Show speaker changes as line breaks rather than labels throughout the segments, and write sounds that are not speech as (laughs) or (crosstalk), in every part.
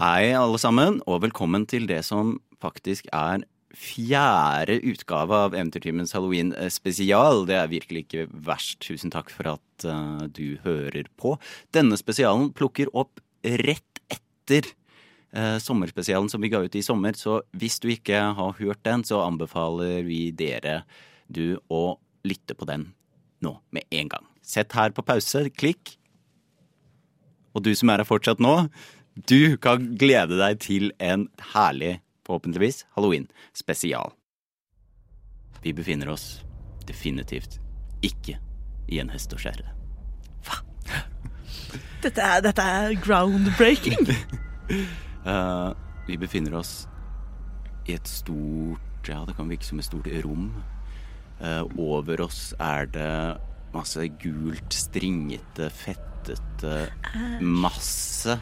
Hei, alle sammen, og velkommen til det som faktisk er fjerde utgave av Eventyrtimens Halloween eh, spesial. Det er virkelig ikke verst. Tusen takk for at eh, du hører på. Denne spesialen plukker opp rett etter eh, sommerspesialen som vi ga ut i sommer, så hvis du ikke har hørt den, så anbefaler vi dere du å lytte på den nå med en gang. Sett her på pause, klikk. Og du som er her fortsatt nå, du kan glede deg til en herlig, forhåpentligvis, halloween-spesial. Vi befinner oss definitivt ikke i en hest og skjære.
Dette er, dette er groundbreaking. (laughs)
Eh, vi befinner oss i et stort Ja, det kan virke som et stort rom. Eh, over oss er det masse gult, stringete, fettete masse.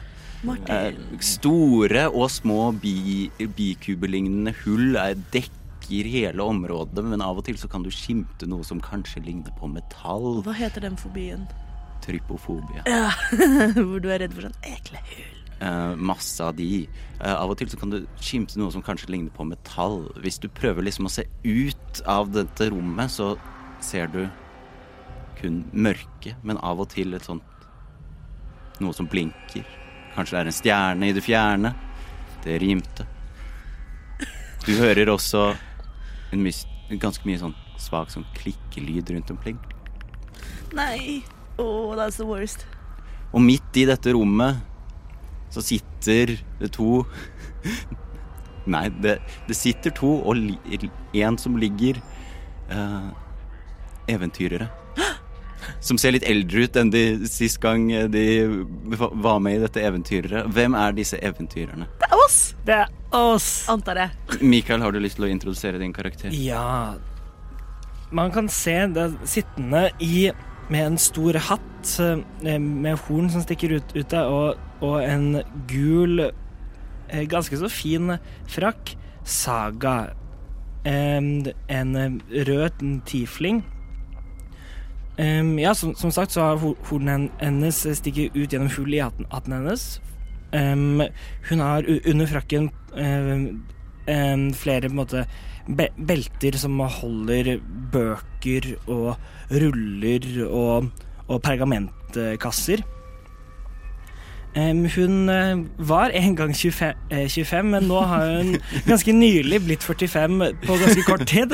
Eh, store og små bi, bikubelignende hull er dekker hele området, men av og til så kan du skimte noe som kanskje ligner på metall.
Hva heter den fobien
Trypofobie.
(laughs) hvor du er redd for sånn ekle hull?
Eh, masse av de. Eh, av og til så kan du skimte noe som kanskje ligner på metall. Hvis du prøver liksom å se ut av dette rommet, så ser du kun mørke, men av og til et sånt noe som blinker. Kanskje det er en stjerne i det fjerne. Det rimte. Du hører også en mys ganske mye sånn svak sånn klikkelyd rundt omkring.
Nei. Oh, that's the worst.
Og midt i dette rommet så sitter det to (laughs) Nei, det, det sitter to og li- en som ligger eh, Eventyrere. (gasps) Som ser litt eldre ut enn de sist gang de va- var med i dette Eventyrere. Hvem er disse eventyrerne?
Det er oss,
Det er oss!
antar jeg.
Mikael, har du lyst til å introdusere din karakter?
Ja Man kan se det sittende i med en stor hatt eh, med horn som stikker ut, ut av, og, og en gul, eh, ganske så fin frakk. Saga. Em, En eh, rød tiefling. Em, Ja, som, som sagt så har ho- hornene hennes stikker ut gjennom hull i hatten, hatten hennes. Em, Hun har u- under frakken eh, em, em, flere på en måte be belter som holder bøker og ruller og, og pergamentkasser. Em, hun eh, var en gang 25, eh, 25, men nå har hun ganske nylig blitt 45 på ganske kort tid.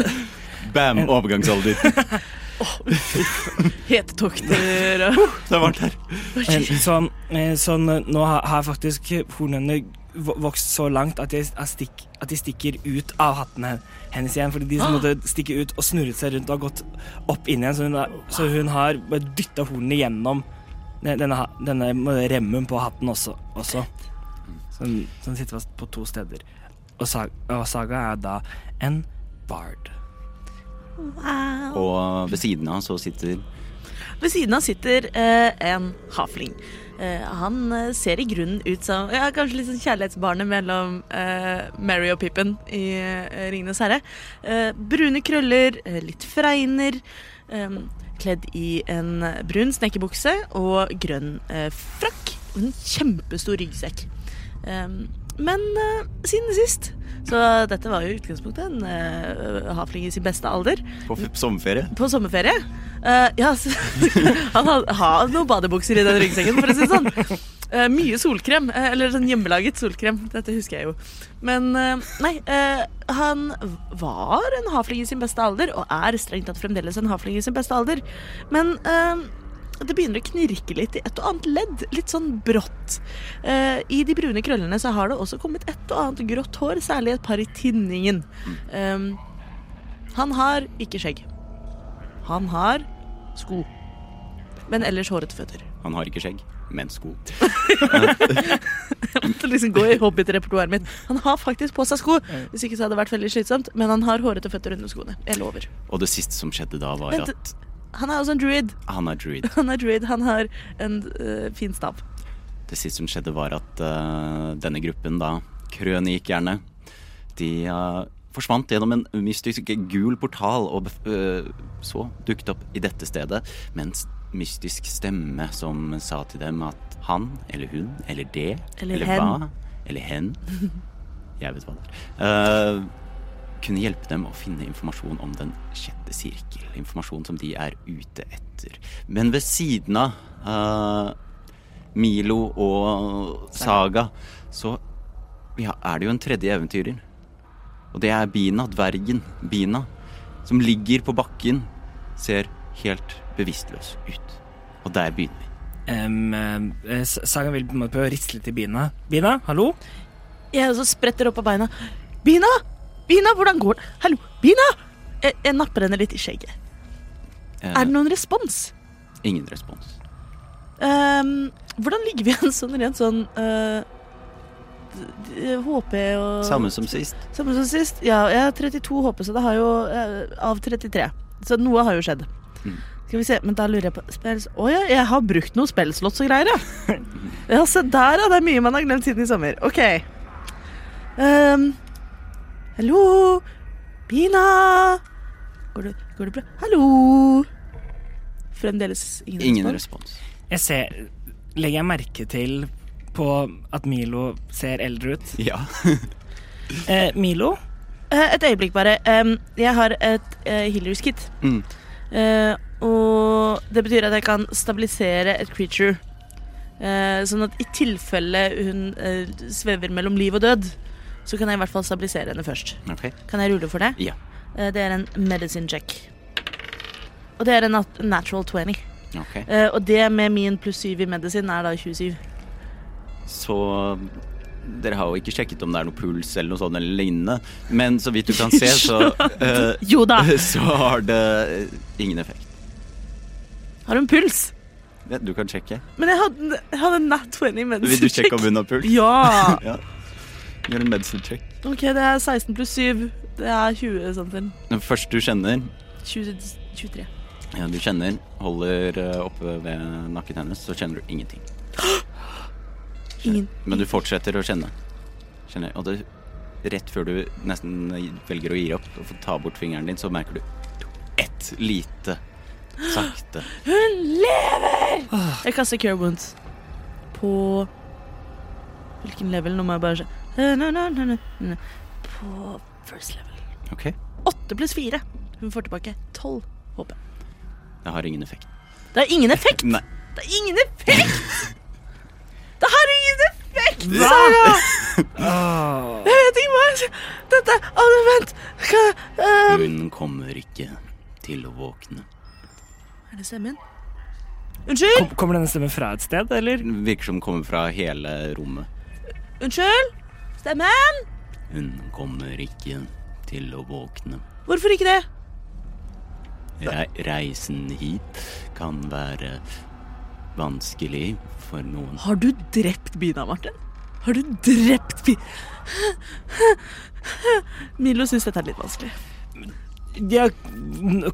Bam! Overgangsalder.
(laughs) Hetetokter og (laughs)
Det er varmt her.
Eh, Så, eh, sånn, eh, nå har har faktisk hornene vo- vokst så langt at de, er stikk, at de stikker ut av hattene hennes igjen. Fordi de som måtte stikke ut og snurret seg rundt og har gått opp inn igjen. Så hun, er, så hun har dytta hornene gjennom ne- denne, ha- denne remmen på hatten også. også. Så den så den sitter fast på to steder. Og Saga, og saga er da en bard.
Wow.
Og ved siden av så sitter
Ved siden av sitter eh, en hafling. Eh, han eh, ser i grunnen ut som ja, kanskje litt sånn kjærlighetsbarnet mellom eh, Mary og Pippen i eh, Ringenes herre. Eh, brune krøller, eh, litt fregner. eh, kledd i en brun snekkerbukse og grønn eh, frakk. Og en kjempestor ryggsekk. Eh, men eh, siden sist Så dette var jo i utgangspunktet en eh, hafling i sin beste alder
på f- sommerferie.
på sommerferie. Eh, ja, så, (laughs) han har, har noen badebukser i den ryggsekken, for å si det sånn. Eh, mye solkrem, eh, eller sånn hjemmelaget solkrem. Dette husker jeg jo. Men eh, nei, eh, han var en hafling i sin beste alder, og er strengt tatt fremdeles en hafling i sin beste alder. Men eh, det begynner å knirke litt i et og annet ledd, litt sånn brått. Eh, I de brune krøllene så har det også kommet et og annet grått hår, særlig et par i tinningen. Eh, han har ikke skjegg. Han har sko. Men ellers hårete føtter. (clears throat)
Han har ikke skjegg, men sko.
Det liksom går i hobbit-repertoaret mitt. Han har faktisk på seg sko. Hvis ikke så hadde det vært veldig slitsomt, men han har hårete føtter under skoene. Jeg lover.
Og det siste som skjedde da, var
Vent.
at
Han er også en druid. (laughs)
han er druid.
Han er druid, han har en øh, fin stav.
Det siste som skjedde var at eh, denne gruppen, da, krønikerne, de eh, forsvant gjennom en mystisk gul portal og bef- eh, så dukket opp i dette stedet med en s- mystisk stemme som sa til dem at han eller hun eller det
Eller
eller
hen.
hva eller hen,
(laughs)
jeg vet hva det er, eh, kunne hjelpe dem å finne informasjon om den sjette sirkel. Informasjon som de er ute etter. Men ved siden av eh, Milo og Saga, så ja, er det jo en tredje eventyrer. Og det er Bina, dvergen Bina, som ligger på bakken, ser helt bevisstløs ut. Og der begynner vi.
Um, eh, S- Saga vil på en måte prøve å riste litt i Bina. Bina, hallo?
Jeg også spretter opp av beina. Bina! Bina, hvordan går det? Hallo, Bina! Jeg, jeg napper henne litt i skjegget.
Eh,
Er det noen respons?
Ingen respons.
Ehm, hvordan ligger vi an sånn rent sånn eh, d- d- HP og
Samme som sist.
Samme som sist. Ja, jeg har 32 HP, så det har jo eh, Av 33. Så noe har jo skjedd.
Mm.
Skal vi se, men da lurer jeg på spells... Å ja, jeg har brukt noen spellslotts og greier, ja.
(laughs)
ja, se der, ja. Det er mye man har glemt siden i sommer. OK. Ehm, hallo, Bina. Går det, går det bra? Hallo. Fremdeles ingen,
Ingen
respons?
respons.
Jeg ser Legger jeg merke til på at Milo ser eldre ut?
Ja. (laughs)
Eh, Milo?
Eh, Et øyeblikk bare. Em, jeg har et uh, healers kit.
Mm.
Eh, og det betyr at jeg kan stabilisere et creature. Eh, sånn at i tilfelle hun eh, svever mellom liv og død, så kan jeg i hvert fall stabilisere henne først.
Ok.
Kan jeg rulle for det?
Ja.
Eh, det er en medicine check. Og det er en nat- natural 20.
Ok.
Eh, og det med min pluss 7 i medisin er da 27.
Så dere har jo ikke sjekket om det er noe puls eller noe sånt eller lignende, men så vidt du kan se, så eh,
(laughs)
(laughs)
Jo da!
Så har det ingen effekt.
Har hun puls?
Ja, Du kan sjekke.
Men jeg hadde, jeg hadde en nat 20 i medisin
Vil du sjekke om hun har puls? (laughs)
Ja!
Ja. Gjør en medicine check.
Ok, det er 16 pluss 7. Det er 20 something.
Den første du kjenner,
20, 23.
ja, du kjenner, holder eh, oppe ved nakken hennes, så kjenner du ingenting.
Ingen.
Men du fortsetter å kjenne. Kjenner. Og det, rett før du nesten velger å gi opp og får ta bort fingeren din, så merker du ett lite sakte
Hun lever!
Ah.
Jeg kaster Cure Wounds på Hvilken level? Nå må jeg bare se. Eh, na, na, na, na, na. På first level.
OK.
8 pluss 4. Hun får tilbake 12 HP.
Det har ingen effekt.
Det har ingen effekt!
Nei.
Det har ingen effekt! Det har ingen effekt,
Hva?
Sara!
Åh.
Jeg vet ikke hva jeg skal Dette Å, nei, vent! Hva eh,
Hun kommer ikke til å våkne.
Er det stemmen? Unnskyld?
Kom, kommer denne stemmen fra et sted, eller?
Virker som kommer fra hele rommet.
Unnskyld? Stemmen?
Hun kommer ikke til å våkne.
Hvorfor ikke det?
Re reisen hit kan være vanskelig for noen.
Har du drept Bina, Martin? Har du drept Bi... Milo syns dette er litt vanskelig.
De har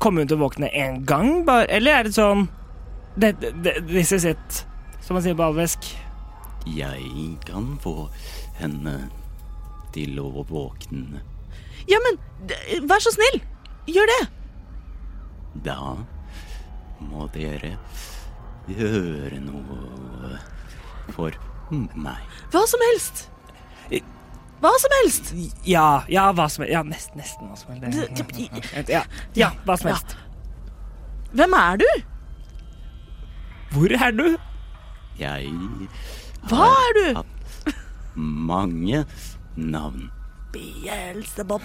kommet hun til å våkne én gang, bare? Eller er det sånn det, det, This is it, som man sier på alvesk.
Jeg kan få henne til å våkne.
Ja, men d- vær så snill! Gjør det!
Da må dere gjøre noe for meg.
Hva som helst! Hva som helst!
Ja, ja, hva som helst. Ja, nesten, nesten hva som helst. Ja, ja, hva som helst.
Hvem er du?
Hvor er du?
Jeg
Hva er du?
hatt mange navn.
Beelzebub.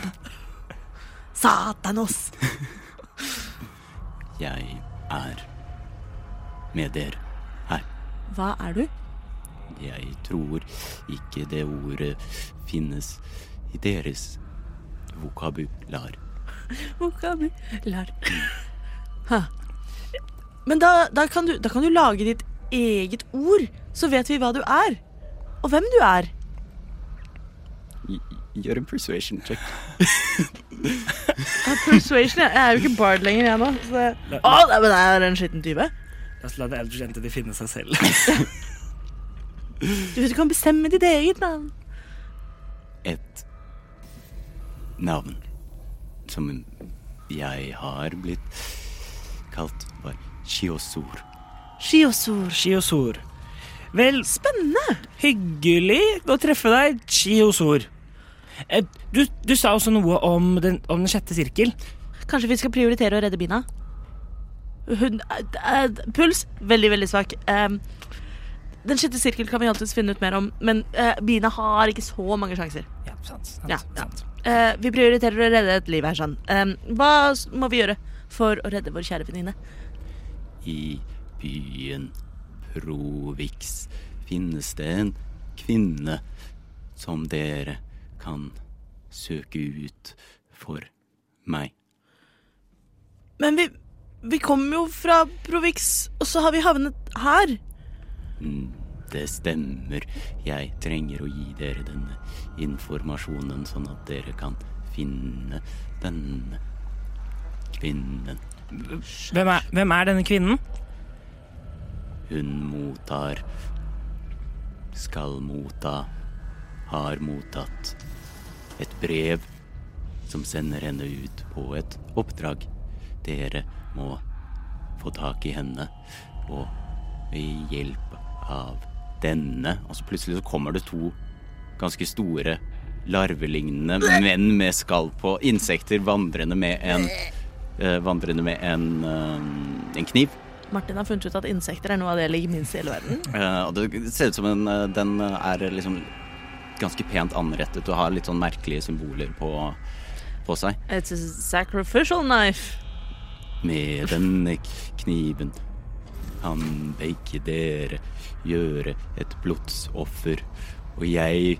Satanos.
Jeg er med dere her.
Hva er du?
Jeg tror ikke det ordet finnes i deres vokabular.
Vokabular. Ha. Men da, da, kan du, da kan du lage ditt eget ord, så vet vi hva du er. Og hvem du er.
Gjør en persuasion check.
Ja, Persuasion, jeg, jeg er jo ikke bard lenger, jeg nå. Så det... Å, nei, men jeg er en skitten tyve.
La oss la det eldre jente finne seg selv.
Du vet du kan bestemme ditt eget navn.
Et navn som jeg har blitt kalt, var Chiosor.
Shiosur.
Shiosor. Vel,
Spennende!
hyggelig å treffe deg, Chiosor. Eh, Du, du sa også noe om den, om den sjette sirkel.
Kanskje vi skal prioritere å redde Bina? Hun eh, eh, Puls? Veldig, veldig svak. Em, den sjette sirkel kan vi alltids finne ut mer om, men eh, Bina har ikke så mange sjanser.
Ja, sant, sant,
Ja, ja.
sant.
Eh, vi prioriterer å redde et liv her, sånn. Em, hva s- må vi gjøre for å redde vår kjære venninne?
I byen Provix finnes det en kvinne som dere kan søke ut for meg.
Men vi, vi kommer jo fra Provix, og så har vi havnet her.
Mm, Det stemmer. Jeg trenger å gi dere denne informasjonen, sånn at dere kan finne denne kvinnen.
Hvem, er, hvem er denne kvinnen?
Hun mottar Skal motta Har mottatt Et brev Som sender henne ut på et oppdrag Dere må Få tak i henne Og ved hjelp av Denne Og så plutselig så kommer det to Ganske store larvelignende Menn med skall på Insekter vandrende med en eh, Vandrende med en eh, En kniv
Martin har funnet ut at insekter er noe av det jeg liker minst i hele verden.
Eh, og det ser ut som en, eh, den er liksom ganske pent anrettet og har litt sånn merkelige symboler på, på seg.
(laughs) It's a sacrificial knife.
Med denne k- kniven kan begge dere gjøre et blodsoffer, og jeg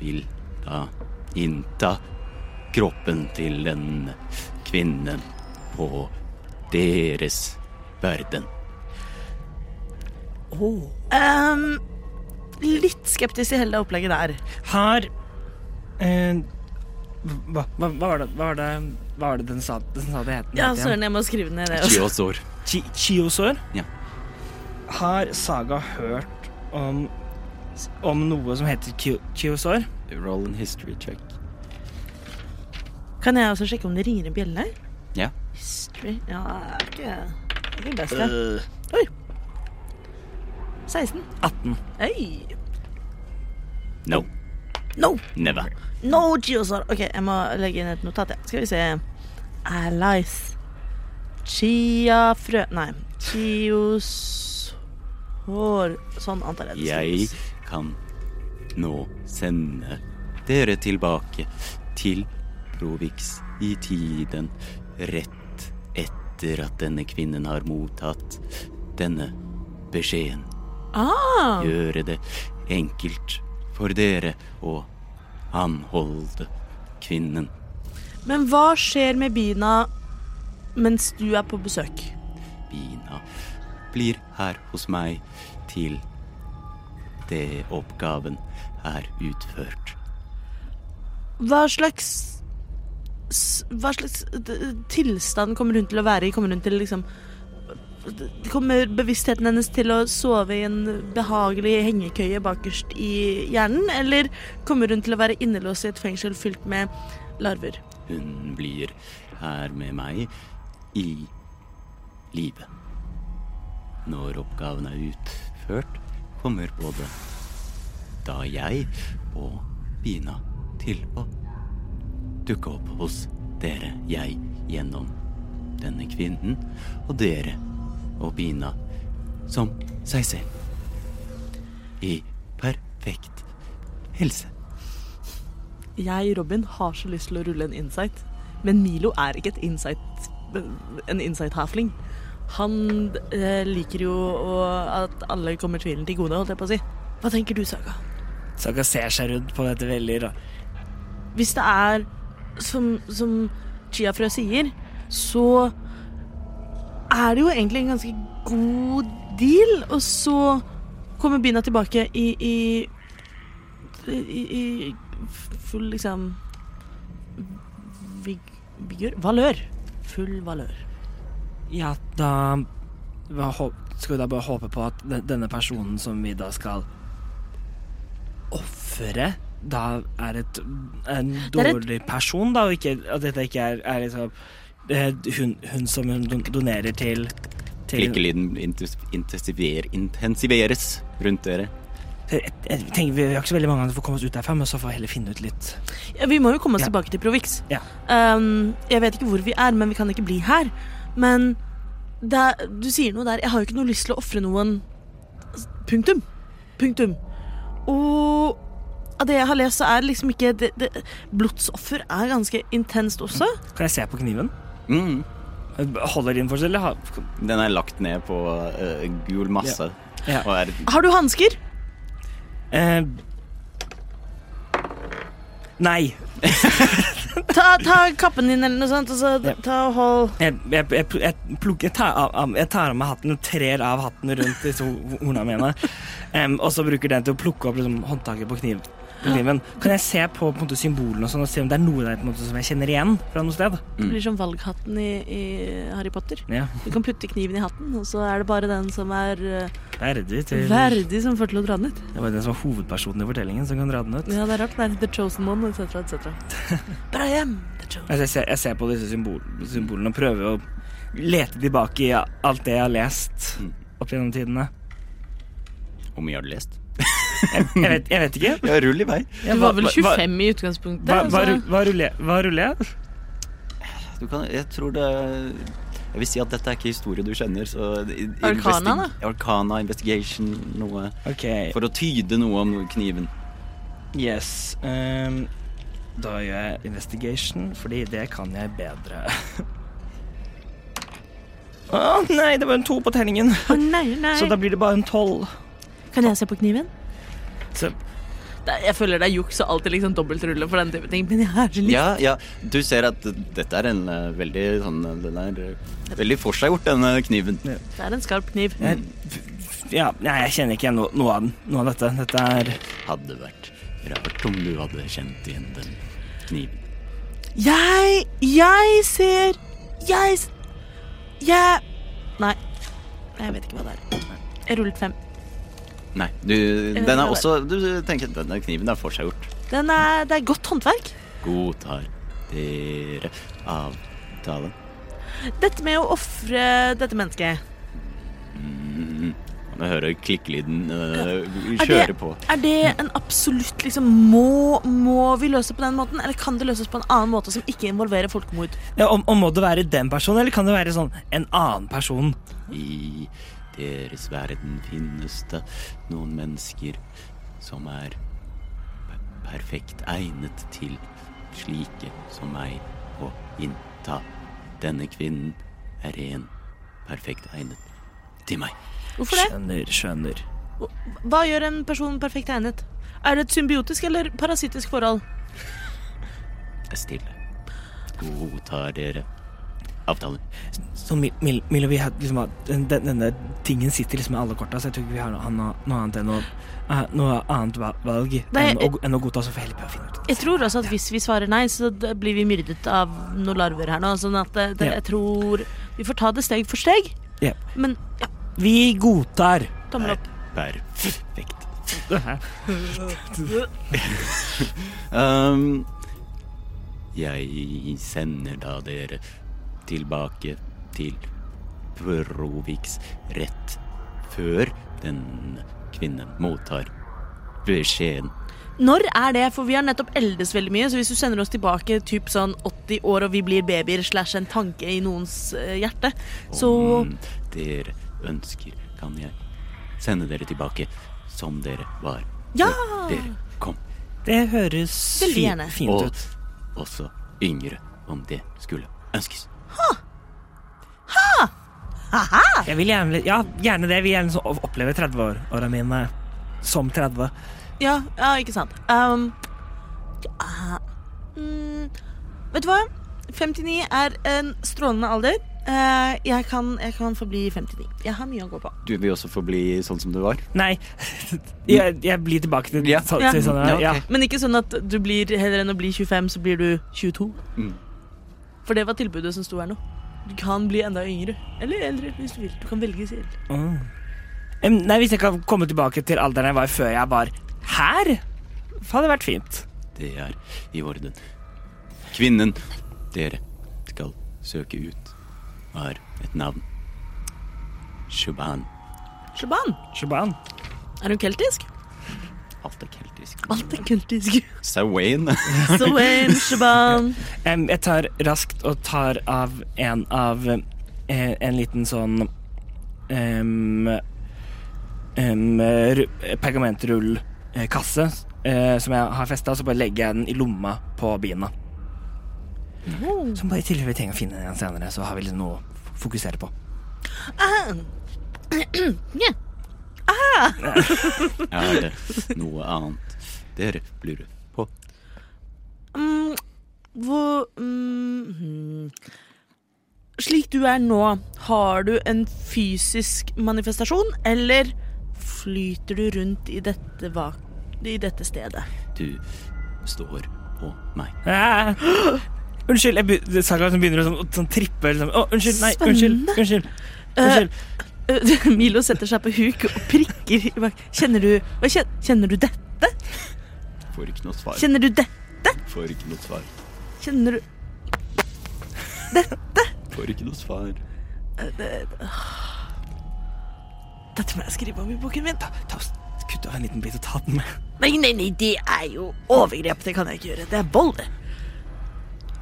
vil da innta kroppen til denne kvinnen på deres (laughs) verden.
Oh.
Em, Ehm, litt skeptisk til hele det opplegget der.
Har eh, hva, hva, hva, var det, hva, var det, hva var det den sa, den sa det het?
Ja, søren, jeg må skrive ned det også.
Chiosor.
Chi, Chiosor?
Ja.
Har Saga hørt om, om noe som heter Chi- Chiosor?
Roll and history check.
Kan jeg også sjekke om det ringer en bjelle?
Ja.
History Eh. Ja, det er ikke, det er ikke best, det. Oi. 16.
18.
Hey.
No.
No!
Never.
No, Geosar. OK, jeg må legge inn et notat. Ja. Skal vi se. Allies. Chiafrø Nei. Chiosår Sånn antar jeg det
Jeg
skrives.
kan nå sende dere tilbake til Provix i tiden rett etter at denne kvinnen har mottatt denne beskjeden.
Ah,
Gjøre det enkelt for dere å anholde kvinnen.
men hva skjer med Bina mens du er på besøk?
Bina blir her hos meg til det oppgaven er utført.
Hva slags s- Hva slags d- tilstand kommer hun til å være i? Kommer hun til liksom d- Kommer bevisstheten hennes til å sove i en behagelig hengekøye bakerst i hjernen? Eller kommer hun til å være innelåst i et fengsel fylt med larver?
Hun blir her med meg i live. Når oppgaven er utført, kommer både da jeg og Bina til å dukke opp hos dere, jeg gjennom denne kvinnen, og dere og Bina som seg selv. I perfekt helse.
Jeg, Robin, har så lyst til å rulle en insight, men Milo er ikke et insight en insight-hafling. Han eh, liker jo å, at alle kommer tvilen til gode, holdt jeg på å si. Hva tenker du, Saga?
Saga ser seg rundt på dette veldig rart.
hvis det er som, som chiafrø sier, så er det jo egentlig en ganske god deal. Og så kommer Bina tilbake i, i, i, i full liksom vig, Vigør? Valør. Full valør.
Ja, da hva hå- skal vi da bare håpe på at de- denne personen som vi da skal ofre, da er et, en
er et-
dårlig person, da, og ikke, at dette ikke er, er liksom eh, hun, hun som hun don- donerer til
Klikkelyden intus- intensiver, intensiveres rundt dere.
Jeg, jeg tenker Eh, Vi vi har ikke så veldig mange som får komme oss ut derfra, men så får jeg heller finne ut litt.
Ja, Vi må jo komme oss
Ja.
tilbake til Provix.
Ja.
Um, jeg vet ikke hvor vi er, men vi kan ikke bli her. Men det er, du sier noe der. Jeg har jo ikke noe lyst til å ofre noen. Punktum. Punktum. Og av det jeg har lest, så er det liksom ikke det, det, Blodsoffer er ganske intenst også.
Kan jeg se på kniven? Eh,
Mm.
Holder den for seg, eller har
Den er lagt ned på eh, gul masse.
Ja. Ja.
Og er
Har du hansker?
eh, Nei.
Ta, ta kappen din eller noe sånt, og så
Ja.
ta og hold
Jeg, jeg, jeg, jeg, plukker, jeg, tar av, av, jeg tar av meg hatten og trer av hatten rundt disse ho- horna mine. Em, og så bruker den til å plukke opp liksom, håndtaket på kniv, på kniven. Kan jeg se på, på en måte, symbolene og sånn og se om det er noe der på en måte, som jeg kjenner igjen fra noe sted?
Det blir som valghatten i, i Harry Potter.
Ja,
Du kan putte kniven i hatten, og så er det bare den som er eh,
Verdig til
verdig, som får til å dra den ut.
Det var den som var hovedpersonen i fortellingen, som kan dra den ut.
Ja, det er rart. Det er The Chosen One, etc., (laughs) etc. Bra hjem! The Chosen.
Jeg, jeg, ser, jeg ser på disse symbol, symbolene og prøver å lete tilbake i alt det jeg har lest opp gjennom tidene.
Hvor mye har du lest?
Jeg vet, jeg vet ikke.
Ja, rull i vei.
Du var vel
Hva- hva-
25 i utgangspunktet?
Hva, hva,
altså.
hva, rulle- hva ruller jeg?
Du kan, jeg tror det Jeg vil si at dette er ikke historie du kjenner, så i-
Arcana,
investi- Arcana, investigation, noe.
OK.
For å tyde noe om kniven.
Yes. ehm, da gjør jeg investigation, fordi det kan jeg bedre. (laughs) Å nei, det var en to på terningen.
Å, nei, nei.
Så da blir det bare en tolv.
Kan jeg se på kniven?
Så-
Det, jeg føler det er juks og alltid liksom dobbeltrulle for den type ting, men jeg har så lyst.
Ja, ja. Du ser at dette er en eh, veldig sånn eh, Den er eh, veldig forseggjort, denne kniven.
Det er en skarp kniv.
Jeg, eh, ja, nei, jeg kjenner ikke igjen no, noe, av den, noe av dette. Dette er
Hadde vært rart om du hadde kjent igjen den kniven.
Jeg Jeg ser Jeg s- Jeg Nei. Jeg vet ikke hva det er. Jeg rullet fem.
Nei, du, den er også Du tenker denne kniven er forseggjort.
Den er, det er godt håndverk.
Godtar dere avtalen?
Dette med å ofre dette mennesket
Nå hører jeg klikkelyden eh,
Er
kjøre
det-
på.
Er det en absolutt liksom må, må vi løse på den måten, eller kan det løses på en annen måte som ikke involverer folkemord?
ja, og, og må det være den personen, eller kan det være sånn en annen person?
I deres verden finnes det noen mennesker som er per- perfekt egnet til slike som meg å innta. Denne kvinnen er en perfekt egnet til meg.
Hvorfor det?
Skjønner, skjønner.
Hva gjør en person perfekt egnet? Er det et symbiotisk eller parasittisk forhold?
Stille. Godtar dere avtalen?
Så Mi- Mil- Milo, vi har liksom hatt- den, den- denne tingen sitter liksom i alle korta, så jeg tror ikke vi har noe, anna- noe annet enn å eh, noe annet va- valg
Nei,
enn, å, enn å godta, så får jeg heller prøve å finne ut av det.
Jeg tror også at hvis vi svarer nei, så d- blir vi myrdet av noen larver her nå. Sånn at det, det,
Ja.
jeg tror Vi får ta det steg for steg.
Ja.
Men ja,
Vi godtar!
tommel opp.
Perfekt. (laughs)
Hva
Ehm, jeg sender da dere tilbake til Proviks rett før den kvinnen mottar beskjeden.
Når er det? For vi har nettopp eldes veldig mye, så hvis du sender oss tilbake typ sånn 80 år og vi blir babyer slash en tanke i noens eh, hjerte, så
Om dere ønsker, kan jeg sende dere tilbake som dere var
Ja!
før dere kom.
Det høres
Veldig
fi,
gjerne.
fint
Og
ut.
også yngre, om det skulle ønskes.
Jeg vil gjerne, ja, gjerne det. Jeg vil gjerne så oppleve 30-åra mine som 30.
Ja, ja ikke sant. Ehm, ja, mm, vet du hva? 59 er en strålende alder. Eh, jeg, kan, jeg kan forbli 59. Jeg har mye å gå på.
Du vil også få bli sånn som du var?
Nei, (laughs) jeg, jeg blir tilbake til,
Ja.
så,
Ja.
til sånn. Ja,
Ja, ok.
Men ikke sånn at du blir, heller enn å bli 25, så blir du 22.
Mm.
For det var tilbudet som sto her nå. Du kan bli enda yngre. Eller eldre, hvis du vil. Du kan velge selv.
Mm. Em, Nei, Hvis jeg kan komme tilbake til alderen jeg var før jeg var her, hadde det vært fint.
Det er i orden. Kvinnen dere skal søke ut, har et navn. Shuban.
Shaban,
Shaban.
er hun keltisk?
Alt er keltisk.
Alt er keltisk. (laughs)
Sawain.
Swain, Shaban.
Em, jeg tar raskt og tar av en av eh, en liten sånn em, em, ru- pergamentrullkasse eh, som jeg har festa, og så bare legger jeg den i lomma på bina.
Oh.
Som bare i tilfelle vi trenger å finne den igjen senere, så har vi liksom noe å fokusere på.
(laughs) Er det noe annet dere lurer på?
Mm, hvor mm, hmm. Slik du er nå, har du en fysisk manifestasjon, eller flyter du rundt i dette, va i dette stedet? (laughs)
Du står på meg.
Ah. Unnskyld, jeg be Saga som begynner å sånn, sånn trippe. Liksom. Å, unnskyld, nei, unnskyld.
Spennende.
unnskyld, unnskyld.
Eh, Milo setter seg på huk og prikker i bak. Kjenner du hva kjen- Kjenner du dette?
Får ikke noe svar.
Kjenner du det?
Får ikke noe svar.
Kjenner du
Får ikke noe svar.
eh, Dette må jeg skrive om i boken min.
Ta, ta, kutt av en liten bit og ta den med.
Nei, nei, nei, det er jo overgrep. Det kan jeg ikke gjøre. Det er vold. det.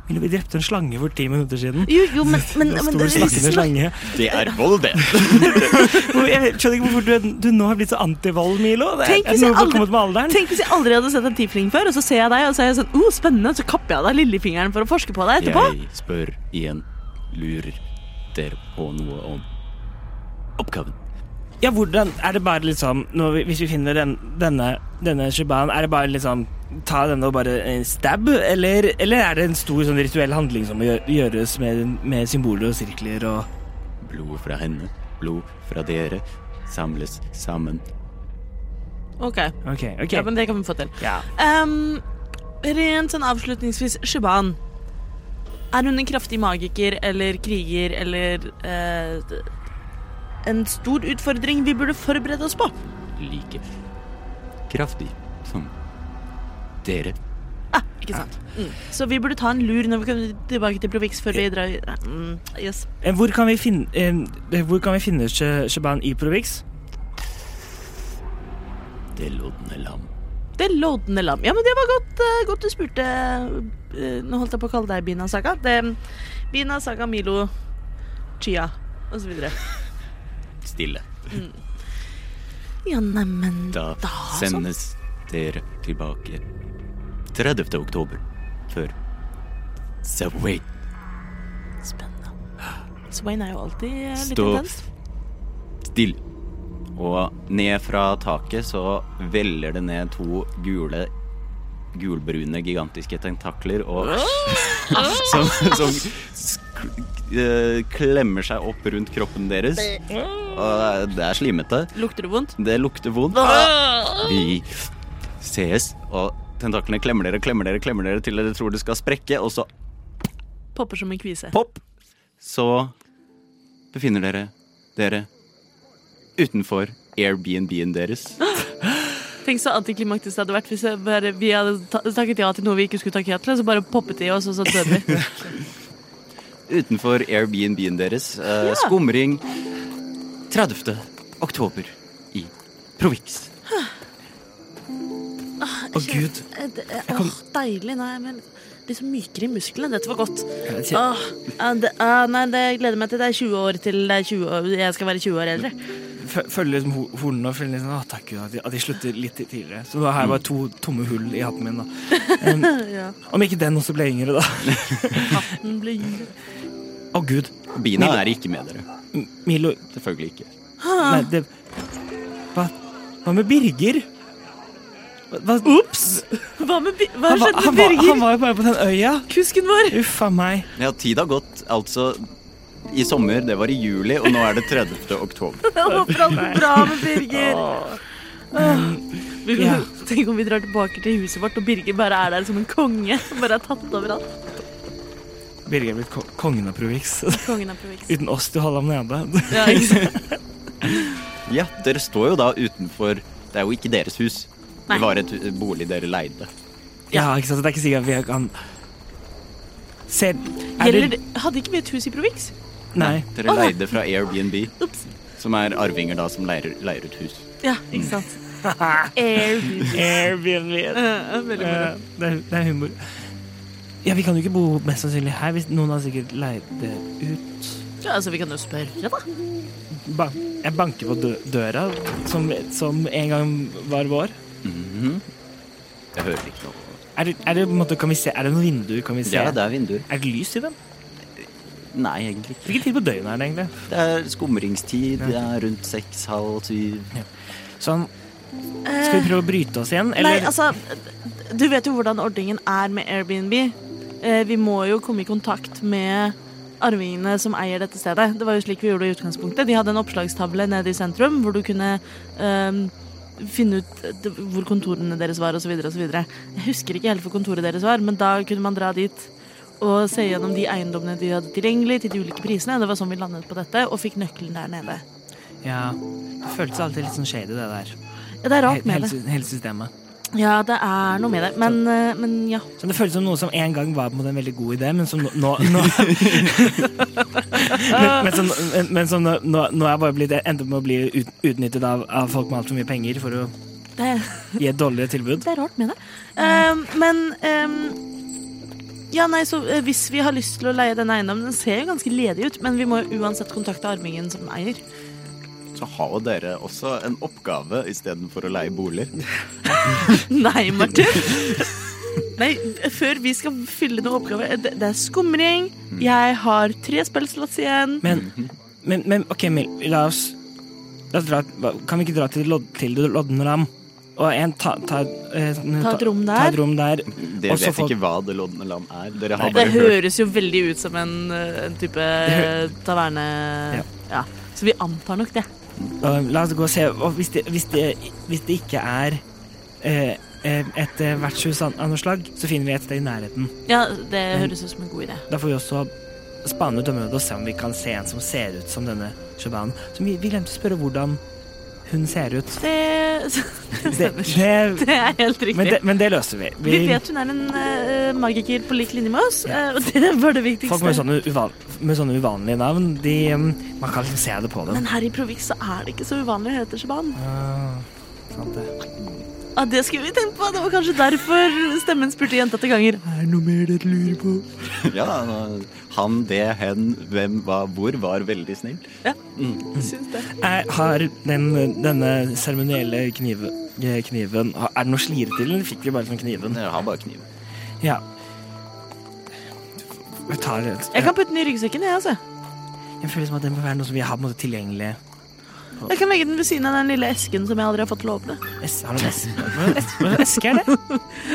Ville vi drept en slange for ti minutter siden?
Jo, jo, men, men,
En
men liksom
stor snakkende slange.
Det er vold, det.
Hvor- Jeg skjønner ikke hvorfor du, er- du nå har blitt så antivold, Milo. Det er,
Tenk
er
hvis
noe
jeg
som har
aldri-
kommet med alderen.
Tenk hvis jeg aldri hadde sett en tiefling før, og så ser jeg deg, og så er jeg sånn oh, spennende, så kapper jeg av deg lillefingeren for å forske på deg etterpå.
Jeg spør igjen. Lurer dere på noe om oppgaven?
Ja, hvordan Er det bare liksom når vi, Hvis vi finner den, denne, denne shibaen, er det bare liksom Ta denne og bare eh, stab, eller, eller er det en stor sånn rituell handling som må gjø- gjøres med, med symboler og sirkler og
Blod fra henne, blod fra dere, samles sammen.
Ok,
OK. ok
ja, men det kan vi få til.
Ja.
Ehm, rent sånn avslutningsvis, Shiban. Er hun en kraftig magiker eller kriger eller eh, d- en stor utfordring vi burde forberede oss på?
Like kraftig som dere.
Ah, ikke sant. Mm. Så vi burde ta en lur når vi kommer tilbake til Provix før vi drar videre. Mm, yes.
Eh, Hvor kan vi finne, eh, hvor kan vi finne Sh- Shaban i Provix?
Det lodne lam.
Det lodne lam. Ja, men det var godt, eh, godt du spurte. eh, nå holdt jeg på å kalle deg Bina Saga. Det, Bina Saga, Milo, Chia og så videre.
Stille.
Ja, neimen
Da
sånn.
sendes dere tilbake 30. oktober før Subway
Spennende. Swain er jo alltid eh, litt
Stå
intens.
stille. Og ned fra taket så veller det ned to gule gulbrune, gigantiske tentakler og
(laughs)
som, som sk- eh, klemmer seg opp rundt kroppen deres. Og det er slimete.
Lukter det vondt?
Det lukter vondt. Vi sees, og tentaklene klemmer dere, klemmer dere, klemmer dere til dere tror det skal sprekke, og så
Popper som en kvise.
popp, så befinner dere dere utenfor Airbnb-en deres.
Tenk så antiklimaktisk det hadde vært hvis jeg bare, vi hadde ta- takket ja til noe vi ikke skulle takke ja til, og så bare poppet de oss, og så døde vi.
Utenfor Airbnb-en deres. Eh,
Ja.
Skumring 30. oktober i Provix.
Å, gud.
Eh, det er- Åh, deilig. Nei, men liksom mykere i musklene. Dette var godt.
Jeg kjen-
Åh, ja, det, ah, nei, det jeg gleder meg til. Det er 20 år til det er 20 år. jeg skal være 20 år eldre.
Fø- Følger liksom ho- hornene og føler liksom, å, takk Gud, at de, at de slutter litt tidligere. Så da har jeg bare to tomme hull i hatten
(laughs)
min, da. Em,
Ja.
om ikke den også ble yngre, da.
Den blir
Å, gud.
Bina er ikke med dere.
M- Milo
Selvfølgelig ikke.
Nei, det Hva, hva med Birger? Hva, hva,
Ops! Hva, med, Bi- hva
han, var,
skjedde med
han, var, han
Birger?
var jo bare på den øya.
Kusken vår.
Uff a meg.
Ja, tid har gått. Altså i sommer, det var i juli, og nå er det 30. oktober.
Jeg håper alt går bra med Birger. Vi,
Ja.
Tenk om vi drar tilbake til huset vårt, og Birger bare er der som en konge. Bare er tatt over alt.
Birger er blitt ko kongen av Provix. (laughs)
Kongen av provins.
Uten oss til å holde ham nede. (laughs)
Ja, ikke sant?
Ja, dere står jo da utenfor Det er jo ikke deres hus.
Nei.
Det var et eh, bolig dere leide.
Ja, ikke sant? så Det er ikke sikkert vi kan Se er
Gjelder det, hadde ikke vi et hus i Provix?
Nei.
Dere leide fra Airbnb.
Ops.
Som er arvinger da som leier, leier ut hus.
Ja, ikke
(laughs)
sant? Airbnb.
Airbnb.
Eh, Veldig moro.
Eh, det, er, det er humor. Ja, vi kan jo ikke bo mest sannsynlig her. Hvis noen har sikkert leid det ut.
Ja, altså, vi kan jo spørre, da.
Ban jeg banker på dø døra, som, som en gang var vår.
Mhm. Jeg hører ikke noe.
Er det, er det, på en måte, kan vi se, er det noen vinduer? Kan vi se?
Ja, det er vinduer.
Er det lys i dem?
Nei, egentlig ikke.
Hvilken tid på døgnet er det egentlig?
Det er skumringstid. Det er rundt seks, halv syv.
Sånn, skal vi prøve å bryte oss igjen?
Nei,
Eller?
altså, du vet jo hvordan ordningen er med Airbnb. Eh, Vi må jo komme i kontakt med arvingene som eier dette stedet. Det var jo slik vi gjorde det i utgangspunktet. De hadde en oppslagstavle nede i sentrum hvor du kunne ehm, finne ut eh, d- hvor kontorene deres var osv. osv. Jeg husker ikke helt hvor kontoret deres var, men da kunne man dra dit og se gjennom de eiendommene de hadde tilgjengelig til de ulike prisene. Det var sånn vi landet på dette, og fikk nøkkelen der nede. altså-
Ja, det føltes alltid litt sånn shady, det der.
Ja, det er rart
He-
med
hele,
det.
sy- hele systemet.
Ja, det er noe med det. Men, eh, men ja.
Så det føltes som noe som en gang var på en måte en veldig god idé, men som nå, nå, nå men, men som, men, men som nå, nå, nå er bare blitt, endt opp med å bli ut, utnyttet av, av folk med altfor mye penger for å
Det
gi et dårligere tilbud.
Det er rart med det. Ehm, men ehm, Ja, nei, så eh, hvis vi har lyst til å leie denne eiendommen Den ser jo ganske ledig ut, men vi må jo uansett kontakte armingen som eier.
Så har jo dere også en oppgave istedenfor å leie boliger.
(laughs) Nei, Martin! Nei, før vi skal fylle noen oppgaver Det, det er skumring.
Mm.
Jeg har tre spillslots igjen.
Men, men, men OK, Mil, la oss, la oss dra, hva- Kan vi ikke dra til, Lodd, til Loddenram? Og en ta, ta, eh,
Ta et rom
Ta
der.
et rom der.
Dere
Også
vet
folk-
ikke hva det loddende land er. Dere har
Nei.
Det
bare hørt
høres jo veldig ut som en, eh, en type
hø-
taverne...
Ja.
Ja. Så vi antar nok det.
Og la oss gå og se og hvis, det, hvis, det, hvis det ikke er eh, eh, et eh, vertshus av av noe slag, så finner vi et sted i nærheten.
Ja, det høres ut som en god idé.
Da får vi også spane ut området og se om vi kan se en som ser ut som denne Shaban. Som vi, vi glemte å spørre hvordan hun ser ut.
(laughs) Det,
Det, det,
det er helt riktig.
men, det, men det løser vi.
Vi vet hun er en eh, magiker på lik linje med oss, eh, og det var det viktigste.
folk sånn, med sånne, uval, med sånne uvanlige navn, de, eh, man kan liksom se det på dem.
Men her i Provix så er det ikke så uvanlig å hete Shaban.
Ah, sant det.
Ah, det skulle vi tenkt på! Det var kanskje derfor stemmen spurte gjentatte ganger.
Er det noe mer dere lurer på?
ja, nå- han, det, hen, hvem, hva, hvor var veldig snill.
Syns det.
Er, har den, denne seremonielle knive, eh, kniven har- Er det noe slire til, eller fikk vi bare sånn kniven?
Dere har bare kniv.
Ja. Jeg, tar, jeg,
Jeg kan putte den i ryggsekken, jeg, altså.
jeg føler som at det må være noe som vi har på en måte tilgjengelig.
Jeg kan legge den ved siden av den lille esken som jeg aldri har fått til å åpne.
Es, har du en eske? Hva slags eske er det?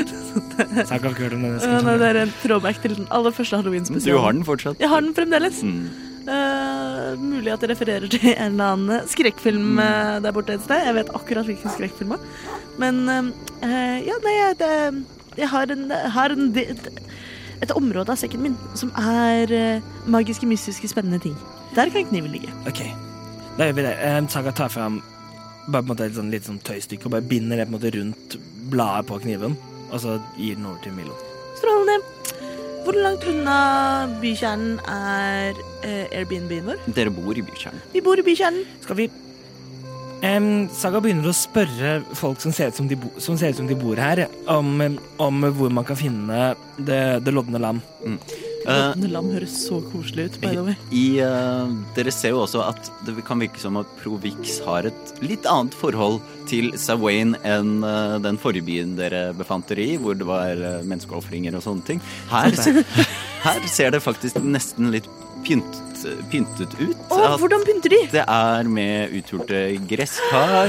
Så jeg har ikke hørt om den
Ja, nei,
esken.
det er en throwback til den aller første
Du har
halloween-spesialen.
den fortsatt.
Jeg har den fremdeles.
Mm.
Eh, mulig at det refererer til en eller annen skrekkfilm
Mm.
eh, der borte et sted. Jeg vet akkurat hvilken skrekkfilm. det er. Men eh, ja, nei, jeg- det, jeg har, en, har en, de- et, et område av sekken min som er eh, magiske, mystiske, spennende ting. Der kan kniven ligge.
Ok, da gjør vi det. Eh, Saga tar fram bare på en måte et sånn, litt sånn tøystykke og bare binder det på en måte rundt bladet på kniven, og så gir den over til Milo.
Strålende. Hvor langt unna bykjernen er eh, Airbnb-en vår?
Dere bor i bykjernen.
Vi bor i bykjernen.
Skal vi Em, Saga begynner å spørre folk som ser ut som de, bo, som ser ut som de bor her, om, em, om hvor man kan finne det, det lodne lam.
Eh,
Råtne lam høres så koselig ut, by the way.
I, eh, dere ser jo også at det kan virke som at Provix har et litt annet forhold til Savoyen enn eh, den forrige byen dere befant dere i, hvor det var uh, menneskeofringer og sånne ting.
(laughs)
Her, se- her ser det faktisk nesten litt pyntet, pyntet ut.
Å,
At
hvordan pynter de?
det er med uthulte gresskar,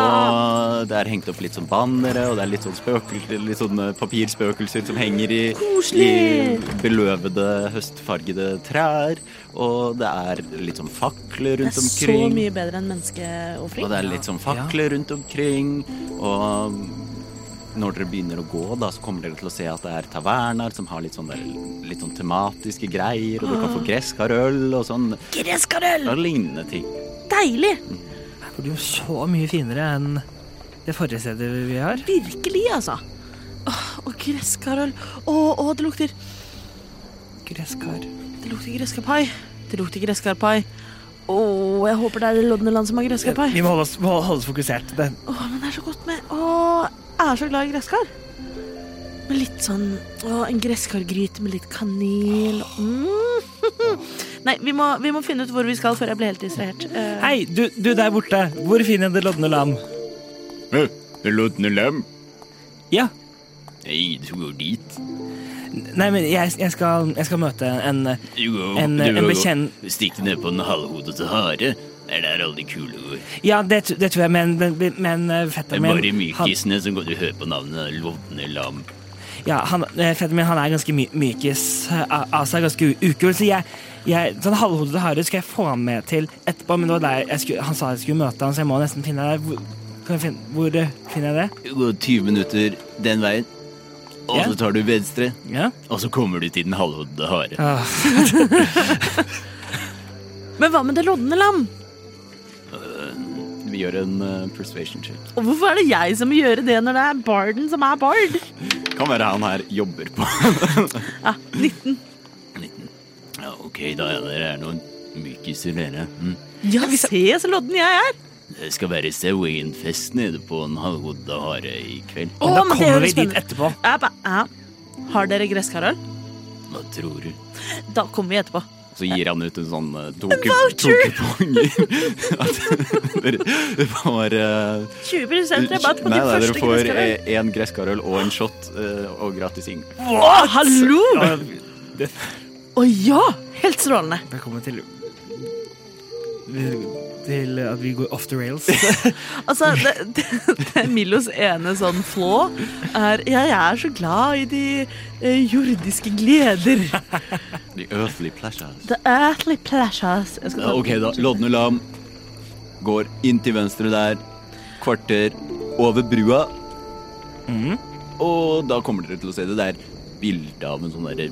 og det er hengt opp litt sånn bannere, og det er litt sånn spøkel- litt sånne papirspøkelser som henger i, i
Koselig!
beløvede, høstfargede trær, og det er litt sånn fakler
Det er
rundt
så
omkring.
mye bedre enn menneskeofring.
Og det er litt sånn fakler rundt omkring, og når dere begynner å gå, da, så kommer dere til å se at det er taverner som har litt sånn, der, litt sånn tematiske greier, og du
Ah.
kan få gresskarøl og sånn,
Gresskarøl!
og lignende ting.
Deilig!
Her bor det jo så mye finere enn det forrige stedet vi har.
Virkelig, altså. Åh, og gresskarøl. Å, å, det lukter
Gresskar.
Det lukter gresskarpai. Det lukter gresskarpai. Åh, jeg håper det er Lodneland som har gresskar på her.
Vi må holde oss, må holde oss fokusert. Det,
Åh, men det er så godt med Åh, jeg er så glad i gresskar. Med litt sånn Åh, en gresskargryte med litt kanel. Mm. (laughs) Nei, vi må, vi må finne ut hvor vi skal før jeg blir helt distrahert. Eh,
Hei, du, du der borte. Hvor finner jeg det lodne lam?
Lodne lam?
Ja.
Nei, du går dit.
Nei, men jeg, jeg, skal, jeg skal møte en, en,
Du går,
en bekjent...
Stikk ned på den halvhodete hare. Det er der alle de kule går.
Ja, det, tr- det tror jeg, men, men, men eh, fetteren min
Bare
han-
mykisene som går til å høre på navnet Lodne lam.
Ja, han, eh, fetteren min han er ganske my mykis eh, av av seg, ganske u- ukul, så jeg, jeg sånn halvhodet hare skal jeg få han med til etterpå, men det var der jeg skulle, han sa jeg skulle møte han, så jeg må nesten finne deg. Hvor, kan jeg finne, hvor eh, finner jeg det?
Du går 20 minutter den veien, og
Ja.
så tar du venstre,
Ja.
og så kommer du til den halvhodete hare.
Ah,
Men hva med det lodne lam?
Vi gjør en eh, persuasion check.
Og hvorfor er det jeg som må gjøre det når det er barden som er bard?
Kan være han her jobber
(laughs)
på
Ah,
Ja, 19.
19. Ja, ok, da er dere er noen mykiser, dere. Mm.
Ja, se så lodden jeg er!
Det skal være Sewingen-fest nede på en halvhodet hare i kveld.
Å,
men
men
da
det
kommer vi
høres
dit
spennende.
etterpå.
Ja, ba, ja. Har dere gresskarol?
Hva tror du?
Da kommer vi etterpå.
Så gir han ut en sånn eh, to ku- to kuponger. (laughs) At dere får eh,
20 rabatt
Nei,
på din
nei,
første
dere får
gresskarol.
eh, en gresskarøl og en shot eh, og gratis ing.
Å, hallo!
Ja,
Å ja! Helt strålende.
Velkommen til Til at vi går off the rails.
Altså, det, det, det er Milos ene sånn flå er Ja, jeg er så glad i de eh, jordiske gleder.
The earthly pleasures.
The earthly pleasures. Jeg skal
Ja,
ta-
Ok, da. Lodne lam går inn til venstre der. Kvarter over brua. Og da kommer dere til å se det der bildet av en sånn derre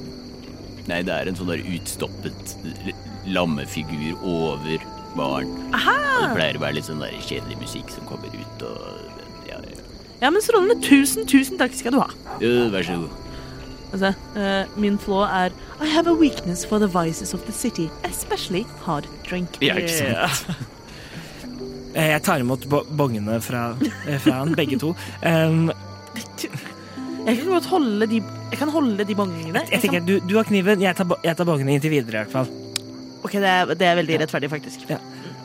Nei, det er en sånn der utstoppet l- lammefigur over baren. Og det pleier å være litt sånn der kjedelig musikk som kommer ut og ja, ja.
Ja, men strålende. Tusen, tusen takk skal du ha.
Jo, Vær så god.
Altså, eh, min flå er I have a weakness for the vices of the city, especially hard drink.
Ja, ikke sant?
Eh, Jeg tar imot bo- bongene fra, eh, fra han, begge to. Um,
Jeg kan godt holde de Jeg kan holde de bongene.
jeg tenker, du, du har kniven, jeg tar, bo- jeg tar bongene inntil videre, i hvert fall.
kan, ok, det er, det er veldig rettferdig, faktisk.
Ja.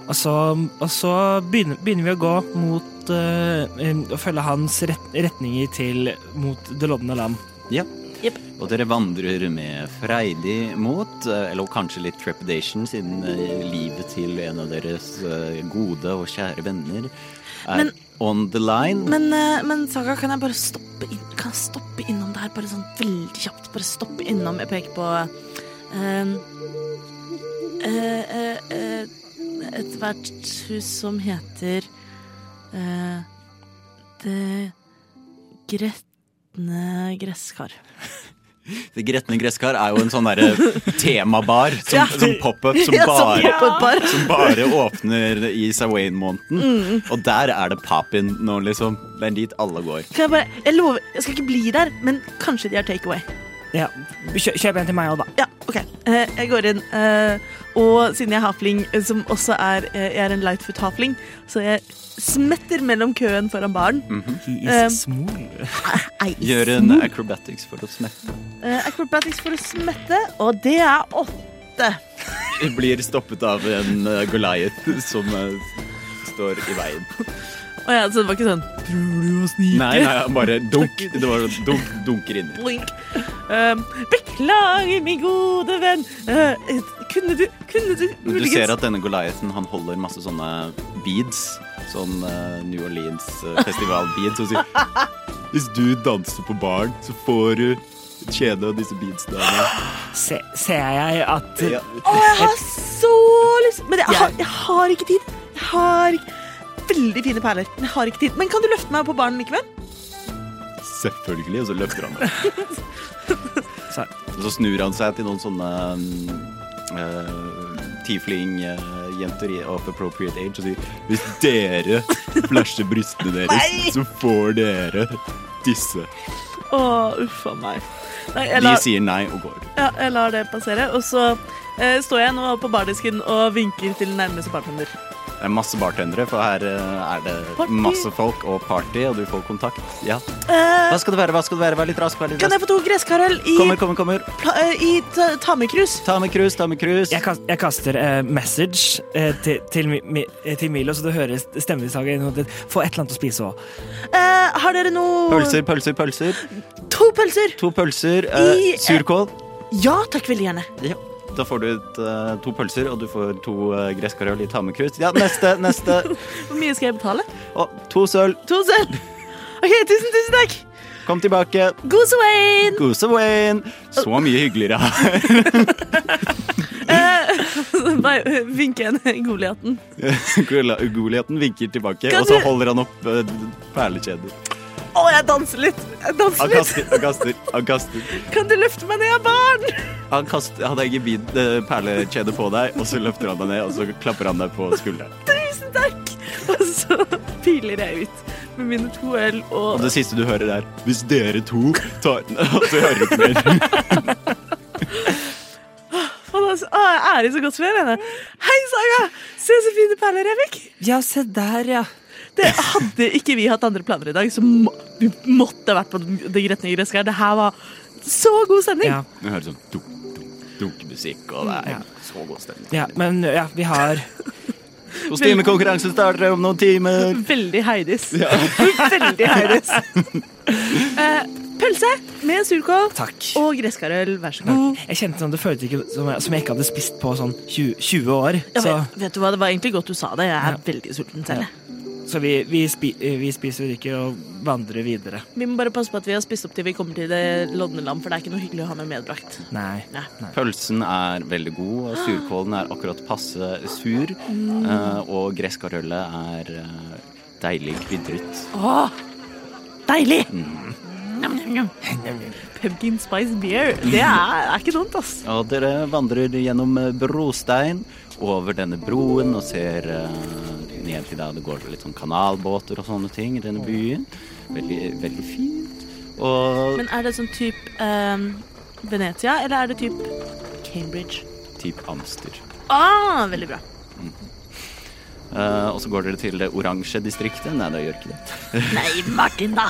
Og så, og så begynner, begynner vi å gå mot eh, em, Å følge hans ret, retninger til mot det lodne lam.
Ja.
Jep.
Og dere vandrer med freidig mot, eh, eller kanskje litt trepidation, siden eh, livet til en av deres eh, gode og kjære venner er
Men-
on the line.
Men, eh, men Saga, kan jeg bare stoppe, inn, kan jeg stoppe innom der? Bare sånn veldig kjapt. Bare stoppe innom. Jeg peker på eh, eh, eh, eh, et vertshus som heter eh, Det gretne gresskar.
Det Gretne gresskar er jo en sånn
(laughs)
derre temabar som,
Ja.
som pop-up som,
Ja, som
bare-
pop-up bar.
som bare åpner i Sawain-måneden.
Mm.
Og der er det pop-in nå, liksom. Det er dit alle går.
Kan jeg bare Jeg lover, jeg skal ikke bli der, men kanskje de har take away.
Ja. Kjø, kjøp en til meg òg, da.
Ja, OK. Eh, jeg går inn. eh, og siden jeg er hafling, eh, som også er eh, Jeg er en lightfoot hafling, så jeg smetter mellom køen foran baren. (laughs)
He
Em.
is small.
Nei,
Mm. Gjør en acrobatics for å smette.
eh, Acrobatics for å smette, og det er åtte.
Blir stoppet av en eh, Goliath som eh, står i veien.
Å ja, så det var ikke sånn
Nei, nei, han
(laughs)
bare dunk. Det var sånn dunk, dunker inni.
blink. Eh, beklager, min gode venn. Eh, eh, kunne du Kunne du
Men du
muligens
ser at denne Goliathen han holder masse sånne beads. Sånn eh, New Orleans eh, festival-beads. Og sier (laughs) Hvis du danser på baren, så får du et kjede av disse beadsene. her.»
Se, ser jeg at
Ja.
Å, jeg har så lyst Men jeg har, jeg har ikke tid. Jeg har ikke Veldig fine perler, men jeg har ikke tid. Men kan du løfte meg på baren likevel?
Selvfølgelig. Og så løfter han meg.
så,
Og så snur han seg til noen sånne um, tiefling-jenter of appropriate age og sier Hvis dere flasher brystene
Nei!
deres, så får dere disse.
Å, uff a meg. Nei, jeg
De
lar,
sier nei og går.
ja, jeg lar det passere. Og så eh, står jeg nå på bardisken og vinker til nærmeste bartender.
Det er masse bartendere, for her eh, er det
Party.
masse folk og party, og du får kontakt. Ja.
Eh,
Hva skal det være? Hva skal det være? Vær litt rask. Vær litt
kan jeg
rask.
få to gresskarell i,
Kommer, kommer, kommer.
pla- eh, i ta- tamekrus?
Ta med krus, ta med krus.
Jeg, kas- jeg kaster eh, message eh, til, til, Mi- Mi- eh, til Milo, så du hører stemmesaget inn. og det- Få et eller annet å spise òg.
Eh, har dere noe
Pølser, pølser, pølser.
To pølser!
To pølser. eh,
I-
surkål.
Ja takk, veldig gjerne.
Ja. Da får du ut eh, to pølser, og du får to uh, gresskarøl i tamekrus. Ja, neste, neste.
Hvor mye skal jeg betale?
Og to sølv.
To selv. OK, tusen, tusen takk.
Kom tilbake.
God svein!
Gose Wayne. Så mye hyggeligere (laughs) her.
(laughs) Bare vinke igjen Goliaten.
Goliaten vinker tilbake,
Kan
og så
du-
holder han opp eh, perlekjeder.
Å, jeg danser litt. Jeg danser
Han
litt.
kaster, han kaster, han kaster.
Kan du løfte meg ned, jeg er barn? (laughs)
Han kaster, hadde jeg gebid eh, perlekjede på deg, og så løfter han deg ned, og så klapper han deg på skulderen.
Tusen takk! Og så piler jeg ut med mine to øl
Og
og
det siste du hører er Hvis dere to tar (laughs) Og så hører du ikke mer.
Faen, altså. Å, jeg er i så godt humør, jeg. Hei, Saga! Se så fine perler jeg fikk!
Ja, se der, ja.
Det hadde ikke vi hatt andre planer i dag, så må, vi måtte vært på det gretne gresskaret. Det her var så god stemning.
ja.
Du hører sånn dunk, dunk, dunk musikk, og det er så god stemning.
Ja, men ja, vi har
Kostymekonkurransen starter om noen timer.
Veldig Heidis. (laughs) Veldig Heidis. Eh, pølse med surkål
Takk.
og gresskarøl, vær så god.
Jeg kjente sånn, Det føltes ikke som jeg, som jeg ikke hadde spist på sånn 20, 20 år.
Ja,
Så,
vet, vet du hva, Det var egentlig godt du sa det. Jeg er veldig sulten selv. jeg.
så vi, vi, spi, vi spiser og drikker og vandrer videre.
Vi må bare passe på at vi har spist opp til vi kommer til det lodne lam, for det er ikke noe hyggelig å ha med medbrakt.
Nei.
Nei.
Pølsen er veldig god, og surkålen er akkurat passe sur. eh, Og gresskarøllet er eh, deilig krydret.
Åh, deilig! Nam, nam, nam. Pumpkin spice beer. Det er, er ikke dumt, ass.
Og dere vandrer gjennom eh, brostein, over denne broen, og ser eh, ned til der det går litt sånn kanalbåter og sånne ting i denne byen. Veldig, veldig fint. Og
Men er det sånn type Venezia, eller er det type Cambridge?
typ Amster.
Ah, veldig bra.
Eh, og så går dere til det oransje distriktet. Nei, det gjør ikke det.
Nei, Martin, da!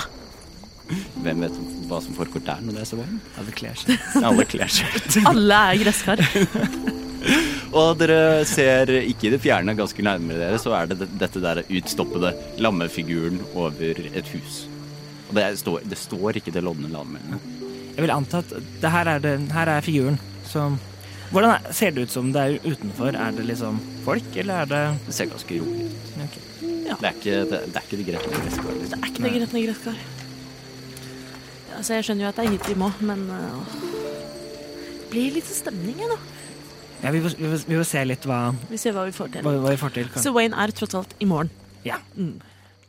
Hvem vet hva som foregår der når det er så
(laughs)
varmt?
Ja, det kler seg.
Alle kler seg ut.
Alle er gresskar.
Og dere ser ikke i det fjerne, ganske nærmere dere, så er det det- dette der utstoppede lammefiguren over et hus. Og det står, det står ikke det lodne lammet.
Jeg vil anta at det her er, det, her er figuren som Hvordan er, ser det ut som det er utenfor? Er det liksom folk, eller er det
Det ser ganske rolig ut.
ok.
Det er ikke det, det, er ikke det greit. med gresskar,
Det
liksom.
er ikke det gretne gresskar. Altså, jeg skjønner jo at det er hit vi må, men eh, åh. Det blir litt sånn stemning, jeg, da.
Ja, vi, får, vi, får, vi får se litt hva,
Vi ser hva vi får til.
hva, hva vi får til. Kan.
Så Wayne er tross alt i morgen.
Ja.
Mm.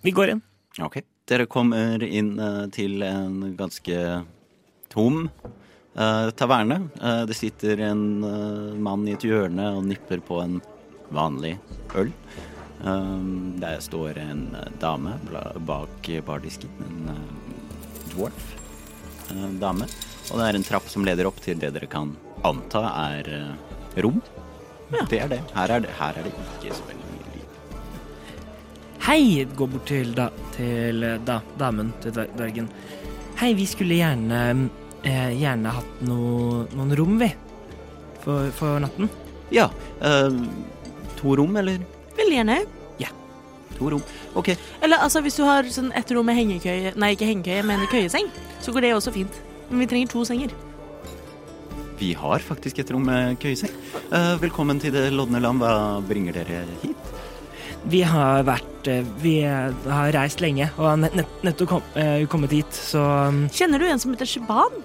Vi går inn.
Ok. Dere kommer inn eh, til en ganske tom eh, taverne. Eh, det sitter en eh, mann i et hjørne og nipper på en vanlig øl. Eh, der står en eh, dame bla- bak bardisken. En eh, dwarf eh, dame. Og det er en trapp som leder opp til det dere kan anta er eh, rom. Det er det. Her er det, her er det ikke så veldig mye liv.
Hei, gå bort til, da, til da, damen, til dver- dvergen. Hei, vi skulle gjerne eh, gjerne hatt noe, noen rom, vi. For, for natten.
Ja. eh, to rom, eller?
Veldig gjerne.
To rom. Ok.
Eller altså, hvis du har sånn et rom med hengekøye Nei, ikke hengekøye, men køyeseng, så går det også fint. Men vi trenger to senger.
Vi har faktisk et rom med køyeseng. Eh, velkommen til Det lodne land. Hva bringer dere hit?
Vi har vært eh, Vi har reist lenge og har nett, nett, nettopp kom, eh, kommet hit, så um,
Kjenner du en som heter Shiban?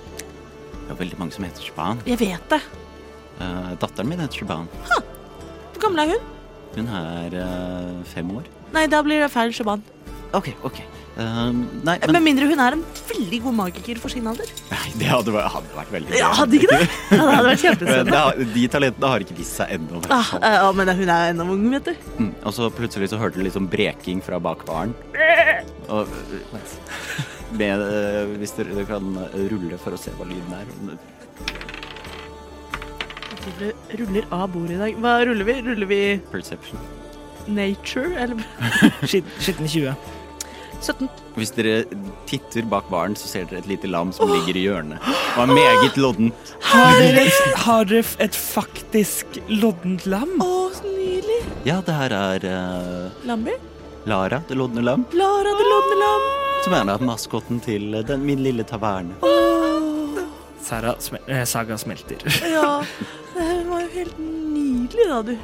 Det er veldig mange som heter Shaban.
Jeg vet det.
Eh, datteren min heter Shaban.
Hvor gammel er hun?
Hun er eh, fem år.
Nei, da blir det feil Shiban.
Ok, ok. Eh, nei, men (laughs)
Med mindre hun er en veldig god magiker for sin alder.
Nei, det hadde vært, hadde vært veldig
Ja,
gøy.
hadde ikke det? Ja, det hadde vært
Men det
kjempespennende.
har- De talentene har ikke vist seg ennå.
Ah, eh, å, men hun er ennå ung, vet du.
Mm, og så plutselig så hørte du litt sånn breking fra bak baren. Og med, eh, hvis dere kan rulle for å se hva lyden er.
Jeg tror det ruller av bordet i dag. Hva ruller vi? Ruller vi
Perception.
nature, eller?
Skit- Skitne 20.
17.
Hvis dere titter bak baren, så ser dere et lite lam som ligger i hjørnet. Og er meget loddent.
Har dere, har dere f- et faktisk loddent lam?
Å, så nydelig.
Ja, det her er eh,
Lambi.
Lara, det lodne lam,
Lara det lodne lam.
som er da maskotten til eh, den, min lille taverne.
Sara smel eh, saga smelter.
Ja. Det her var jo helt nydelig, da, du.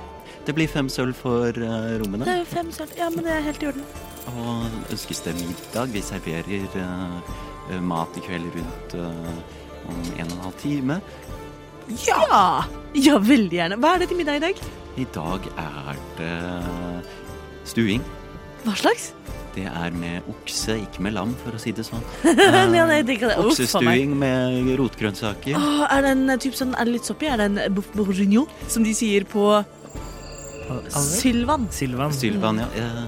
Det blir fem sølv for eh,
Det
rommene,
er jo fem sølv. Ja, men det er helt i orden.
og ønskes det middag. Vi serverer eh, eh, mat i kveld rundt eh, om en og en halv time.
Ja! Ja, veldig gjerne. Hva er det til middag i dag?
I dag er det stuing.
Hva slags? (laughs)
Det er med okse, ikke med lam, for å si det sånn. Eh,
Ja, nei, jeg digger det. Uff, faen meg.
Oksestuing med rotgrønnsaker.
Åh, er det en eh, typ sånn, er det litt soppy? Er det en bouf bourguignon, som de sier på
Al-
Sylvan?
Silvan.
Sylvan, ja. Eh,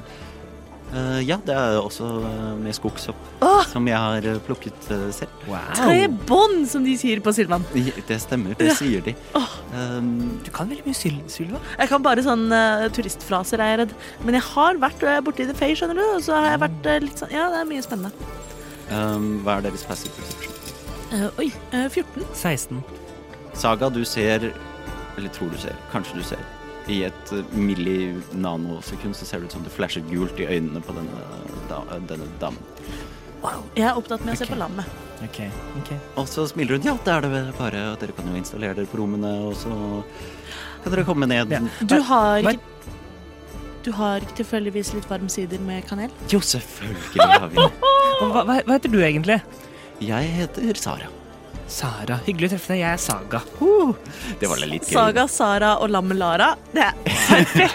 eh, ja, det er også eh, med skogsopp,
Åh,
som jeg har eh, plukket eh, selv.
tre
Wow.
bånd, som de sier på Sylvan.
Ja, Det stemmer, det sier de. Um,
Du kan veldig mye syl Sylvan.
Jeg kan bare sånn eh, turistfraser, er jeg redd. Men jeg har vært eh, borti The Fay, skjønner du. Og så har jeg vært eh, litt sånn Ja, det er mye spennende.
um, hva er deres passive perception?
Eh, oi, eh, 14.
16.
Saga, du ser, eller tror du ser, kanskje du ser, i et eh, milli-nanosekund så ser det ut som det flasher gult i øynene på denne, da, denne damen.
Wow. Jeg er opptatt med å se
Ok.
på lammet.
OK. ok.
Og så smiler hun. Ja, det er det vel bare. at Dere kan jo installere dere på rommene, og så kan dere komme ned.
Ja.
Du har
men-
ikke Du har ikke tilfeldigvis litt varm sider med kanel?
Jo, selvfølgelig har vi det.
Og Hva, hva hva heter du egentlig?
Jeg heter Sara.
Sara. Hyggelig å treffe deg. Jeg er Saga.
Det var da litt gøy.
Saga, Sara og lammet Lara. Det er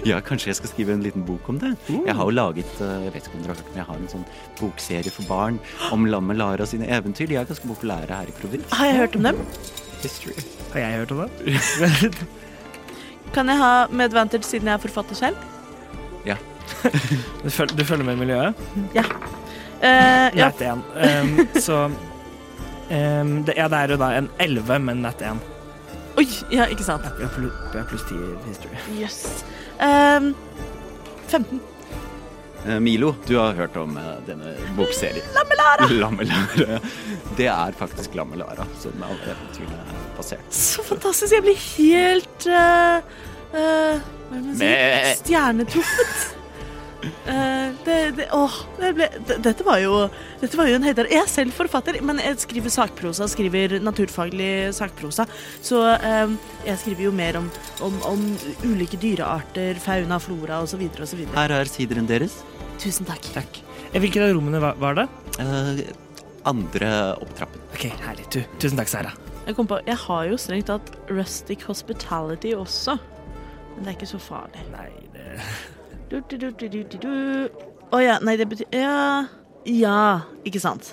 (laughs)
Ja, kanskje jeg skal skrive en liten bok om det.
Oh.
Jeg har jo laget eh, jeg vet ikke om dere har hørt, men jeg har en sånn bokserie for barn om lammet Lara sine eventyr. De er ganske populære her i provins.
Har jeg hørt om dem?
Ah.
History.
Har jeg hørt om det?
Kan jeg ha med advantage siden jeg er forfatter selv?
(laughs) Du, føl du følger med i miljøet?
Eh, ja.
Nat 1. Um, så um, det, Ja, det er jo da en 11, men Nat 1.
Oi, ja, ikke sant.
Jeg har pluss, jeg har pluss 10 i history.
Jøss. Ehm, 15.
Eh, Milo, du har hørt om eh, denne bokserien. Lammet Lara! Det er faktisk lammet Lara som alle eventyrene er basert
Så fantastisk. Jeg blir helt eh, eh, Hva er det man sier?
Mæ.
Stjernetruffet. Eh, det, det, åh, det ble, d- dette var jo Dette var jo en høydare. Jeg er selv forfatter, men jeg skriver sakprosa, skriver naturfaglig sakprosa. Så ehm, jeg skriver jo mer om, om, om ulike dyrearter, fauna, flora osv. osv.
Her er sideren deres.
Tusen takk.
Takk. Eh, Hvilket av rommene var, var det?
Eh, andre opptrappen.
OK, herlig. Tu. Tusen takk, Sara.
Jeg kom på, jeg har jo strengt tatt rustic hospitality også. Men det er ikke så farlig.
Nei, det
Du, du, du, du, du, du, du. Å ja, nei, det betyr ja. ja, ikke sant.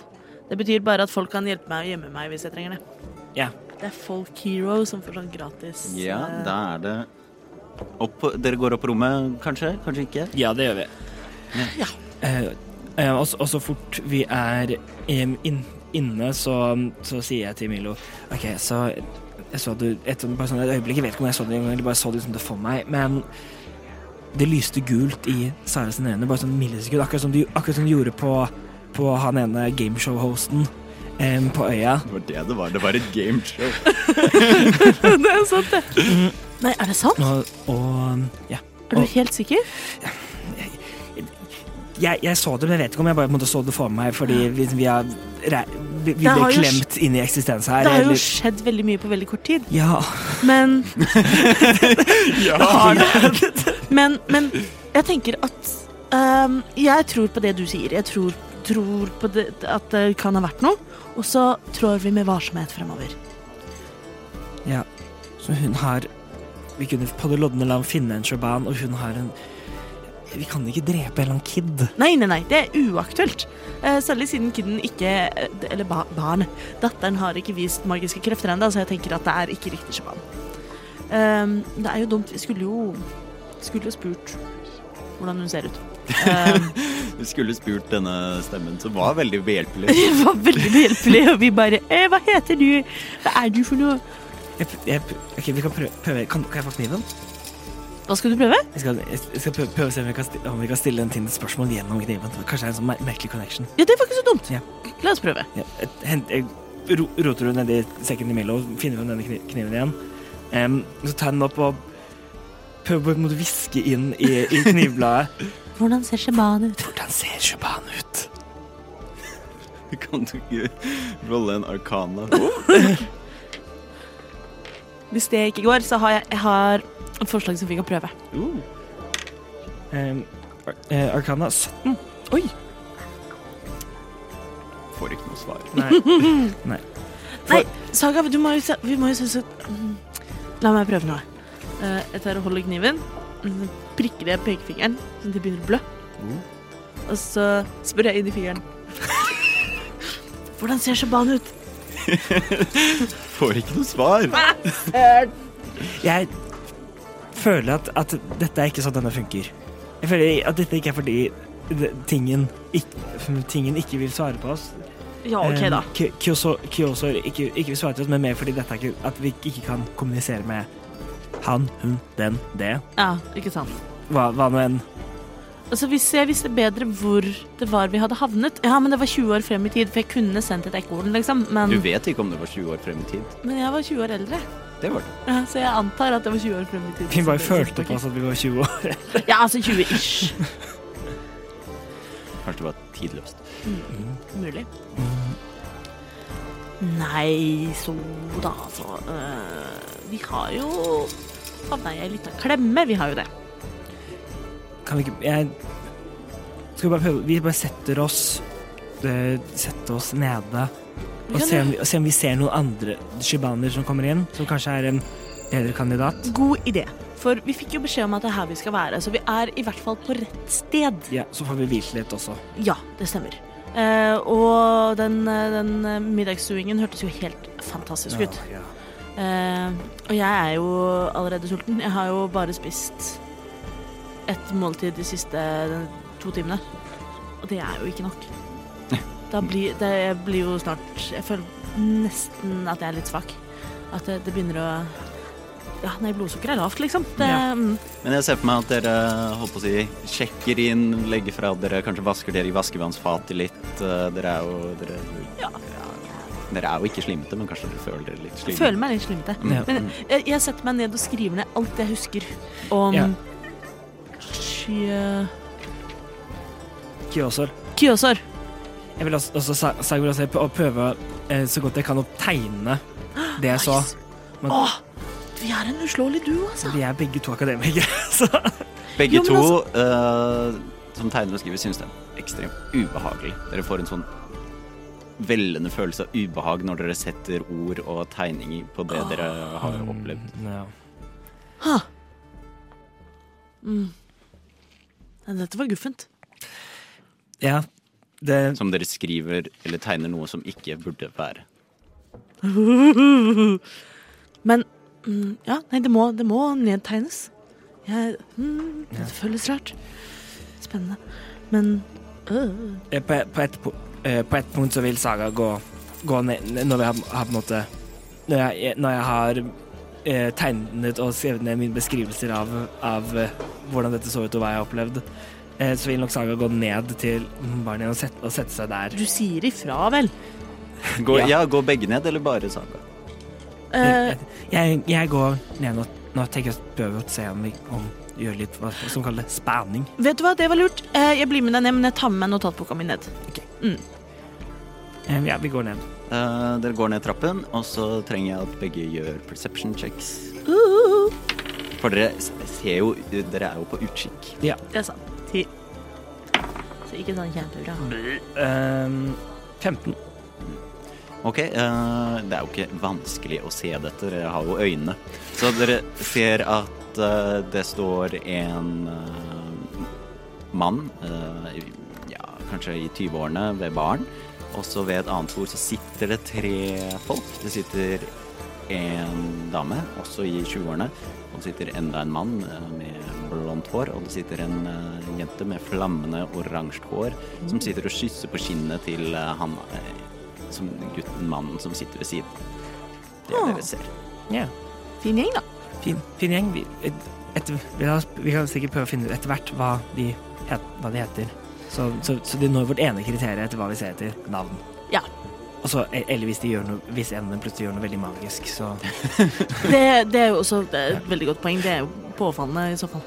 Det betyr bare at folk kan hjelpe meg og gjemme meg hvis jeg trenger det.
Ja.
Det er Folk Hero som får sånn gratis
Ja,
eh,
da er det opp, Dere går opp på rommet, kanskje? Kanskje ikke?
Ja, det gjør vi.
(laughs) Ja. (laughs)
Eh, eh, og, så- og så fort vi er em, inn, inne, så, så sier jeg til Milo OK, så jeg så det et, sånn- bare sånn, et øyeblikk, jeg vet ikke om jeg så det engang, eller bare så det ut som det for meg, men det lyste gult i Sara sine øyne, bare sånn millisekund, akkurat som du akkurat som du gjorde på, på han ene gameshow-hosten em, på øya.
Det var det det var. Det var et gameshow.
det er sant, det. Nei, er det sant?
Og, og ja.
Er du
Og-
helt sikker?
Jeg, jeg så det, men jeg vet ikke om jeg bare på en måte så det for meg, fordi vi, vi, er, re- vi,
Det
vi
har
ble
jo
klemt inn i eksistens her.
Det har
eller-
jo skjedd veldig mye på veldig kort tid.
ja.
Men, (laughs)
Ja!
men, men jeg tenker at ehm, Jeg tror på det du sier. Jeg tror, tror på det, at det kan ha vært noe. Og så trår vi med varsomhet fremover.
Ja, så hun har Vi kunne på det lodne land finne en shaban, og hun har en Vi kan ikke drepe en eller annen kid.
Nei, nei, nei, det er uaktuelt. Eh, særlig siden kiden ikke eh, Eller ba barnet. Datteren har ikke vist magiske krefter ennå, så jeg tenker at det er ikke riktig Ehm, sjaman. Eh, det er jo dumt. Vi skulle jo Skulle jo spurt hvordan hun ser ut. (laughs) Um,
Du skulle spurt denne stemmen, som var veldig behjelpelig.
det var veldig behjelpelig, og vi bare eh, Hva heter du? Hva er du for noe?
Jeg, pr- jeg, pr- ok, vi kan prøve. prøve. Kan, kan jeg få kniven?
Hva skal du prøve?
Jeg skal, jeg jeg skal prøve, prøve å se om vi, kan, sti- om vi kan stille en Tinder spørsmål gjennom kniven. Kanskje det er en sånn mer merkelig connection.
Ja, det var ikke så dumt.
Ja.
La oss prøve.
Ja, jeg, hent- jeg ro, roter hun nedi sekken til Milo og finner hun denne kni- kniven igjen. Em, så tar jeg den opp og prøver på en måte å hviske inn i, i knivbladet.
Hvordan ser sjaman ut?
(laughs) Hvordan ser Shuban ut?
(laughs) Kan du ikke rolle en arkana?
Hvis det ikke går, så har jeg, jeg har et forslag som vi kan prøve.
Uh,
Em, Ar- eh, Arcana 17.
får ikke noe svar.
Nei.
(laughs) Nei, Saga, du må jo, se- vi må jo synes at Mm, La meg prøve noe. Eh, Jeg tar og holder kniven, mm, prikker jeg pekefingeren sånn at det begynner å blø. Og så spør jeg inn i fingeren. (laughs) Hvordan ser sjaban ut?
Får ikke noe svar!
Jeg føler at, at dette er ikke sånn denne funker. Jeg føler at dette ikke er fordi det- tingen ikke, tingen ikke vil svare på oss.
Ja, OK, da.
Eh, Ky- Kyoso Kyosor ikke, ikke vil svare til oss, men mer fordi dette er ikke, at vi ikke kan kommunisere med han, hun, den, det.
Ja, ikke sant.
Hva, hva nå enn.
Altså, hvis jeg visste bedre hvor det var vi hadde havnet Ja, men det var 20 år frem i tid, for jeg kunne sendt et ekkoorden, liksom.
Du
Men,
vet ikke om det var 20 år frem i tid.
men jeg var 20 år eldre,
Det var det.
Ja, så jeg antar at det var 20 år frem i tid.
Vi bare
Så det-
følte på oss at vi var 20 år.
Ja, altså 20-ish.
Kanskje det var tidløst.
Mulig. Nei, så da, altså. øh, vi har jo havna i ei lita klemme, vi har jo det.
Kan vi ikke jeg, Skal vi bare prøve Vi bare setter oss eh, Setter oss nede.
Vi
Og
kan
se, om
jo-
vi, og se om vi ser noen andre shibaner som kommer inn, som kanskje er en bedre kandidat.
God idé. For vi fikk jo beskjed om at det er her vi skal være, så vi er i hvert fall på rett sted.
Ja, Så får vi hvilt litt også.
Ja, det stemmer. Eh, og den, eh, den eh, middagsstuingen hørtes jo helt fantastisk ut.
Ja, ja.
Eh, og jeg er jo allerede sulten. Jeg har jo bare spist ett måltid de siste to timene. Og det er jo ikke
(laughs)
nok. Da blir, det jeg blir jo snart Jeg føler nesten at jeg er litt svak. At det, det begynner å Ja, nei, blodsukkeret er lavt, liksom. Det,
Ja.
mm,
Men jeg ser for meg at dere holdt på å si, sjekker inn, legger fra dere, kanskje vasker dere i vaskevannsfatet litt. Eh, Dere er jo dere,
Ja.
dere er jo ikke slimete, men kanskje dere føler dere litt
jeg
slimete.
føler meg litt slimete.
Ja.
Men jeg, jeg setter meg ned og skriver ned alt jeg husker om
Ja.
Sky-
Kyosor.
Kyosor.
Jeg vil også, også, sa- sa- jeg vil også prø- prøve eh, så godt jeg kan å tegne det jeg så. Men-
Åh, vi er en uslåelig duo, altså.
Vi er begge to akademikere, (laughs) så
Begge
Jo, men altså-
to eh, som tegner og skriver, syns det er ekstremt ubehagelig. Dere får en sånn vellende følelse av ubehag når dere setter ord og tegninger på det dere
Ah.
har opplevd.
ja.
Men Mm. Dette var guffent.
ja. Det
Som dere skriver eller tegner noe som ikke burde være.
Men mm, ja, nei, det må, det må nedtegnes. Jeg, mm, det føles rart. Spennende. Men øh,
eh, på, på, et, på, eh, på et punkt så vil Saga gå, gå ned når vi har, har på en måte Når jeg, når jeg har eh, tegnet og skrevet ned mine beskrivelser av, av eh, hvordan dette så ut og hva jeg har opplevd, eh, så vil nok Saga gå ned til barnet og sette, og sette seg der.
du sier ifra, vel?
Gå,
Ja.
ja. gå begge ned, eller bare Saga?
Eh,
Jeg, jeg går ned nå, nå tenker jeg å prøve å se om vi om, gjør litt hva som kalles spanning.
vet du hva, det var lurt. Eh, jeg blir med deg ned, men jeg tar med meg notatboka mi ned.
Eh, Ja, vi går ned.
Eh, dere går ned trappen, og så trenger jeg at begge gjør perception checks.
Uh,
For dere s- ser jo Dere er jo på utkikk.
det sa han. Ti. Så ikke sånn kjempebra.
Ehm, 15.
Ok, eh, det er jo ikke vanskelig å se dette, dere har jo øynene. Så dere ser at eh, det står en eh, mann, eh, i- ja, kanskje i 20-årene, ved baren. Og så ved et annet bord så sitter det tre folk. Det sitter en dame, også i 20-årene. Og det sitter enda en mann eh, med blondt hår, og det sitter en eh, jente med flammende oransje hår som sitter og kysser på kinnet til eh, han eh, som gutten, mannen som sitter ved siden. Det
Ah.
er det vi ser.
Ja.
Fin gjeng, da.
Fin, fin gjeng. Vi, et, et, vi, har, vi kan sikkert prøve å finne ut etter hvert hva de, het, hva de heter. Så, så, så de når vårt ene kriterium etter hva vi ser etter. Navn.
Ja.
Og så, e, eller hvis, de gjør noe, hvis en av dem plutselig gjør noe veldig magisk, så
Det, det er jo også det er et veldig godt poeng. Det er jo påfallende i så fall.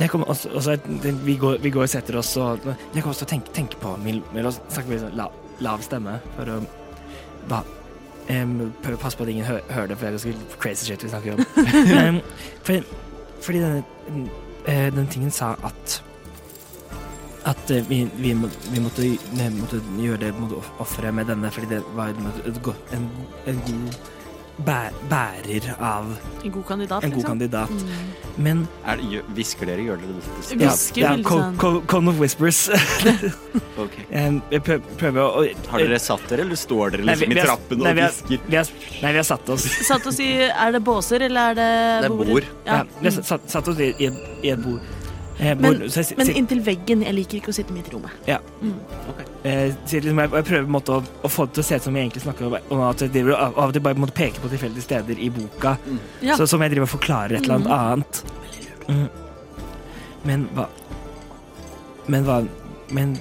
Jeg kommer også, også et- det- vi, går, vi går og setter oss og Jeg kommer også til å tenke, tenke på Mil, Mil og snakke med sånn lav, lav stemme for å ba, em, prøve å passe på at ingen hø, hører det, for det er ganske crazy shit vi snakker om. Em, fordi, fordi denne eh, den tingen sa at at eh, vi, vi, må, vi måtte, vi måtte gjøre det mot offeret med denne, fordi det var en, en, en god bæ, bærer av
En god kandidat,
en god
liksom.
kandidat.
Mm.
Men
Er det, gjør- hvisker dere, gjør dere det?
Vi Hvisker veldig
Co-
sånn.
Co- Cone of Whispers. (laughs)
Ok.
Em, Jeg prø- prøver å
Har dere satt dere, eller står dere
Nei, vi-
liksom
vi
i
har-
trappen
nei,
og
vi har-
hvisker?
vi har, Nei, vi har satt oss
Satt oss i Er det båser, eller er det
Det er bord.
Ja.
ja, Vi har satt, satt oss i, i, i et bord. Eh, bord.
Men-
så jeg si-
Men
si-
inntil veggen. Jeg liker ikke å sitte midt i rommet.
eh, sitter liksom, jeg, jeg prøver på en måte å, å få det til å se ut som vi egentlig snakker om, om at jeg driver, og av av og til bare måtte peke på tilfeldige steder i boka,
Mm.
Ja.
så, som jeg driver og forklarer et eller annet
Mhm.
annet. Mm. Men hva Men hva Men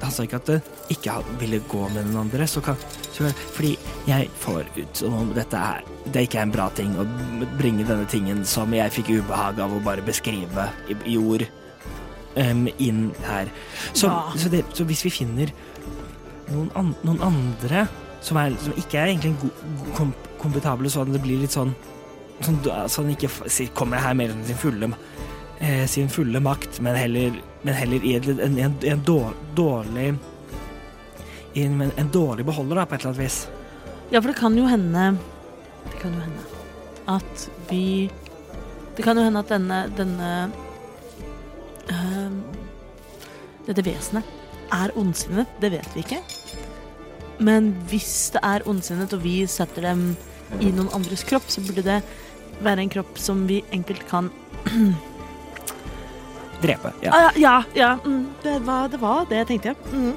han sa ikke at det ikke ha- ville gå med den andre, så kan, så kan Fordi jeg får ut som om dette er Det ikke er en bra ting å bringe denne tingen som jeg fikk ubehag av å bare beskrive i, i ord, em, inn her. Så,
Ja.
så, det, så hvis vi finner noen, an, noen andre som, er, som ikke er egentlig go, go- kom, kompetable, sånn at det blir litt sånn Sånn så han ikke f- si- kommer her med sin fulle eh, sin fulle makt, men heller, men heller i en, en, en, en dår- dårlig i en, en dårlig beholder, da, på et eller annet vis.
Ja, for det kan jo hende Det kan jo hende at vi Det kan jo hende at denne, denne øhm, Dette vesenet er ondsinnet. Det vet vi ikke. Men hvis det er ondsinnet, og vi setter dem i noen andres kropp, så burde det være en kropp som vi enkelt kan
Drepe. Ja.
Ah, ja, ja, ja. Mm, det, var, det var det jeg tenkte, ja. Mm.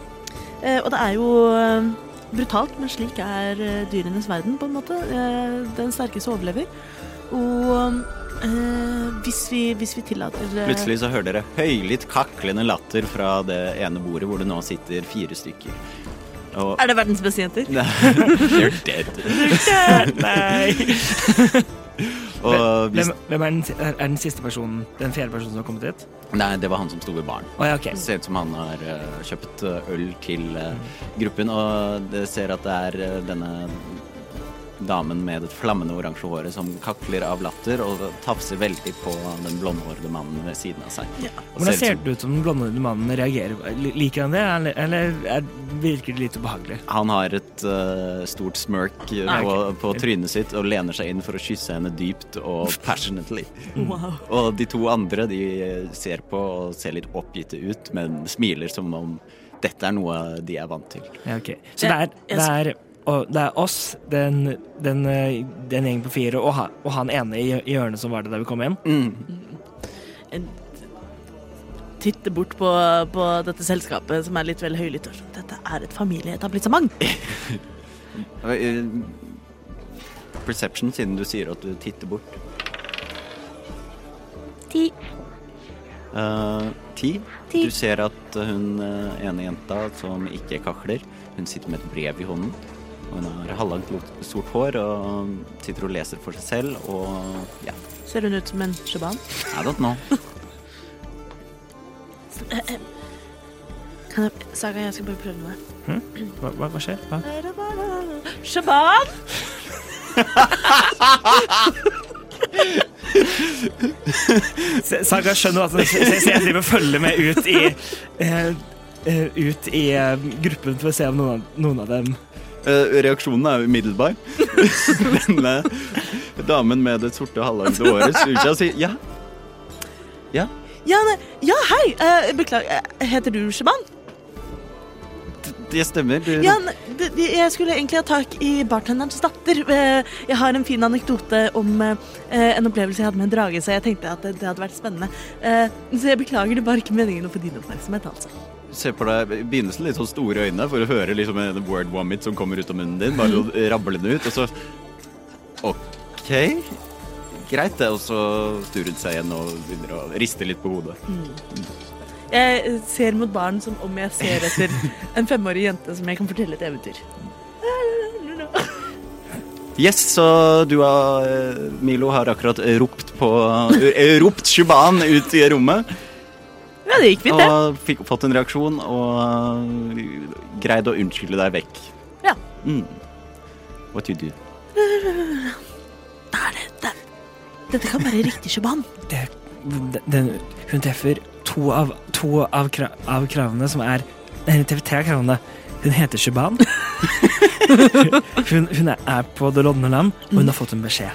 Eh, og det er jo eh, brutalt, men slik er eh, dyrenes verden, på en måte. Eh, den sterkeste overlever. Og eh, hvis, vi, hvis vi tillater eh,
Plutselig så hører dere høylytt kaklende latter fra det ene bordet hvor det nå sitter fire stykker. Og (laughs)
Er det verdens beste jenter?
You're dead.
(laughs) Nei!
Og hvis,
Hvem, hvem er, den, si- er er den siste personen? Den fjerde personen som har kommet hit?
nei, det var han som sto ved baren.
Å ja, OK.
Det ser ut som han har eh, kjøpt eh, øl til eh, gruppen, og det ser at det er eh, denne damen med det flammende oransje håret som kakler av latter og tafser veldig på den blondhårede mannen ved siden av seg. Og
Hvordan
ut
ser
som-
det ut som den blondede mannen reagerer? Li- Liker han det, eller- eller er, virker det litt ubehagelig?
Han har et eh, stort smirk eh,
Ah,
på,
ok.
på trynet sitt og lener seg inn for å kysse henne dypt
(laughs)
og passionately.
Wow.
Og de to andre de ser på og ser litt oppgitte ut, men smiler som om dette er noe de er vant til.
Ja, ok. Så det
Jeg-
er, det er, og, det er oss, den, den, eh, den gjengen på fire, og, ha, og han ene i, i hjørnet som var det da vi kom inn.
Mm.
En- Titte bort på, på dette selskapet som er litt vel høylytt. og sånn, Dette er et familieetablissement.
Eh, Perception, siden du sier at du titter bort.
Ti.
Eh, ti.
Ti.
Du ser at hun eh, ene jenta som ikke kakler, hun sitter med et brev i hånden. Og hun har halvlangt lot- sort hår og eh, sitter og leser for seg selv og ja,
Ser hun ut som en shaban?
I don't
(laughs)
know.
Kan jeg, Saga, jeg skal bare prøve noe.
Hva, hva, hva skjer? Hva?
Shaban!
Se- Saga skjønner at så, så jeg driver og følger med ut i eh, eh, ut i eh, gruppen for å se om noen av, noen av dem
Eh, reaksjonen er umiddelbar. (laughs) Denne damen med det sorte halvlagde håret snur seg og sier ja. Ja,
Ja, nei, ja hei! Eh, beklager, eh, heter du Shaban?
d- det stemmer. Du,
Ja, nei, det, vi- jeg skulle egentlig ha tak i bartenderens datter. Eh, Jeg har en fin anekdote om eh, en opplevelse jeg hadde med en drage, så jeg tenkte at det, det hadde vært spennende. Eh, Så jeg beklager, det var ikke meningen å få din oppmerksomhet, altså.
Se på deg i begynnelsen litt sånn store øyne for å høre liksom en word vomit som kommer ut av munnen din. Bare sånn rablende ut, og så OK. Greit, det. Og så snur hun seg igjen og begynner å riste litt på hodet.
Jeg eh, ser mot baren som om jeg ser etter en femårig jente som jeg kan fortelle et eventyr.
Yes, så du har eh, Milo har akkurat ropt på eh, Ropt Shuban ut i rommet.
Ja, det gikk fint, det.
Og fikk, fått en reaksjon og eh, greid å unnskylde deg vekk.
Ja.
Mm. What you do?
Da er det, det. Dette kan være riktig sjaban.
det, den- den, hun treffer to av, to av, kra, av kravene som er nei, Hun treffer tre av kravene. Hun heter (laughs) Shuban. hun hun er, er på det lodne lam, og hun har fått en beskjed.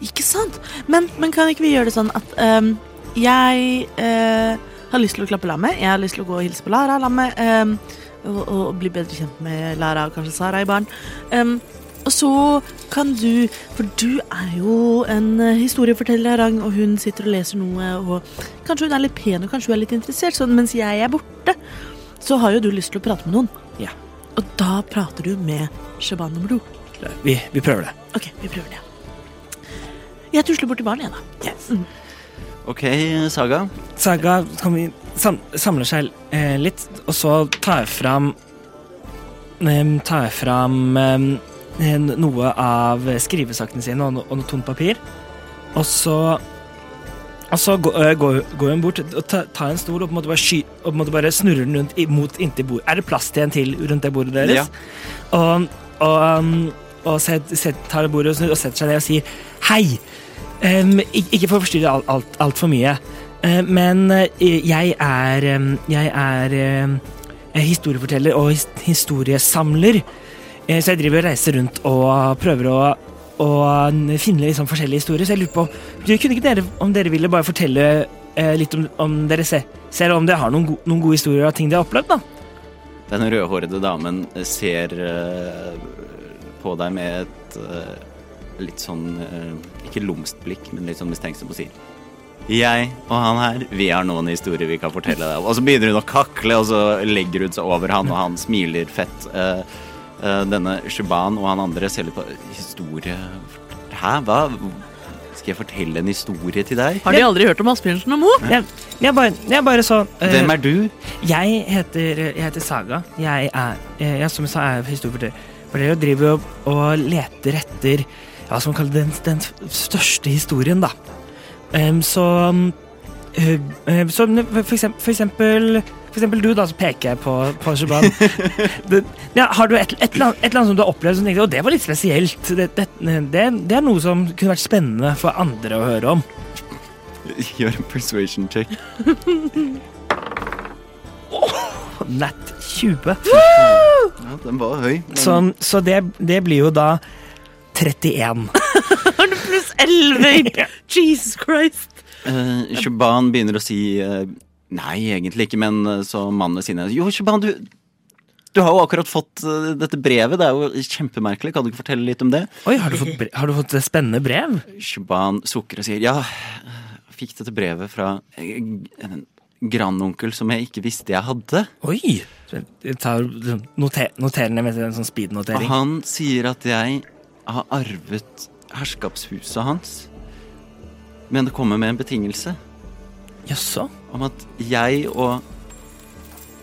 Ikke sant? Men, men kan ikke vi gjøre det sånn at ehm, jeg eh, har lyst til å klappe lammet, jeg har lyst til å gå og hilse på Lara lammet, ehm, og, og bli bedre kjent med Lara og kanskje Sara i barn. Ehm, og så kan du, for du er jo en eh, historieforteller av rang, og hun sitter og leser noe, og kanskje hun er litt pen, og kanskje hun er litt interessert, sånn mens jeg er borte, så har jo du lyst til å prate med noen.
Ja.
Og da prater du med Shaban nummer to.
Vi, vi prøver det.
Ok, vi prøver det. Jeg tusler bort til baren igjen, da. Mm.
OK, Saga.
Saga kan vi sam, samler seg eh, litt, og så tar jeg fram em, Tar jeg fram em, en- noe av skrivesakene sine og, no, og noe tomt papir. Og så og så gå- eh, går, går hun bort og tar, tar en stol og på en måte bare, sky, og på en måte bare snurrer den rundt i- mot inntil bordet. Er det plass til en til rundt det bordet deres?
Ja.
Og, og, um, og set, set, tar bordet og snur og setter seg ned og sier hei. Em, Eh, ik- ikke for å forstyrre alt, alt, alt for mye, eh, men eh, jeg er em, Jeg er em, eh, historieforteller og his historiesamler. Eh, Så jeg driver og reiser rundt og prøver å, å finne liksom forskjellige historier. Så jeg lurer på Kunne ikke dere, om dere ville bare fortelle eh, litt om, om dere se- selv, om dere har noen, go noen gode historier av ting dere har opplevd, da?
Den rødhårede damen ser eh, på deg med et eh, litt sånn eh, Ikke lumst blikk, men litt sånn mistenksom og sier Jeg og han her, vi har noen historier vi kan fortelle deg. Og så begynner hun å kakle, og så legger hun seg over han, og han smiler fett. Eh, eh, denne Shuban og han andre ser litt på Historie Hæ, hva? Skal jeg fortelle en historie til deg?
Har de aldri hørt om Asbjørnsen og Mo?
Jeg, jeg, bare, jeg bare så eh,
Hvem er du? (laughs)
Jeg heter, jeg heter Saga. Jeg er, eh, jeg, som jeg sa, er historieforteller. For dere driver og, og leter etter ja, som kaller den, den største historien, da. Em, så mm, eh, eh, så mm, for, eksempel, for, eksempel, for eksempel du, da, så peker jeg på, på Shaban. Det- ja, har du et, et, eller annet, et eller annet som du har opplevd som du tenkte, «Å, det var litt spesielt? Det, det, det, det er noe som kunne vært spennende for andre å høre om.
Gjør en persuasion check.
Nat 20.
Ja, den var høy. men-
Så, så det, det blir jo da 31.
(laughs) Har du pluss (laughs) 11? Jesus Christ.
Eh, Shuban begynner å si eh, Nei, egentlig ikke, men eh, så mannen ved siden av Jo, Shuban, du, du har jo akkurat fått eh, dette brevet. Det er jo kjempemerkelig. Kan du ikke fortelle litt om det?
Oi, har du fått, bre- har du fått et spennende brev?
Shuban sukker og sier Ja, jeg fikk dette brevet fra eh, en grandonkel som jeg ikke visste jeg hadde.
Oi! Jeg tar, liksom noter, noterer ned med en sånn
Og
speed-notering.
han sier at jeg har arvet herskapshuset hans. Men det kommer med en betingelse.
Jaså?
om at jeg og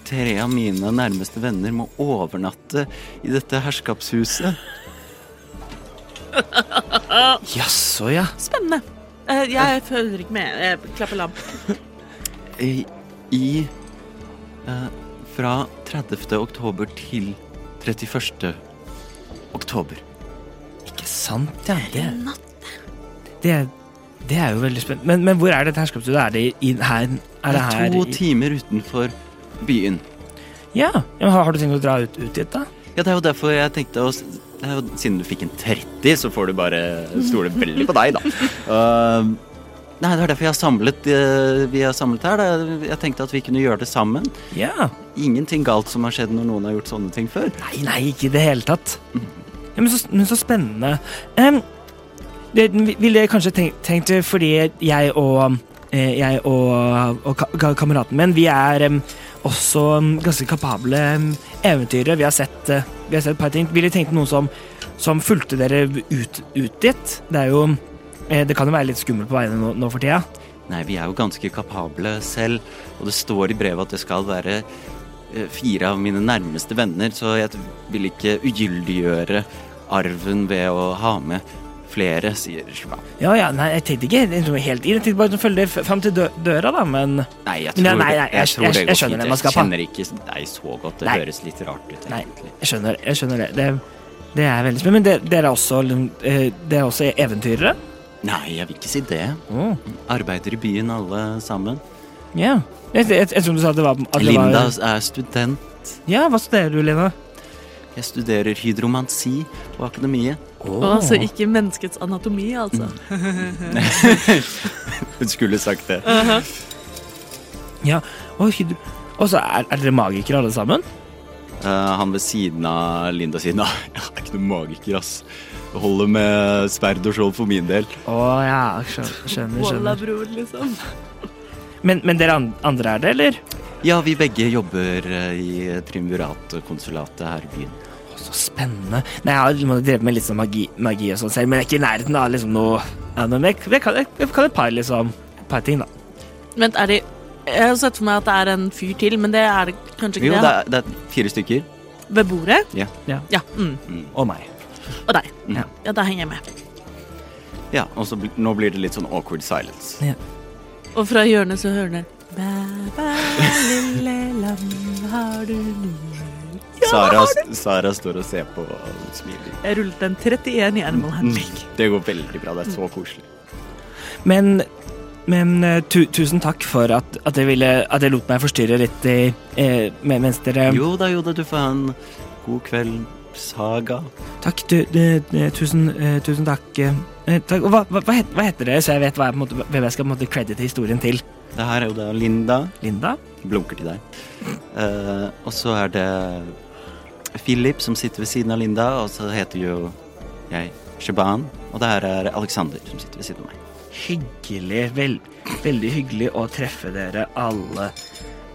tre av mine nærmeste venner må overnatte i dette herskapshuset.
Jaså, ja.
Spennende. Eh, jeg følger ikke med. Jeg klapper lam.
I, i eh, Fra 30. oktober til 31. oktober.
Ikke sant, ja. Det, det, det er jo veldig spennende. Men, men hvor er dette herskapsstudiet? Er det i, her? Er
Det
det
er
her
to
i,
timer utenfor byen.
ja. ja, men Har har du tenkt å dra ut, ut dit, da?
Ja, det er jo derfor jeg tenkte å s- det
(laughs)
er jo, Siden du fikk en 30, så får du bare stole veldig på deg, da. Eh, Nei, det er derfor jeg har samlet, eh, vi har samlet her. Da. Jeg tenkte at vi kunne gjøre det sammen.
Ja.
Ingenting galt som har skjedd når noen har gjort sånne ting før.
Nei, nei, ikke i det hele tatt. Ja, men, så, men så spennende. Em, det ville jeg kanskje tenkt, tenkt fordi jeg og eh, jeg og, og ka- ka- kameraten min, vi er em, også em, ganske kapable em, eventyrere. Vi har sett eh, vi har sett et par ting. Ville tenkt noen som, som fulgte dere ut, ut dit. Det er jo eh, Det kan jo være litt skummelt på veiene nå, nå for tida.
Nei, vi er jo ganske kapable selv, og det står i brevet at det skal være eh, fire av mine nærmeste venner, så jeg vil ikke ugyldiggjøre arven ved å ha med flere, sier Shma.
Ja, ja, nei, jeg tenkte ikke jeg tenkte helt inn. Jeg tenkte bare sånn å følge dere fram til dø- døra, da, men
Nei, jeg tror,
Nei, nei, nei,
det-
jeg-
tror det
jeg-
går
jeg skjønner
fint.
det, man skal
Jeg kjenner ikke deg så godt, det
Nei.
høres litt rart ut,
Nei.
egentlig.
Jeg skjønner, jeg skjønner det. det. Det er veldig spennende. Men det- dere er også, eh, dere er også eventyrere?
Nei, jeg vil ikke si det.
Oh.
Arbeider i byen, alle sammen.
Ja. Jeg, jeg, jeg tror du sa at det var at det
Linda
Var,
er student.
ja, hva studerer du, Linda?
Jeg studerer hydromansi på akademiet.
Og altså ikke menneskets anatomi, altså.
Hun skulle sagt det.
Ja. Og hyd- og så er, er dere magikere alle sammen?
Eh, han ved siden av (laughs) Linda sier nei, jeg er ikke noen magiker, ass. Det holder med sverd og skjold for min del.
Å ja, skjønner. skjønner,
Walla,
skjønner.
bror, liksom.
Men, men dere an- andre er det, eller?
Ja, vi begge jobber eh, i triumvirat-konsulatet her i byen.
Å, så spennende. Nei, Jeg har liksom drevet med litt sånn magi, magi og sånn selv, men jeg er ikke i nærheten av liksom noe ja, men jeg, jeg, kan, jeg, jeg kan et par, liksom, et par ting, da.
Vent, er de Jeg har sett for meg at det er en fyr til, men det er det kanskje ikke.
Jo, det
det,
er, det er fire stykker.
da. Ved bordet?
Ja.
Ja.
Ja. Mm.
Og meg.
Og deg.
Mm.
Ja. ja, der henger jeg med.
Ja, og så bl nå blir det litt sånn awkward
(laughs)
silence.
Og fra hjørnet så hører den Bæ, (laughs) bæ, lille lam, har du noe
Sara, Sara står og ser på og smiler.
Jeg rullet en 31 i Animal Handling.
Det går veldig bra. Det er så koselig.
Men, men eh, tu, tusen takk for at, at, jeg ville, at jeg lot meg forstyrre litt i, eh, med- mens dere
Jo da, jo da, du får ha en god kveld, Saga.
Takk, du, du, du, tusen, eh, tusen takk. eh, takk. Og hva, hva, hva het- hva heter dere, så jeg vet hva jeg, på en måte, hvem jeg skal på en måte credite historien til?
Det her er jo da Linda.
Linda?
Blunker til deg. Eh, og så er det Philip som sitter ved siden av Linda, og så heter jo jeg Shaban. Og det her er Alexander som sitter ved siden av meg.
Hyggelig. Vel, veldig hyggelig å treffe dere alle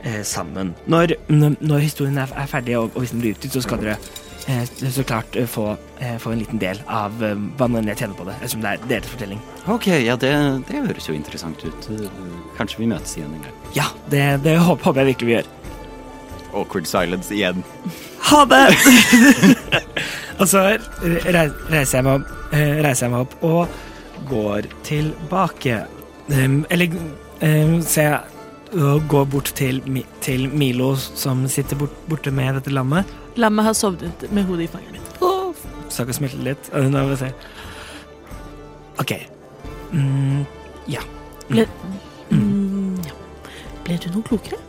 eh, sammen. Når, n- når historien er, er ferdig, og, og hvis den blir utgitt, så skal dere eh, så klart eh, få, eh, få en liten del av eh, hva nå enn jeg tjener på det, ettersom det er deres fortelling.
Ok, ja, det, det høres jo interessant ut. Eh, Kanskje vi møtes igjen en gang.
Ja, det, det håper, håper jeg virkelig vi gjør.
Awkward silence igjen.
Ha det! (laughs) og så rei- reiser jeg meg opp, eh, reiser jeg meg opp og går tilbake. Um, eller um, så jeg og går bort til, Mi- til Milo, som sitter bort, borte med dette lammet.
Lammet har sovnet med hodet i fanget mitt.
Stakk og smilte litt. Og nå må vi se. OK. Mm,
Ble, mm, ja. Ble du noe klokere?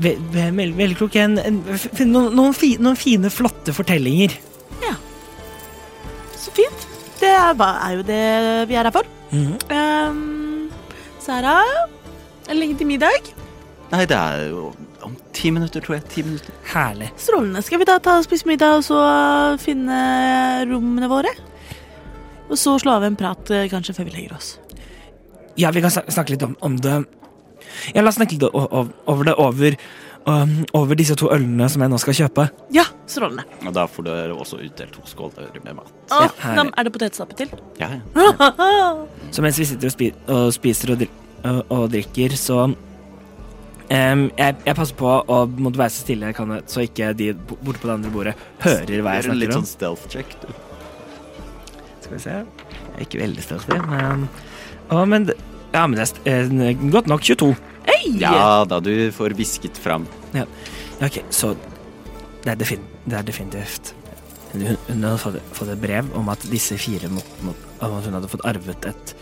ve ve veldig, veldig klok. En, en, finn noen, noen, fi, noen fine, flotte fortellinger.
Så fint. Det er, hva- er jo det vi er her for.
Mhm.
Ehm, Sara, lenge til middag.
Nei, det er jo om ti minutter, tror jeg. Ti minutter.
Herlig.
Strålende. Skal vi da ta og spise middag og så finne rommene våre? Og så slå av en prat eh, kanskje før vi legger oss.
Ja, vi kan snak- snakke litt om, om det. Ja, la oss snakke litt o- o- over det over, um, over disse to ølene som jeg nå skal kjøpe.
Ja, strålende.
Og da får dere også utdelt to skåler med mat.
Å,
herlig.
nam, er det potetstappe til?
Ja, ja.
(laughs)
Så mens vi sitter og, spi og spiser og, dri og, og drikker, så em, jeg, jeg passer på å måtte være så stille jeg kan, så ikke de bo- borte på det andre bordet hører hva jeg
Gjør en litt
snakker om.
sånn stealth check, du.
sånn, Skal vi se. Jeg er ikke veldig stealthy, men Å, men det- Ja, men det er st- eh, godt nok 22.
Ja da, du får visket fram.
Ok, så det er, defin det er definitivt hun, hun hadde fått, fått et brev om at disse fire må, må, om at hun hadde fått arvet et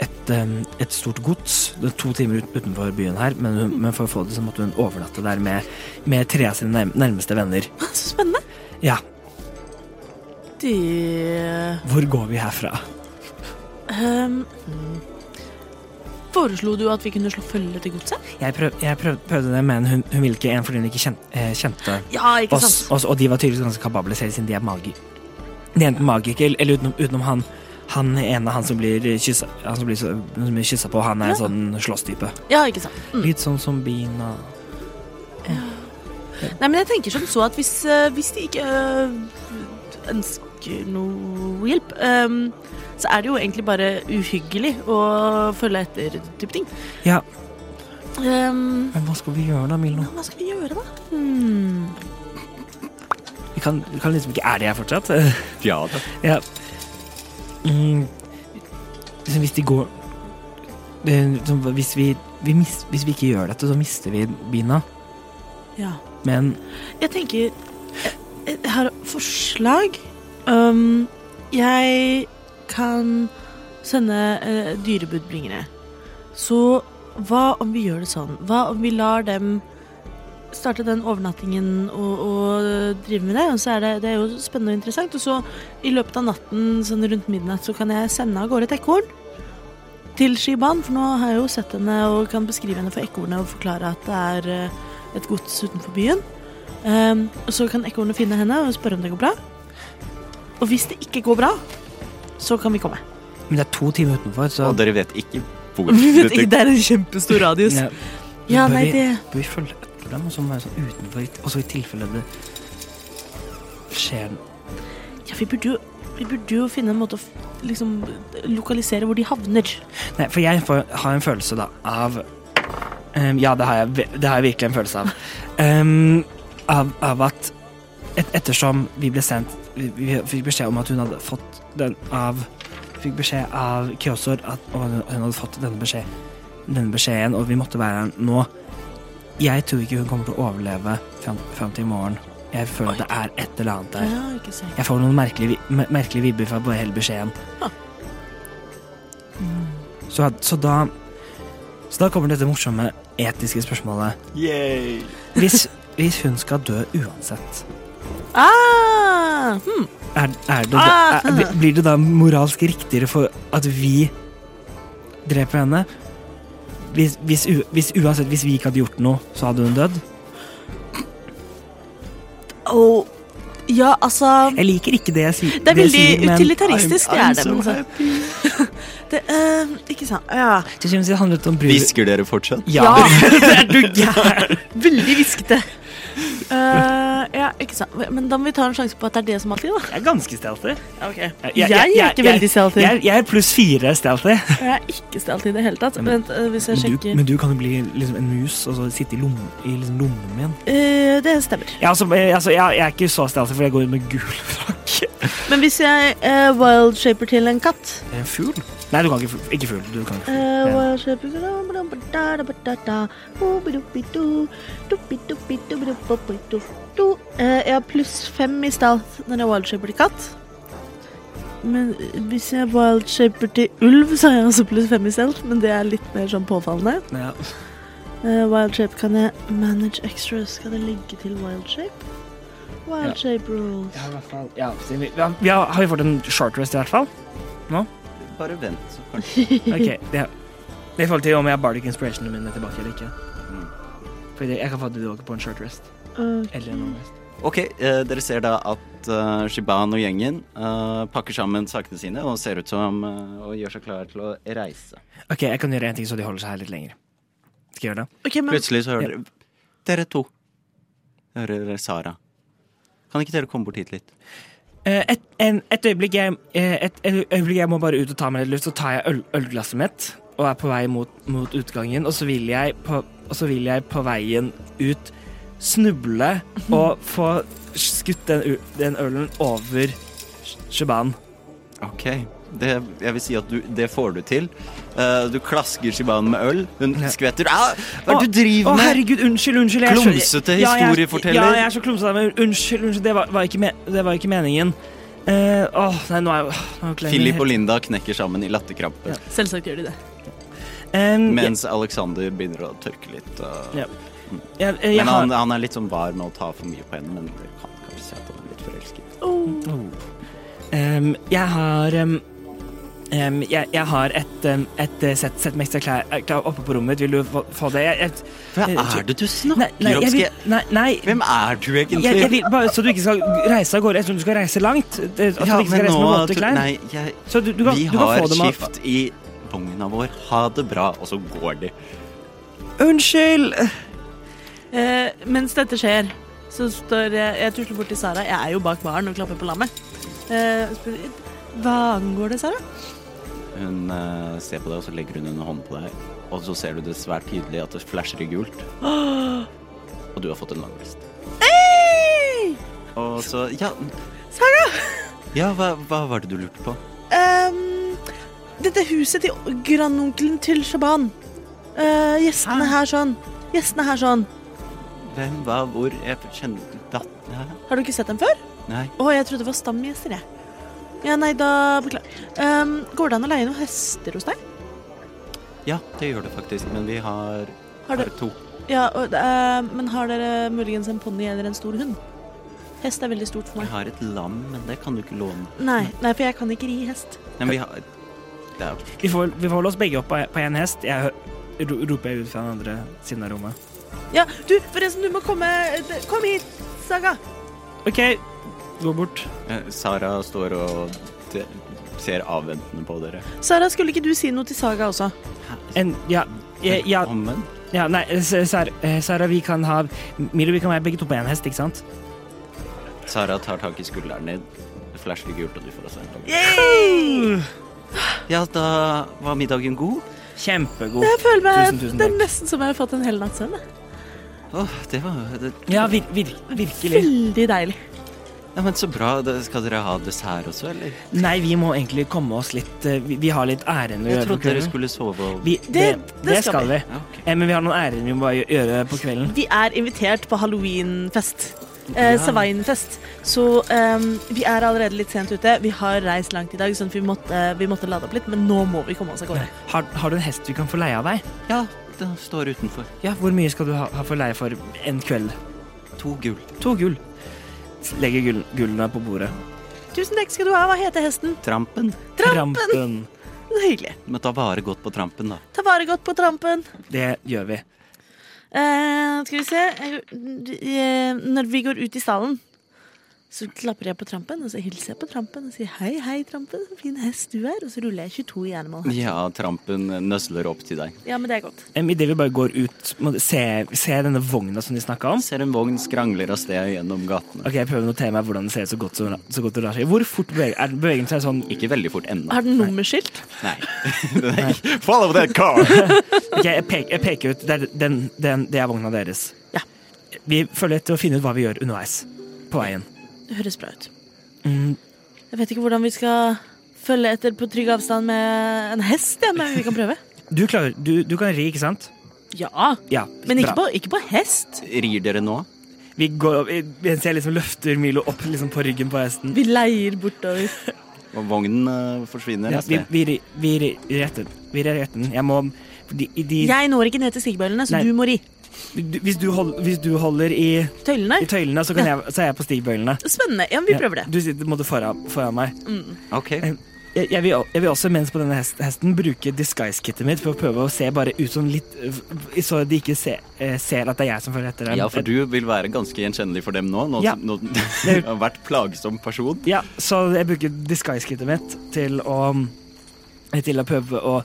et, em, et stort gods det er to timer ut, utenfor byen her, men, hun, men for å få det så måtte hun overnatte der med, med tre av sine nærm nærmeste venner.
Så spennende.
Ja,
Det
hvor går vi herfra?
ehm, Foreslo du at vi kunne slå følge til godset?
Jeg, prøv, jeg prøv, prøvde det, men hun, hun ville ikke en fordi hun ikke kjente, eh, kjente
Ja, ikke
oss,
sant?
oss. Og de var tydeligvis ganske kapable selv, siden de er magi. De er enten magikere, eller utenom, utenom han. Han ene, han som blir kyssa, han som blir så, som blir kyssa på, han er en
Ja.
sånn slåsstype.
Ja, ikke sant. Mm.
Litt sånn som Bina.
Nei, men jeg tenker som så at hvis, eh, hvis de ikke eh, ønsker noe hjelp, eh, så er det jo egentlig bare uhyggelig å følge etter type ting.
Ja,
Eh,
men hva skal vi gjøre da, Milo?
hva skal vi gjøre, da? Hmm.
Vi kan, vi kan liksom ikke Er det her fortsatt? (laughs)
Ja da.
ja. Mm, liksom hvis de går det, er liksom, hvis, vi, vi mis, hvis vi ikke gjør dette, så mister vi Bina.
Ja.
Men
Jeg tenker jeg, jeg har forslag. Um, jeg kan sende eh, dyrebudbringere. Så hva om vi gjør det sånn? Hva om vi lar dem starte den overnattingen og, og drive med det? Og så er det, det er jo spennende og interessant. Og så i løpet av natten sånn rundt midnatt så kan jeg sende av gårde et ekorn. Til Shiban, for nå har jeg jo sett henne og kan beskrive henne for ekornet og forklare at det er eh, et gods utenfor byen. Ehm, og så kan ekornet finne henne og spørre om det går bra. Og hvis det ikke går bra, så kan vi komme. (laughs)
Men det er to timer utenfor, så
Og dere vet ikke
(laughs)
hvor
Vi vet ikke,
dette
Det er en kjempestor radius.
Ja,
Ja,
bør
nei, det
vi- Bør vi følge etter dem, og så være sånn utenfor, og så i tilfelle det skjer noe.
Ja, vi burde jo vi burde jo finne en måte å f- liksom, lokalisere hvor de havner.
Nei, for jeg får, har en følelse da av ehm, Ja, det har, jeg, ve- det har jeg virkelig en følelse av. Ehm, av, av at et, ettersom vi ble sendt vi, vi fikk beskjed om at hun hadde fått den av Fikk beskjed av Kyosor at om at hun hadde fått denne, beskjed, denne beskjeden, og vi måtte være her nå. Jeg tror ikke hun kommer til å overleve fram, fram til i morgen. Jeg føler det er et eller annet der.
Ja, ikke sant.
Jeg får noen merkelige, vi- mer- merkelige vibber fra bare hele beskjeden.
Ja.
Så, at- så da Så da kommer dette morsomme etiske spørsmålet.
Yay.
(laughs)
Hvis, hvis hun skal dø uansett,
Ah, hmm.
er, er det,
Ah!
er, bli- blir det da moralsk riktigere for at vi dreper henne? Hvis, hvis, u- hvis uansett hvis vi ikke hadde gjort noe, så hadde hun dødd?
Og Ja, altså
Jeg liker ikke det jeg sier.
Det er veldig
jeg sier, men
utilitaristisk, det er det.
I'm
Men
so
så, det eh, ikke sant. Ja.
til syvende og sist handler det om brud...
Hvisker dere fortsatt?
Ja! (laughs)
det er du gæren. Veldig hviskete. Eh, ja, ikke sant. Men da må vi ta en sjanse på at det er det som alltid, da.
Jeg er ganske stealthy.
Jeg, er ikke veldig stealthy.
Jeg, jeg er pluss fire stealthy.
Jeg er ikke stealthy i det hele tatt.
Ja, men-
Vent, eh, hvis jeg
Men du,
sjekker
men du kan jo bli liksom en mus og så sitte i, lommen, i liksom lommen min.
Eh, Det stemmer.
Ja, altså, eh, altså, jeg, jeg er ikke så stealthy, for jeg går med gul (laughs) frakk.
Men hvis jeg eh, wild shaper til en katt
Er det En fugl? Nei, du kan ikke fugl. Ikke fugl. Du kan ikke fugl.
eh,
Ja.
wild shaper Eh, Jeg har pluss fem i stealth når jeg wild shaper til katt. Men eh, hvis jeg wild shaper til ulv, så har jeg også pluss fem i stealth, men det er litt mer sånn påfallende.
Ja.
Eh, wild shape kan jeg manage extras. Kan jeg legge til wild shape? Wild
Ja.
shape rules.
Ja, i hvert fall. Ja, så vi, ja, vi har, har vi fått en short rest, i
(laughs)
hvert fall?
Bare vent, så kanskje
Ok, det, det er i forhold til om jeg har bardic inspirationen min tilbake eller ikke.
Mm.
Fordi jeg kan få det tilbake på en short rest.
Ok.
Eller en long rest.
Ok, eh, dere ser da at eh, Shiban og gjengen eh, pakker sammen sakene sine og ser ut som eh, og gjør seg klar til å reise.
Ok, jeg kan gjøre en ting så de holder seg her litt lenger. Skal jeg gjøre det?
Ok, men
Plutselig så hører dere Dere to. Hører dere Sara. Kan ikke dere komme bort hit litt?
Eh, Et, en, et, øyeblikk, jeg, eh, et, et øyeblikk, jeg må bare ut og ta meg litt luft. Så tar jeg øl, ølglasset mitt og er på vei mot, mot utgangen. Og så, vil jeg på, og så vil jeg på veien ut snuble
Mhm.
og få skutt den, u- den ølen over Shaban.
Ok. Det, jeg vil si at du, det får du til. Eh, du klasker Shiban med øl. Hun
Ja.
skvetter. Au! Hva er det du
Å,
driver med?
herregud, unnskyld, unnskyld. jeg er så-
Klumsete
Ja, jeg er-
historieforteller.
Ja, jeg er så klumsete. men Unnskyld, unnskyld. Det var, var, ikke, me, det var ikke meningen. Eh, Åh, nei, nå er jeg nå er jeg glemt-
Philip og Linda knekker sammen i latterkrampe
Ja.
selvsagt gjør de det.
Eh,
mens Alexander begynner å tørke litt. og-
Ja. jeg, jeg, jeg,
Men
har-
han, han er litt sånn var med å ta for mye på henne, men det kan kanskje si at han er litt forelsket.
Oh.
Oh. Ehm, jeg har ehm, Em, jeg, jeg har et, em, et eh, sett, sett med ekstra klær, eh, klær oppe på rommet. Vil du få, få det? Jeg, jeg, eh,
Hva er det du snakker
nei, nei,
om?
jeg
Skal
vil,
jeg,
nei, nei,
hvem er du egentlig?
Jeg, jeg vil, bare så du ikke skal reise av gårde. Jeg tror du skal reise langt. Det- At du
Ja,
ikke altså, skal
men
reise med
nå-
våte klær.
Nei, jeg,
Så du, du kan,
vi
du kan
har
få dem av
skift i vogna vår. Ha det bra. Og så går de.
Unnskyld!
Eh, mens dette skjer, så står jeg Jeg tusler bort til Sara. Jeg er jo bak baren og klapper på lammet. Eh, og spør, Hva angår det, Sara?
Hun eh, ser på deg, og så legger hun en hånd på deg. Og så ser du det svært tydelig at det flasher i
(gasps)
gult. Og du har fått en langrest.
Hey!
Og så Ja,
Sara!
ja hva, hva var det du lurte på?
Ehm, dette huset til grandonkelen til Shaban. Eh, gjestene her sånn. Gjestene her sånn.
Hvem, hva, hvor? Jeg kjenner datt... Hæ?
Har du ikke sett dem før?
Nei.
Å, jeg trodde det var stamgjester, jeg. Ja, nei, da Beklager. Ehm, går det an å leie noen hester hos deg?
Ja, det gjør det faktisk, men vi har
Har
bare
du-
to.
Ja, og, eh, Men har dere muligens en ponni eller en stor hund? Hest er veldig stort for
Vi
meg.
har et lam, men det kan du ikke låne.
Nei, nei, for jeg kan ikke ri hest.
Nei, men vi har Det er
Vi får, vi får holde oss begge opp på- på én hest. Jeg hø- ro- roper jeg ut fra den andre siden av rommet.
Ja, du, forresten, du må komme eh, Kom hit, Saga!
OK, gå bort.
Eh, Sara står og t- ser avventende på dere.
Sara, skulle ikke du si noe til Saga også?
En, ja, ja, ja,
Velkommen.
ja Nei, S- Sara, eh, Sara, vi kan ha Milo, vi kan være begge to på én hest, ikke sant?
Sara tar tak i skulderen din. Det flasher gult, og du får også en lam.
Yay!
Ja, da var middagen god.
Kjempegod.
(laughs) Jeg føler meg
Tusen, tusen
Det er
takk.
nesten som jeg har fått en hel natts søvn. jeg.
Åh, det var det,
Ja, vir, vir, virkelig.
Veldig deilig.
ja, men Så bra. Da skal dere ha dessert også, eller?
Nei, vi må egentlig komme oss litt eh, Vi, vi har litt ærend å
Jeg
gjøre på
trodde dere
kvelden.
skulle sove og
Vi, det, det, skal vi.
ja, ok.
Eh, Men vi har noen ærend vi må bare gjø- gjøre på kvelden.
Vi er invitert på halloweenfest. Eh,
Ja.
Savainfest. Så ehm, vi er allerede litt sent ute. Vi har reist langt i dag, sånn at vi måtte, vi måtte lade opp litt. Men nå må vi komme oss av gårde.
Har, har du en hest vi kan få leie av deg?
Ja, den står utenfor.
Ja, Hvor mye skal du ha, ha for leie for en kveld?
To gull.
To gull. Legger gull, gullene på bordet.
Tusen takk skal du ha. Hva heter hesten?
Trampen.
Trampen! Det er Hyggelig.
Men ta vare godt på trampen, da.
Ta vare godt på trampen.
Det gjør vi.
Eh, skal vi se Eh, Når vi går ut i stallen, så klapper jeg på trampen, og så hilser jeg på trampen og sier hei, hei, trampen, så fin hest du er. Og så ruller jeg 22 i animal.
Ja, trampen nøsler opp til deg.
Ja, men det er godt.
Idet vi bare går ut, må du se, se denne vogna som de snakka om.
Ser en vogn skrangler av sted gjennom gatene.
Ok, Jeg prøver å notere meg hvordan det ser ut så godt, som- så godt det lar seg. Hvor fort beveger er bevegelsen seg sånn
Ikke veldig fort ennå.
Har den nummerskilt?
Nei. (laughs) Den er ikke- Follow that car!
Ok, jeg, pek, jeg peker ut. Det er, den, den, det er vogna deres.
Ja.
Vi følger etter og finner ut hva vi gjør underveis på veien.
Det høres bra ut.
Mm,
Jeg vet ikke hvordan vi skal følge etter på trygg avstand med en hest, ja, men vi kan prøve.
du, klarer, du, du kan ri, ikke sant?
(laughs) Ja,
Ja,
men ikke
bra.
på, ikke på hest.
(laughs) Rir dere nå?
Vi går opp, Mens jeg liksom løfter Milo opp liksom på ryggen på hesten.
Vi leier bortover.
Og vognen eh, forsvinner
Ja,
av
vi,
sted.
vi, ri- vi, ri- retter, vi retter den. Jeg må de, i de,
Jeg når ikke ned til stigbøylene, så
Nei.
du må ri.
du, hvis, du hold, hvis du holder i,
Tøylene?
i tøylene, så, kan jeg, så er jeg på stigbøylene.
Spennende. Ja, men vi prøver det. Mm.
Du sitter på en måte foran, foran meg.
Ok.
Jeg, jeg, vil, jeg vil også mens på denne hest, hesten bruke disguise-kittet mitt for å prøve å se bare ut som litt øh, Så de ikke ser- eh, ser at det er jeg som følger etter dem.
Ja, for du vil være ganske gjenkjennelig for dem nå. Nå,
Ja. (laughs)
nå du har vært plagsom person.
Ja, så jeg bruker disguise-kittet mitt til å Til å prøve å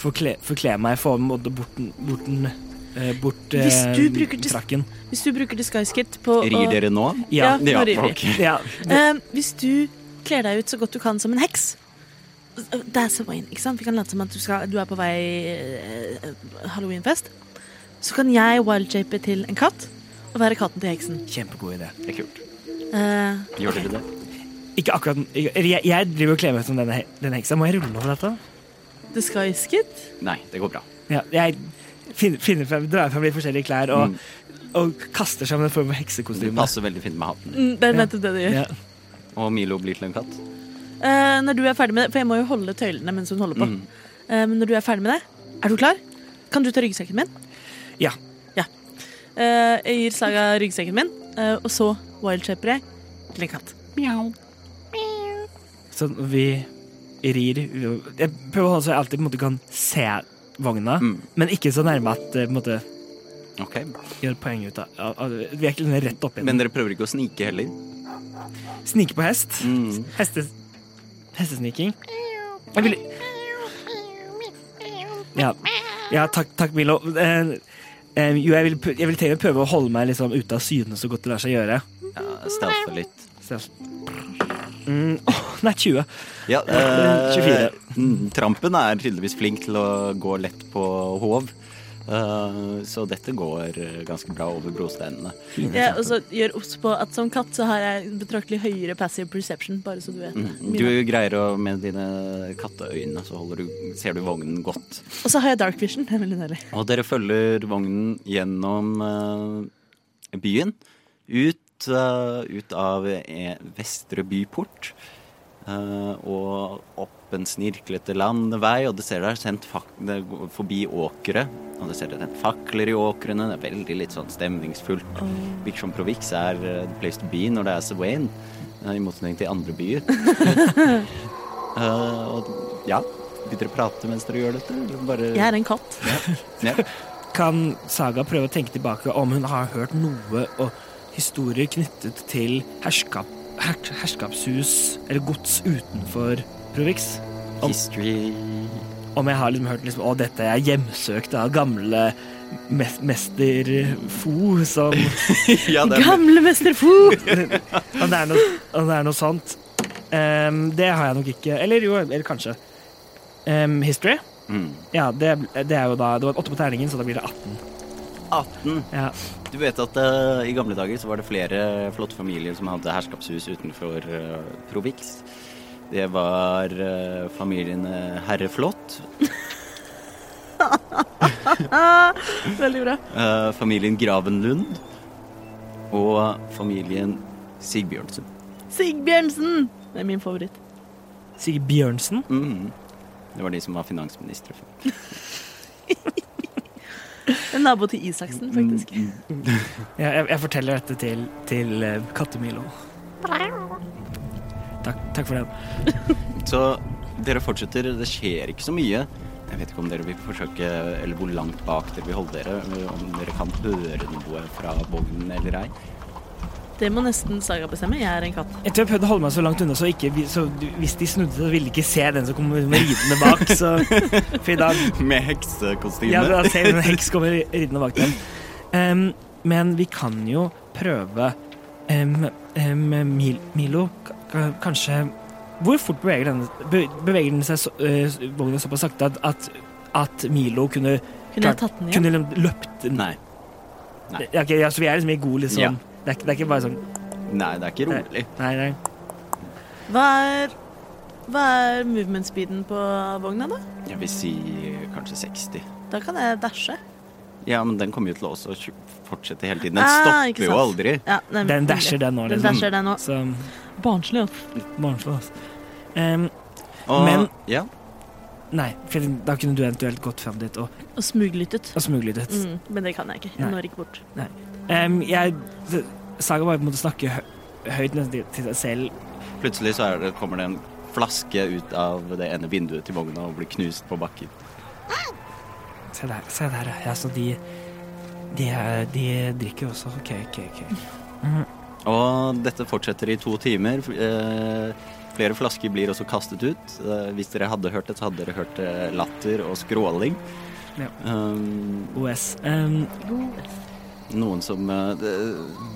forkle, forkle meg, få med både borten, borten eh, Bort eh,
Hvis du bruker dis-
frakken.
Hvis du bruker disguise kit på å-
Rir dere nå?
Ja.
nå rir vi.
ok.
(laughs) ja.
Eh, hvis du kler deg ut så godt du kan som en heks Det er Savain, ikke sant? Vi kan late som at du, skal, du er på vei eh, halloweenfest. Så kan jeg wildjape til en katt og være katten til heksen.
Kjempegod idé.
Det er kult.
Eh,
Gjør dere det?
Ikke akkurat Jeg, jeg driver og kler meg ut som denne, he- denne heksa. Må jeg rulle over dette?
disguise kit.
Nei, det går bra.
Ja, jeg finner, finner frem, drar frem litt forskjellige klær og, og kaster sammen en form
Mm.
for
Du
heksekostyme.
passer veldig fint med hatten.
Mm, Det er nettopp det du gjør.
Ja.
Og Milo blir til en katt.
Eh, når du er ferdig med det, for jeg må jo holde tøylene mens hun holder på.
Mm.
Mm.
Eh, men når du er ferdig med det, er du klar? Kan du ta ryggsekken min?
Ja.
Ja. Eh, jeg gir Saga ryggsekken min, eh, og så wildshaper jeg til en katt.
Så vi rir Jeg prøver å holde så jeg alltid på en måte kan se vogna,
Mm.
men ikke så nærme at det på en måte
Ok.
gjør poeng ut av, av, av Vi er ikke liksom rett oppi
Men
den.
dere prøver ikke å snike heller?
Snike på hest.
Mm.
Hestes, hestesniking. Jeg vil Ja. Ja, takk, takk Milo. Eh, eh, jo, jeg vil, pr- jeg vil til og med prøve å holde meg liksom ute av syne så godt det lar seg gjøre.
Ja, Stealthe litt.
Så jeg- Mm, åh, nei, 20.
Ja,
Eh, 24.
mm, Trampen er tydeligvis flink til å gå lett på håv. Eh, så dette går eh, ganske bra over brosteinene.
Jeg også gjør obs på at som katt så har jeg en betraktelig høyere passive perception, bare så du vet.
Mm. Du greier å med dine katteøyne så holder du, ser du vognen godt.
Og så har jeg dark vision. Det er veldig deilig.
Og dere følger vognen gjennom eh, byen, ut, eh, ut av eh, Vestre byport, eh, og opp en snirklete landevei, og det ser der sendt fak det går forbi åkre, og det ser det sendt fakler i åkrene, det er veldig litt sånn stemningsfullt. Virker som Provix er eh, the place to be når det er Swain, eh, i motsetning til andre byer. Eh, og ja, vil dere prate mens dere gjør dette? Eller bare...
Jeg er en katt.
Ja.
Kan Saga prøve å tenke tilbake om hun har hørt noe og historier knyttet til herskap, her, herskapshus eller gods utenfor Provix? Om-
History
Om jeg har liksom hørt liksom, å, dette er hjemsøkt av gamle mes mester Fo som
(laughs) Ja, det er
(laughs) Gamle mester
(laughs)
Fu!
Om det er noe, om det er noe sånt. Ehm, det har jeg nok ikke. Eller jo, eller kanskje. Ehm, history?
mm.
Ja, det, det er jo da Det var 8 på terningen, så da blir det 18.
18.
Ja.
Du vet at eh, i gamle dager så var det flere flotte familier som hadde herskapshus utenfor uh, Provix. Det var eh, familiene Herreflot,
Veldig bra.
eh, familien Gravenlund og familien Sigbjørnsen.
Sigbjørnsen! Det er min favoritt.
Sigurd Bjørnsen.
Mm. Det var de som var finansministre før.
En nabo til Isaksen, faktisk.
Mm, Ja, jeg, jeg forteller dette til, til eh, Kattemilo. Takk, takk for det.
Så dere fortsetter, det skjer ikke så mye. Jeg vet ikke om dere vil forsøke, eller hvor langt bak dere vil holde dere, eller om dere kan høre noe fra vognen eller ei.
Det må nesten Saga bestemme. Jeg er en katt.
Jeg tror jeg prøvde å holde meg så langt unna, så, ikke, vi- så du- hvis de snudde seg, ville de ikke se den som kommer ridende bak.
(laughs)
Så, for i dag
Med heksekostyme.
Ja, da ser vi en heks kommer ridende bak dem. Em, men vi kan jo prøve em, em, Mil Milo, ka- ka- kanskje Hvor fort beveger den, be- beveger den seg så, eh, vognen såpass sakte at, at, at Milo kunne,
Kunne jeg tatt den igjen?
kunne liksom løpt den?
Nei. Nei.
Ja, ok, ja, så vi er liksom i god liksom
Ja.
det, er, ikke- det er ikke bare sånn
Nei, det er ikke rolig.
Nei, nei.
Hva er, hva er movement speeden på vogna, da?
Jeg vil si kanskje 60.
Da kan jeg dashe.
Ja, men den kommer jo til å også tju- fortsette hele tiden. Den
Ah,
stopper
ikke
jo
sant.
aldri.
Ja, nei,
Den dasher, den nå,
Den
liksom.
dasher den nå.
Så
Barnslig, altså.
Barnslig, altså. Em,
Og,
Men-
ja,
nei, for da kunne du eventuelt gått fram dit og,
Og smuglyttet.
og smuglet ut.
Mm, men det kan jeg ikke. Jeg
Nei.
når ikke bort. Mm.
Em, jeg det- Saga bare på en måte snakke hø høyt nesten til- til seg selv.
plutselig så er det, kommer det en flaske ut av det ene vinduet til vogna og blir knust på bakken.
Se der, se der. ja. Ja, så de de, er- de drikker også. OK, OK. ok.
Og dette fortsetter i to timer. Eh, flere flasker blir også kastet ut. Eh, hvis dere hadde hørt det, så hadde dere hørt eh, latter og skråling.
Ja.
Um,
OS. Em,
noen som eh, det,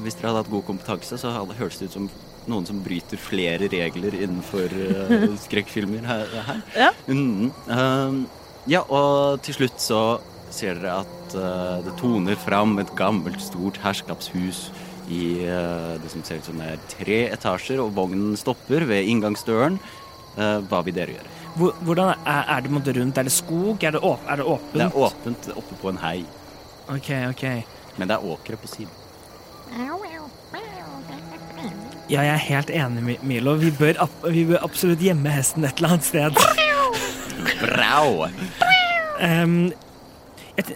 Hvis dere hadde hatt god kompetanse, så hadde, høres det ut som noen som bryter flere regler innenfor eh, skrekkfilmer her. her.
Ja.
Mm, um, ja, og til slutt så ser dere at eh, det toner fram et gammelt, stort herskapshus i eh, det som ser ut som det er tre etasjer, og vognen stopper ved inngangsdøren. Eh, hva vil dere gjøre?
hvor, hvordan er, er det på en måte rundt? Er det skog? Er det, åp er det åpent?
Det er åpent oppe på en hei,
OK, OK.
men det er åkre på siden.
Ja, jeg er helt enig, Mi- Milo. Vi bør, ab- vi bør absolutt gjemme hesten et eller annet sted.
Brau!
Em, Ehm, et,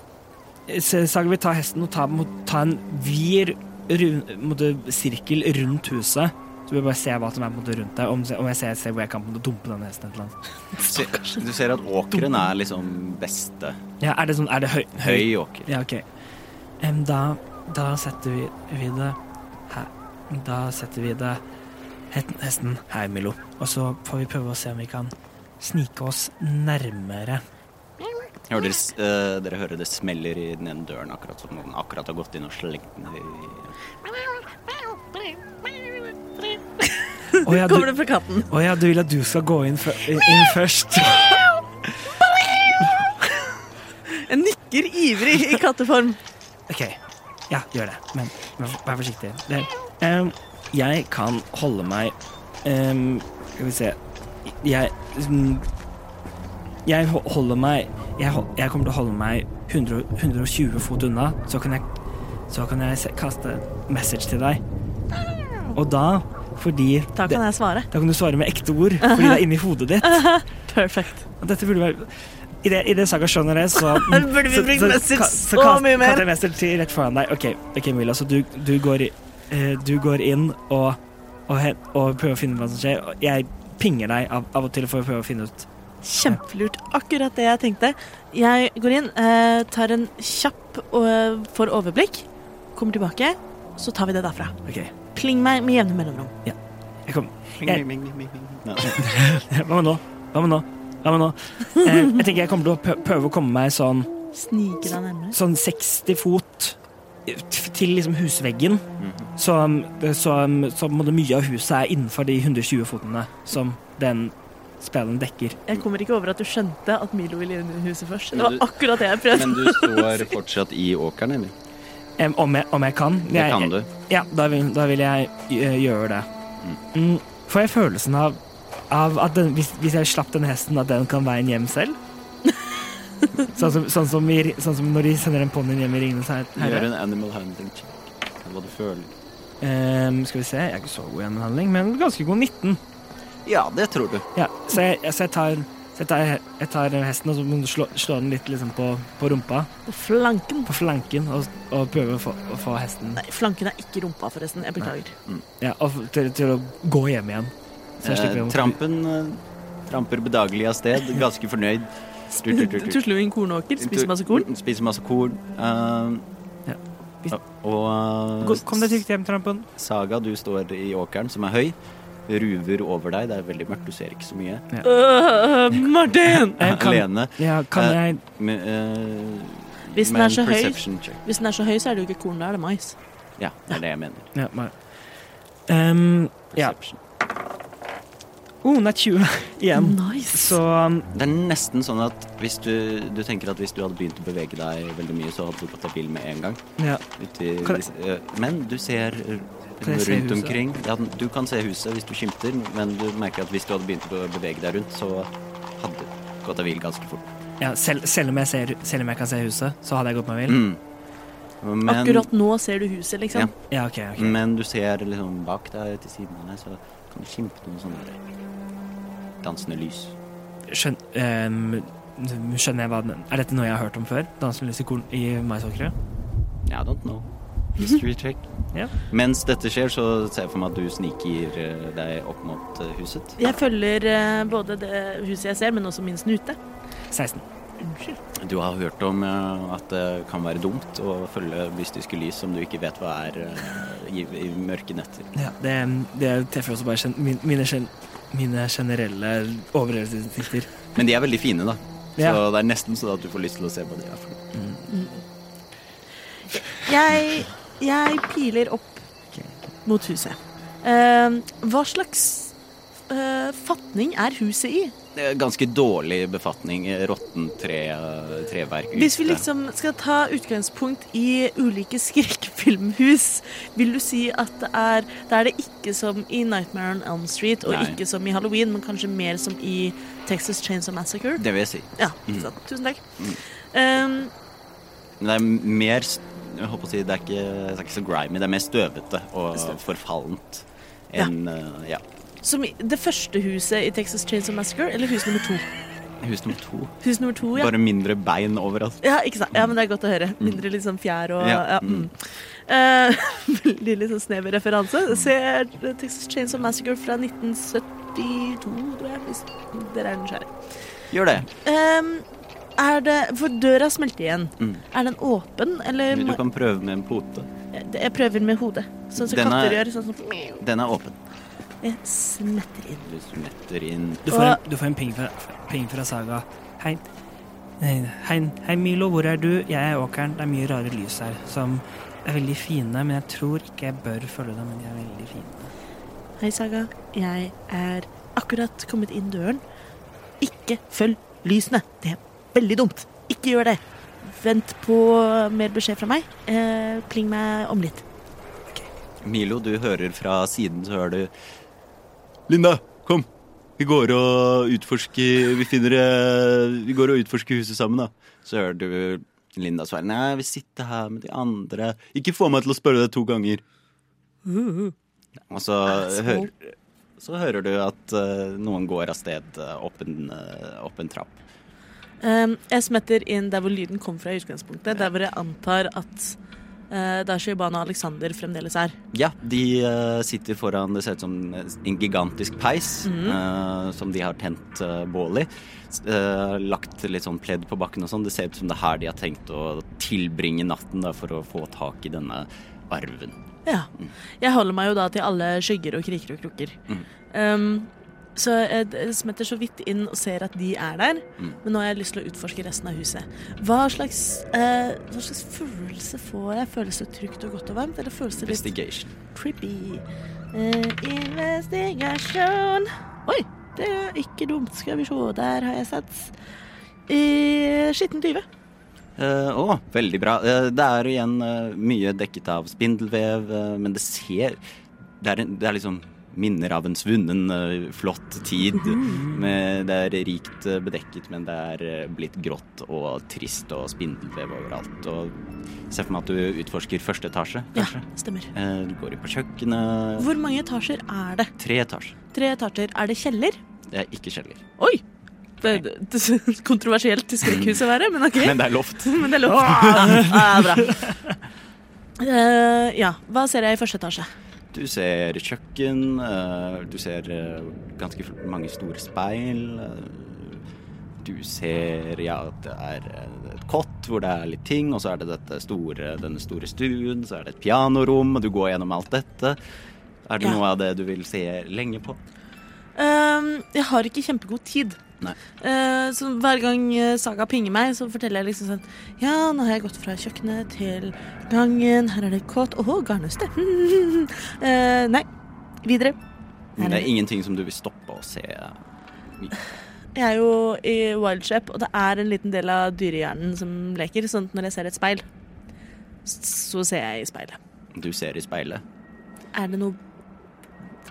så Saga vil ta hesten og ta, må, ta en vid rund, måte, sirkel rundt huset. Du vil bare se hva som er på en måte rundt deg, om, om jeg ser et sted hvor jeg kan på en måte dumpe den hesten et eller annet.
Se, du ser at åkeren er liksom beste.
Ja, er det sånn, er det høy?
Høy åker.
Ja, ok. Em, da, da setter vi, vi det her. Da setter vi det het- hesten her, Milo. Og så får vi prøve å se om vi kan snike oss
(laughs)
nærmere.
Hører dere, s- eh, dere hører det smeller i den ene døren, akkurat som noen akkurat har gått inn og slengt den i
Å ja,
Kommer
du,
det fra
(laughs)
katten?
å ja, du vil at du skal gå inn, fø- inn først?
(laughs) Jeg nikker ivrig i katteform.
OK. Ja, gjør det. Men vær, vær forsiktig. Det, em, jeg kan holde meg em, Skal vi se Jeg mm, Jeg ho- holder meg jeg, hol- jeg kommer til å holde meg 100, 120 fot unna, så kan jeg, så kan jeg se, kaste message til deg. Og da, fordi
Da
det-
kan jeg svare.
da kan du svare med ekte ord, fordi det er inni hodet
(laughs)
ditt.
Perfect.
Og Dette burde være I det, i det saga skjønner jeg,
(laughs)
så
Burde vi bringe message så mye mer?
Katte Mester til rett foran deg. OK, ok, Mila, så du, du, går, i- eh, du går inn og, og, he- og prøver å finne ut hva som skjer. Og jeg pinger deg av, av og til for å prøve å finne ut
Kjempelurt. Akkurat det jeg tenkte. Jeg går inn, eh, tar en kjapp og får overblikk, kommer tilbake, så tar vi det derfra.
OK, jeg
Pling meg med jevne mellomrom.
kom. (laughs) Jeg-
Nei.
Hva med nå? Hva med nå? Hva med nå? Eh, jeg tenker jeg kommer til å prø- prøve å komme meg sånn,
Snike deg nærmere.
sånn 60 fot til liksom husveggen.
Mhm.
Så, så, så på en måte mye av huset er innenfor de 120 fotene som den spelen dekker.
Jeg kommer ikke over at du skjønte at Milo ville inn i huset først. Det
Men
var
du-
akkurat det jeg prøvde.
Men du står fortsatt i åkeren, eller?
Em, Om jeg, om jeg kan?
Det kan du.
Ja, da vil, da vil jeg eh, gjøre det. Mm, får jeg følelsen av, av at den, hvis, hvis jeg slapp den hesten, at den kan veien hjem
(laughs)
selv? sånn, som, sånn, som i, sånn som når de sender den ponnien hjem i Ringenes her-
Gjør
herre?
en animal handling check. Hva du føler.
Em, skal vi se, jeg er ikke så god i en handling, men ganske god 19.
Ja, det tror du.
Ja, så jeg, jeg- så jeg, tar, så jeg, tar, jeg tar hesten og så må du slå, slå den litt liksom på, på rumpa,
På flanken.
på flanken, og, og prøve å få, å få hesten
Nei, flanken er ikke rumpa, forresten. Jeg beklager.
ja, og f- til, til å gå hjem igjen. Så jeg slipper
Eh,
å-
trampen eh, tramper bedagelig av sted, ganske fornøyd. Tur, tur, tur, tur.
Tusler jo inn kornåker, spiser masse korn.
Spiser masse korn. Eh,
Ja. Hvis-
Og eh,
Gå- Kom deg trygt hjem, Trampen.
Saga, du står i åkeren, som er høy. Ruver over deg. Det er veldig mørkt, du ser ikke så mye.
Øh, Martin!
Jeg kan-
Alene.
Ja, kan
Eh,
jeg
Med, eh,
Hvis den
med
er
en
så høy-
perception check.
Hvis den er så høy, så er det jo ikke korn, da er det mais.
Ja, det er det jeg mener.
Ja, bare Em, Ja.
Perception.
Oh, nei, 20 (laughs) igjen.
Nice.
Så um,
Det er nesten sånn at hvis du, du tenker at hvis du hadde begynt å bevege deg veldig mye, så hadde du gått av bilen med en gang.
ja.
Ut i,
Kan
eh, men du ser r-
Kan jeg se
rundt
huset?
omkring. Ja, den- du kan se huset hvis du skimter, men du merker at hvis du hadde begynt å bevege deg rundt, så hadde du gått av bilen ganske fort.
ja selv, selv, om jeg ser, selv om jeg kan se huset, så hadde jeg gått meg vill?
Mm. Men,
Akkurat nå ser du huset,
Ja.
liksom.
Ja, OK. ok
Men du ser liksom bak deg til siden av deg, så kan du skimte noen sånne der dansende lys.
Skjøn, em, skjønner jeg hva den Er dette noe jeg har hørt om før? Dansen lyst i korn i maisåkre?
I don't know. History check.
Ja.
Mens dette skjer, så ser jeg for meg at du sniker eh, deg opp mot eh, huset.
Jeg følger eh, både det huset jeg ser, men også min snute.
16.
Unnskyld.
Du har hørt om eh, at det kan være dumt å følge mystiske lys som du ikke vet hva er eh, i, i mørke netter.
Ja, det, det treffer også bare gen, min- mine, gen, mine generelle overlevelsesinstinkter.
Men de er veldig fine, da. Så
Ja.
det er nesten sånn at du får lyst til å se hva de er for noe.
Jeg, jeg piler opp mot huset. Eh, hva slags eh, fatning er huset i?
Det er Ganske dårlig befatning. eh, Råttent tre, eh, treverk
Hvis vi liksom skal ta utgangspunkt i ulike skrekkfilmhus, vil du si at det er Da er det ikke som i Nightmare on Elm Street, og
Nei.
ikke som i Halloween, men kanskje mer som i Texas Chainsaw Massacre?
Det Mm. vil jeg si.
Ja, ikke sant. Tusen takk. Um,
Men det er mer st- jeg håper å si, det, er ikke, det er ikke så grimy. Det er mer støvete og
Støv.
forfallent enn eh, ja.
som i det første huset i Texas Chainsaw Massacre, eller hus nummer to?
hus nummer to.
Hus nummer to, ja.
Bare mindre bein overalt.
Ja, ikke sant? ja, men det er godt å høre. Mindre liksom fjær og
Mm. Ja,
ja. mm. Eh, (laughs) veldig litt sånn snever
Mm.
referanse. Ser Texas Chains of Massacre fra 1972, tror jeg, hvis dere er nysgjerrige.
Gjør det.
Ehm, er det For døra smelter igjen.
Mm.
Er den åpen, eller
Du
må,
kan prøve med en pote.
Jeg prøver med hodet. Sånn som
Den er-
katter gjør. Sånn som
Den er åpen.
Jeg smetter inn.
Du smetter inn
Du får en, du får en ping, fra, ping fra Saga. Hei. Nei, Hei, hei, Milo, hvor er du? Jeg er åkeren. Det er mye rare lys her, som er veldig fine, men jeg tror ikke jeg bør følge dem, men de er veldig fine.
Hei, Saga. Jeg er akkurat kommet inn døren. Ikke følg lysene. Det er veldig dumt. Ikke gjør det. Vent på mer beskjed fra meg. Eh, pling meg om litt.
Milo, du hører fra siden, så hører du Linda, kom! Vi går og utforsker Vi finner eh, Vi går og utforsker huset sammen, da. Så hører du Linda svare Nei, jeg vil sitte her med de andre. Ikke få meg til å spørre deg to ganger. Og så,
Asshole.
hører, så hører du at eh, noen går av sted eh, opp en, eh, opp en trapp.
Um, jeg smetter inn der hvor lyden kom fra i utgangspunktet. Der hvor jeg antar at uh, der Shibana og Alexander fremdeles er.
Ja, de eh, sitter foran Det ser ut som en gigantisk peis eh, som de har tent eh, bål i. S- eh, lagt litt sånn pledd på bakken og sånn. Det ser ut som det er her de har tenkt å tilbringe natten da, for å få tak i denne arven.
Ja. Jeg holder meg jo da til alle skygger og kriker og krukker.
Mm.
Um, så jeg d- smetter så vidt inn og ser at de er der,
Mm.
men nå har jeg lyst til å utforske resten av huset. Hva slags, eh, hva slags følelse får jeg? Føles det trygt og godt og varmt, eller føles det litt
Investigation.
trippy? Eh, investigation Oi, det er ikke dumt. Skal vi se, der har jeg sats. Eh, Skitten 20.
Eh, Å, veldig bra. Eh, det er igjen eh, mye dekket av spindelvev, eh, men det ser Det er, en, det er liksom minner av en svunnen, eh, flott tid. Med, det er rikt eh, bedekket, men det er eh, blitt grått og trist og spindelvev overalt. Og jeg ser for meg at du utforsker første etasje,
Ja,
kanskje.
stemmer.
Eh, du går inn på kjøkkenet.
Hvor mange etasjer er det?
Tre etasjer.
Tre etasjer. Er det kjeller?
Det er ikke kjeller.
Oi! Det, det, det kontroversielt til skrekkhuset å være, men OK.
Men det er loft.
Men det er lov. Ah, ah, bra. Eh, ja, hva ser jeg i første etasje?
Du ser kjøkken, eh, du ser eh, ganske fl- mange store speil. eh, Du ser ja, at det er eh, et kott hvor det er litt ting, og så er det dette store, denne store stuen, så er det et pianorom, og du går gjennom alt dette. Er det
Ja.
noe av det du vil se lenge på?
Ehm, jeg har ikke kjempegod tid.
Nei.
Eh, så hver gang eh, Saga pinger meg, så forteller jeg liksom sånn Ja, nå har jeg gått fra kjøkkenet til gangen. Her er det kåt. Åh, garnnøste. (laughs) Eh, nei. Videre. Her
Det
er
er ingenting som du vil stoppe å se.
Jeg er jo i Wildshape, og det er en liten del av dyrehjernen som leker. Sånn at når jeg ser et speil, s- så ser jeg i speilet.
Du ser i speilet.
Er det noe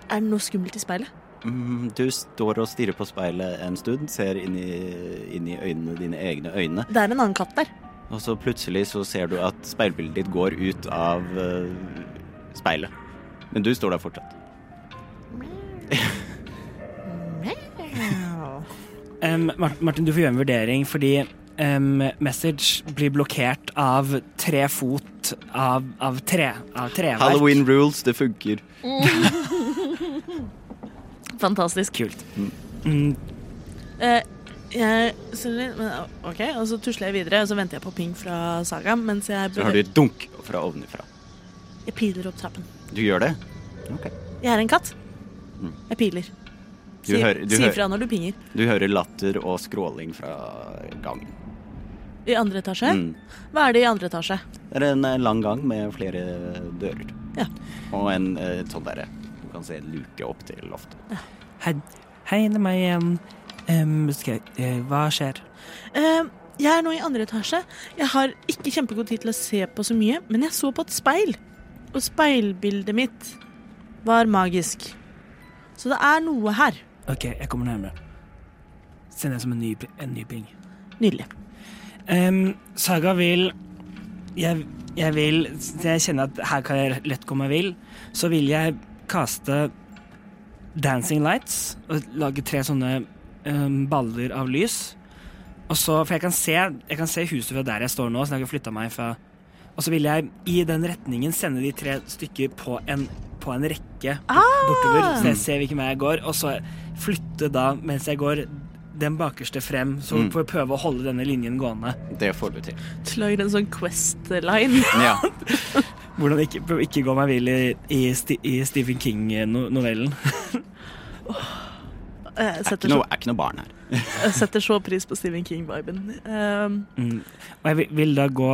Er det noe skummelt i speilet?
Mm, Du står og stirrer på speilet en stund, ser inn i, inn i øynene, dine egne øyne.
Det er en annen katt der.
Og så plutselig så ser du at speilbildet ditt går ut av eh, speilet. Men du står der fortsatt.
Em, Mar- Martin, du får gjøre en vurdering, fordi em, Message blir blokkert av tre fot av, av tre. Av treverk.
Halloween rules, det funker.
Fantastisk.
Kult. Mm,
Eh, jeg ser litt, men OK, og så tusler jeg videre, og så venter jeg på ping fra Saga. Mens jeg,
Så har du et dunk fra ovenifra.
jeg piler opp trappen.
Du gjør det? Ok.
Jeg er en katt. Jeg piler.
Mm. Du,
Si-
hører, du,
Si
hører,
fra når du pinger.
du hører latter og skråling fra gangen.
I andre etasje?
Mm.
Hva er det i andre etasje?
Det er en eh, lang gang med flere dører.
Ja.
Og en eh, sånn derre Du kan se en luke opp til loftet.
hei, hei, det er meg igjen. Em, skal jeg, eh, hva skjer?
Eh, jeg er nå i andre etasje. Jeg har ikke kjempegod tid til å se på så mye, men jeg så på et speil. Og speilbildet mitt var magisk. Så det er noe her.
OK, jeg kommer nærmere. Send det som en ny, pl- en ny pling.
Nydelig.
Em, saga vil jeg, jeg vil Jeg kjenner at her kan jeg lett komme meg vill. Så vil jeg kaste Dancing Lights og lage tre sånne em, baller av lys. Og så, For jeg kan se Jeg kan se huset fra der jeg står nå, så jeg har ikke flytta meg fra Og så vil jeg i den retningen sende de tre stykker på en, på en rekke
Ah!
bortover, så jeg ser hvilken vei jeg går, og så flytte da, mens jeg går, den bakerste frem, så
Mm.
får jeg prøve å holde denne linjen gående.
Det får
(laughs)
du til.
Lagd en
(laughs)
sånn Quest-line.
Ja.
Hvordan ikke, prøve å ikke gå meg vill i, i, Sti- i Stephen King-novellen.
Eh, Jeg
Er ikke
setter,
noe,
så,
er ikke noe barn her.
jeg setter så pris på Stephen King-viben. Um,
Mm. Og jeg vil, vil da gå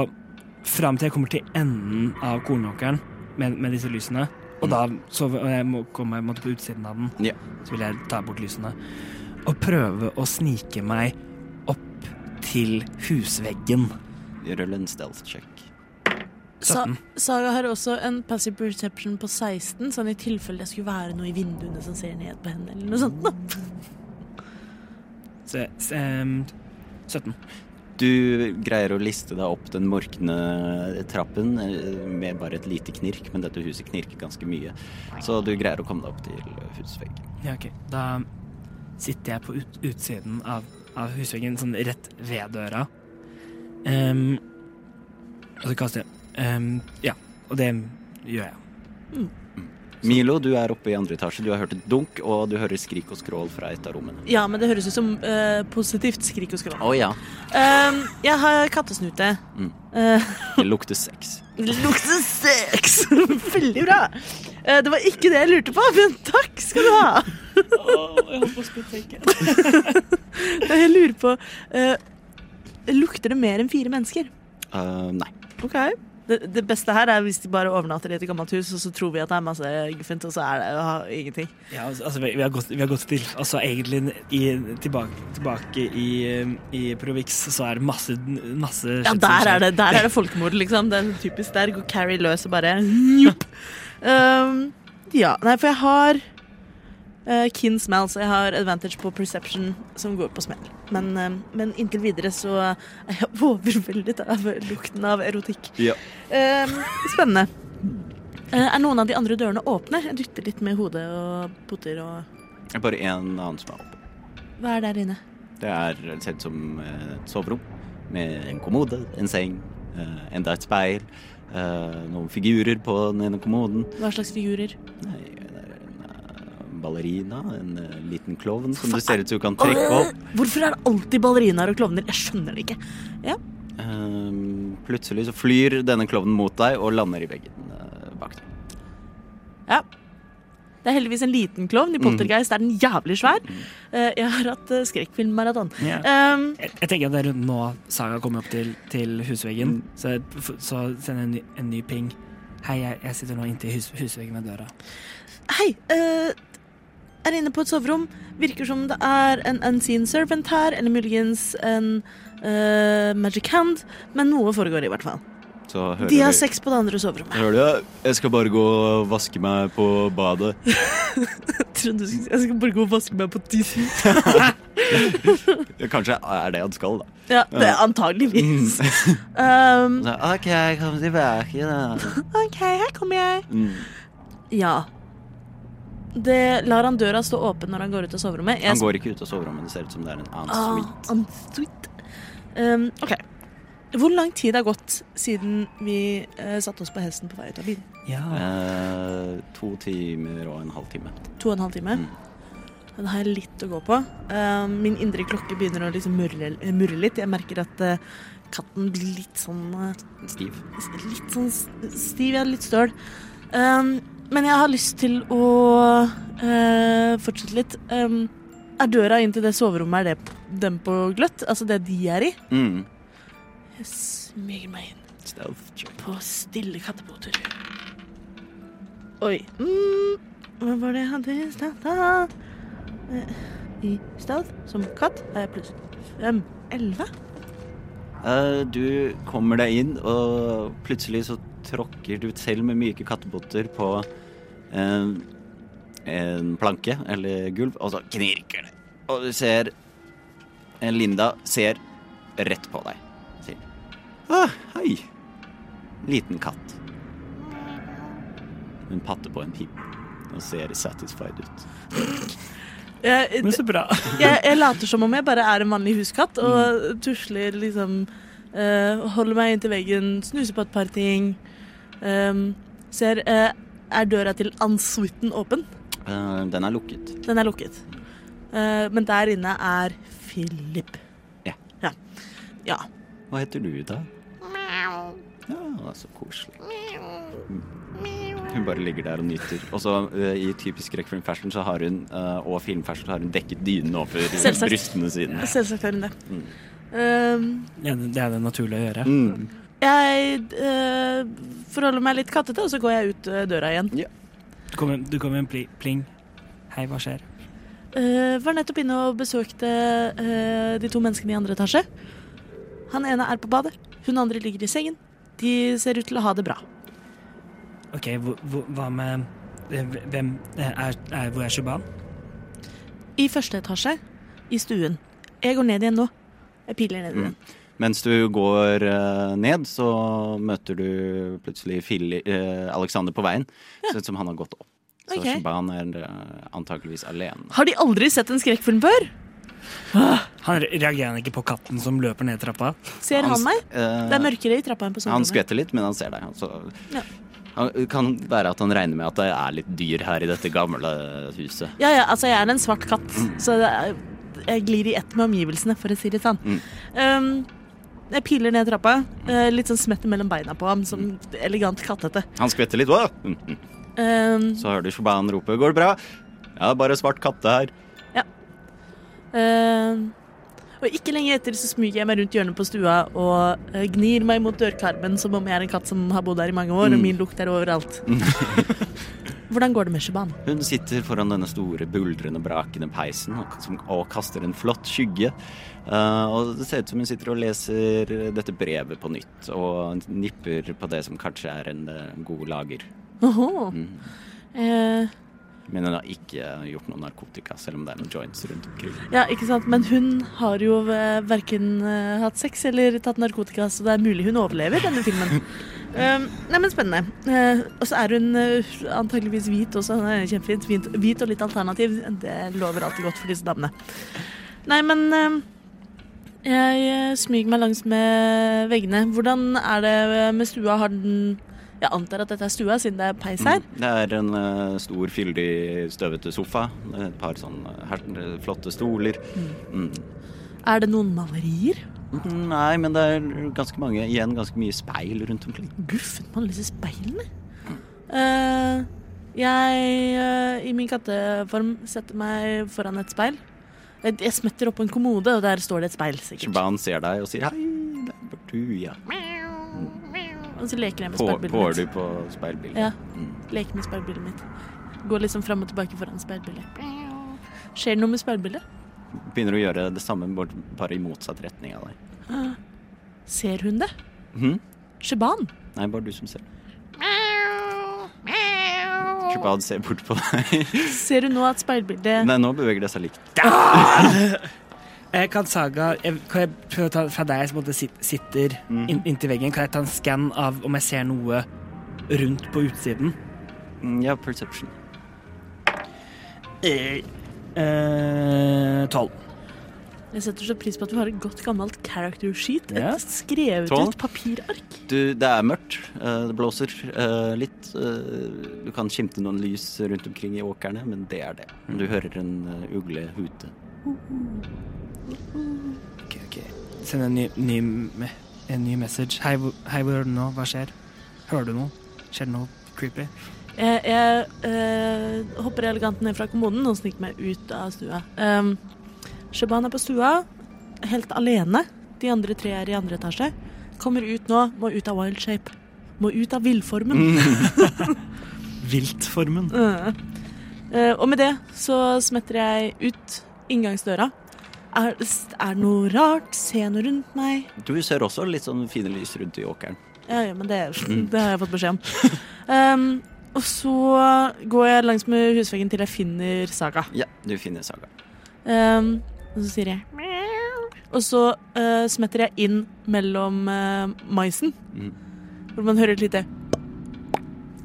fram til jeg kommer til enden av kornåkeren med, med disse lysene. Og da så og jeg må komme meg på en måte på utsiden av den.
Ja.
Så vil jeg ta bort lysene. Og prøve å snike meg opp til husveggen.
Rull en stealth check.
Sa
17.
Saga har også en passive perception på 16, sånn i tilfelle det skulle være noe i vinduene som ser ned på henne, eller noe sånt. Da.
Så, s- em, 17.
Du greier å liste deg opp den morkne trappen eh, med bare et lite knirk, men dette huset knirker ganske mye. Så du greier å komme deg opp til husveggen.
Ja, ok. Da sitter jeg på ut, utsiden av, av husveggen, sånn rett ved døra. Em, og så kaster jeg. Em, ja, og det gjør jeg.
Milo, du er oppe i andre etasje. Du har hørt et dunk, og du hører skrik og skrål fra et av rommene.
Ja, men det høres ut som eh, positivt skrik og skrål.
Å ja.
Um, jeg har kattesnute.
Mm.
Eh,
(laughs) Det lukter sex.
lukter sex! (laughs) Veldig bra. Eh, det var ikke det jeg lurte på, men takk skal du ha.
jeg holdt på å spytte.
(laughs) Det Jeg lurer på eh, Lukter det mer enn fire mennesker?
Eh, nei.
Ok. Det, det beste her er hvis de bare overnatter i et gammelt hus, og så tror vi at det er masse guffent, og så er det ja, ingenting.
Ja, altså, altså, vi, vi har gått, vi har gått til altså, Egentlig i, tilbake, tilbake i, em, i Provix så er det masse, masse
Ja,
shit som
der
skjer.
er det, der er det folkemord, liksom. Det er typisk der går Carrie løs og bare njup. um, Ja, nei, for jeg har uh, kin smell, så jeg har advantage på perception som går på smell. Men, um, men inntil videre så er jeg (laughs) overveldet av lukten av erotikk.
Ja.
Um, spennende. Uh, er noen av de andre dørene åpne? Jeg dytter litt med hodet og poter og
Det er bare en annen som er oppe.
Hva er der inne?
Det er sett som eh, et soverom med en kommode, en seng, eh, enda et speil, eh, noen figurer på den ene kommoden.
Hva slags figurer?
Nei, det er en eh, ballerina, en eh, liten klovn som du ser ut som du kan trekke opp.
Hvorfor er det alltid ballerinaer og klovner? Jeg skjønner det ikke. Ja.
Eh, Plutselig så flyr denne klovnen mot deg og lander i veggen eh, bak deg.
Ja. Det er heldigvis en liten klovn.
Mm.
I Poltergeist er den jævlig svær. Eh, Jeg har hatt eh, skrekkfilmmaraton.
Ja.
Um,
Jeg, jeg tenker at det er rundt nå Saga kommer opp til, til husveggen,
Mm.
så, f- så sender jeg en ny, en ny ping. Hei, jeg, jeg sitter nå inntil hus, husveggen ved døra.
Hei, eh, er inne på et soverom. Virker som det er en unseen servant her, eller muligens en eh, magic hand. Men noe foregår i hvert fall.
Så hører
De har
du-
sex på det andre soverommet.
Hører du? Jeg skal bare gå og vaske meg på badet.
Jeg trodde du skulle si, Jeg skal bare gå og vaske meg på tissen.
Kanskje er det han skal, da.
Ja, det er antageligvis.
Mm.
(laughs) Um,
Så, OK, kom tilbake, da.
OK, her kommer jeg.
Mm.
Ja. Det lar han døra stå åpen når han går ut av soverommet. Jeg
Han går ikke ut av soverommet. Det ser ut som det er en annen
Ah,
suite.
I'm sweet. Um, OK. Hvor lang tid har gått siden vi eh, satte oss på hesten på vei ut av bilen?
Ja.
Eh, to timer og en halv time.
To og en halv time?
Mm.
Da har jeg litt å gå på. Um, min indre klokke begynner å liksom murre, murre litt. Jeg merker at eh, katten blir litt sånn eh,
Stiv.
litt sånn stiv, jeg er litt støl. Um, men jeg har lyst til å eh, fortsette litt. Um, er døra inn til det soverommet, er det dem på gløtt? Altså det de er i?
Mm.
Jeg smyger meg inn
Stealth check.
på stille kattepoter. Oi. Mm, hva var det jeg hadde i stad? da? Eh, I stad, som katt, er jeg plutselig fem. Elleve?
Eh, du kommer deg inn, og plutselig så tråkker du selv med myke kattebotter på en, en planke eller gulv, og så knirker det. Og du ser eh, Linda ser rett på deg. Sier ah, Hei. Liten katt. Hun patter på en pip og ser satisfied ut.
Jeg,
Men så bra. Mm.
jeg, jeg later som om jeg bare er en vanlig huskatt og tusler liksom eh, eh, holder meg inntil veggen, snuser på et par ting. ehm, ser eh, Er døra til ansuiten åpen?
Eh, den er lukket.
Den er lukket. Eh, men der inne er Philip.
Ja.
Ja. ja.
Hva heter du, da? Ja, så koselig. Hun bare ligger der og nyter. Og så eh, i typisk Rec Film Fashion så har hun, eh, og filmfashion, så har hun dekket dynen over
Selvsagt.
brystene sine.
Selvsagt har hun det. Ehm,
(laughs) Ja, det er det naturlig å gjøre.
Mm.
jeg eh, forholder meg litt kattete, og så går jeg ut eh, døra igjen.
Du kommer du kommer med en pli- pling. Hei, hva skjer?
Eh, var nettopp inne og besøkte eh, de to menneskene i andre etasje. Han ene er på badet, hun andre ligger i sengen. De ser ut til å ha det bra.
OK, hvor- hvor- hva med eh, Hvem eh, er, er Hvor er Shuban?
I første etasje, i stuen. Jeg går ned igjen nå. Jeg piler ned igjen.
Mens du går eh, ned, så møter du plutselig Fili, eh, Alexander på veien. Ser ut som han har gått opp. Så
Ok.
Shaban er eh, antakeligvis alene.
Har de aldri sett en skrekkfilm før?
Han re- reagerer han ikke på katten som løper ned (laughs) trappa.
Ser han, meg?
eh,
Det er mørkere i trappa enn på
Han
soverommet.
skvetter litt, men han ser deg. Så
Ja.
han, det kan være at han regner med at det er litt dyr her i dette gamle huset.
Ja, ja, altså jeg er en svart katt, så det er, jeg glir i ett med omgivelsene, for å si det sånn. Um, jeg piler ned trappa, eh, litt sånn smetter mellom beina på ham, som elegant kattete.
Han skvetter litt. «Åh!» Mm, mm.
Um,
Så hører du Shaban rope 'går det bra'? Ja, bare svart katte her.
Eh, og ikke lenge etter så smyger jeg meg rundt hjørnet på stua og eh, gnir meg mot dørkarmen som om jeg er en katt som har bodd her i mange år, og min lukt er overalt. (laughs) Hvordan går det med Shaban?
Hun sitter foran denne store, buldrende, brakende peisen og, som, og kaster en flott skygge. Eh, og det ser ut som hun sitter og leser dette brevet på nytt og nipper på det som kanskje er en eh, god lager.
Åhå. Eh,
Men hun har ikke gjort noe narkotika, selv om det er noen joints rundt omkring.
ja, ikke sant, men hun har jo eh, verken eh, hatt sex eller tatt narkotika, så det er mulig hun overlever denne filmen. Eh, nei, men spennende. Eh, og så er hun eh, antageligvis hvit også. Hun er kjempefint. Hvit, hvit og litt alternativ. Det lover alltid godt for disse damene. Nei, men eh, jeg eh, smyger meg langs med veggene. Hvordan er det med stua? Har den Jeg antar at dette er stua, siden det er peis her.
Det er en eh, stor, fyldig, støvete sofa. Et par sånne her- eh, flotte stoler. Mm.
Er det noen malerier?
Mm, Nei, men det er ganske mange igjen, ganske mye speil rundt omkring.
Guffen på alle disse speilene. Eh, jeg, eh, i min katteform, setter meg foran et speil. Jeg, jeg smetter opp en kommode, og der står det et speil, sikkert.
Shaban ser deg og sier 'hei, det er Bertuia'.
Og så leker jeg med
Pår,
speilbildet
pår
mitt.
du på speilbildet?
Ja.
Mm.
Leke med speilbildet mitt. Gå liksom fram og tilbake foran speilbildet. Skjer det noe med speilbildet?
Begynner å gjøre det samme, bort- bare i motsatt retning av deg.
Ser hun det?
Mhm.
Shaban?
Nei, bare du som ser. Shaban ser bort på deg.
Ser hun nå at speilbildet
(laughs) Nei, nå beveger det seg likt.
Jeg Eh, kan Saga jeg, Kan jeg prøve å ta fra deg som på en måte sit- sitter inn, inntil veggen, kan jeg ta en skann av om jeg ser noe rundt på utsiden?
Mm, Ja, perception.
Eh, Tolv.
Jeg setter så pris på at vi har et godt gammelt character sheet. Et
Ja.
skrevet
Tolv.
ut papirark.
Du, det er mørkt. eh, Det blåser eh, litt. eh, Du kan skimte noen lys rundt omkring i åkrene, men det er det. Du hører en eh, ugle hute.
Ok, ok. Send en ny, ny, me- en ny message. Hei, hvor- hei, hvor er du nå? Hva skjer? Hører du noe? Skjer det noe creepy?
Jeg, jeg eh, hopper elegant ned fra kommoden og sniker meg ut av stua. Um, Shaban er på stua, helt alene. De andre tre er i andre etasje. Kommer ut nå, må ut av wild shape. Må ut av villformen.
Viltformen.
Eh, og med det så smetter jeg ut inngangsdøra. Er, s- er det noe rart? Se noe rundt meg?
Du ser også litt sånn fine lys rundt i åkeren.
Ja, ja, men det, det har jeg fått beskjed om. Ehm, og så går jeg langs med husveggen til jeg finner Saga.
Ja, du finner Saga.
Ehm, og så sier jeg «Mjau». Og så eh, smetter jeg inn mellom eh, maisen,
Mhm.
hvor man hører et lite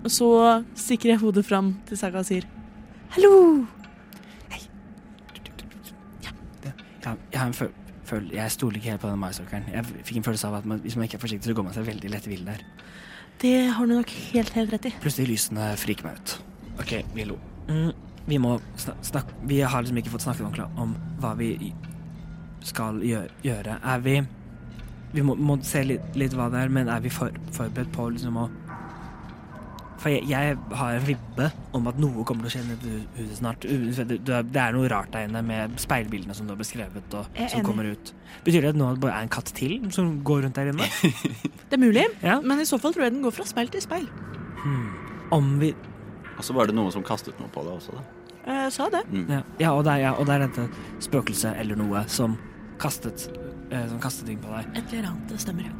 Og så stikker jeg hodet fram til Saga og sier Hallo!
Ja, jeg har en føl føler, jeg stoler ikke helt på den maisåkeren. Jeg fikk en følelse av at man, hvis man ikke er forsiktig, så går man seg veldig lett vill der.
Det har du nok helt, helt rett i.
Plutselig lysene friker meg ut. OK, vi lo. Mm, vi må snak- snakke Vi har liksom ikke fått snakket ordentlig om hva vi i- skal gjø- gjøre. Er vi Vi må, må se litt, litt hva det er, men er vi for, forberedt på liksom å For jeg, jeg har en vibbe om at noe kommer til å skje nede i huset snart. U- for Det, det er- det er noe rart der inne med speilbildene som du har beskrevet, og
Jeg er
som
enig.
kommer ut. Betyr det at nå bare er en katt til som går rundt der inne?
(laughs) Det er mulig,
Ja.
men i så fall tror jeg den går fra speil til speil.
Om vi
Og så var det noen som kastet noe på det også, da.
Eh, Jeg sa det.
Ja, ja, og, det er, ja og det er dette spøkelset eller noe som kastet, eh, som kastet ting på deg.
Et eller annet, det stemmer.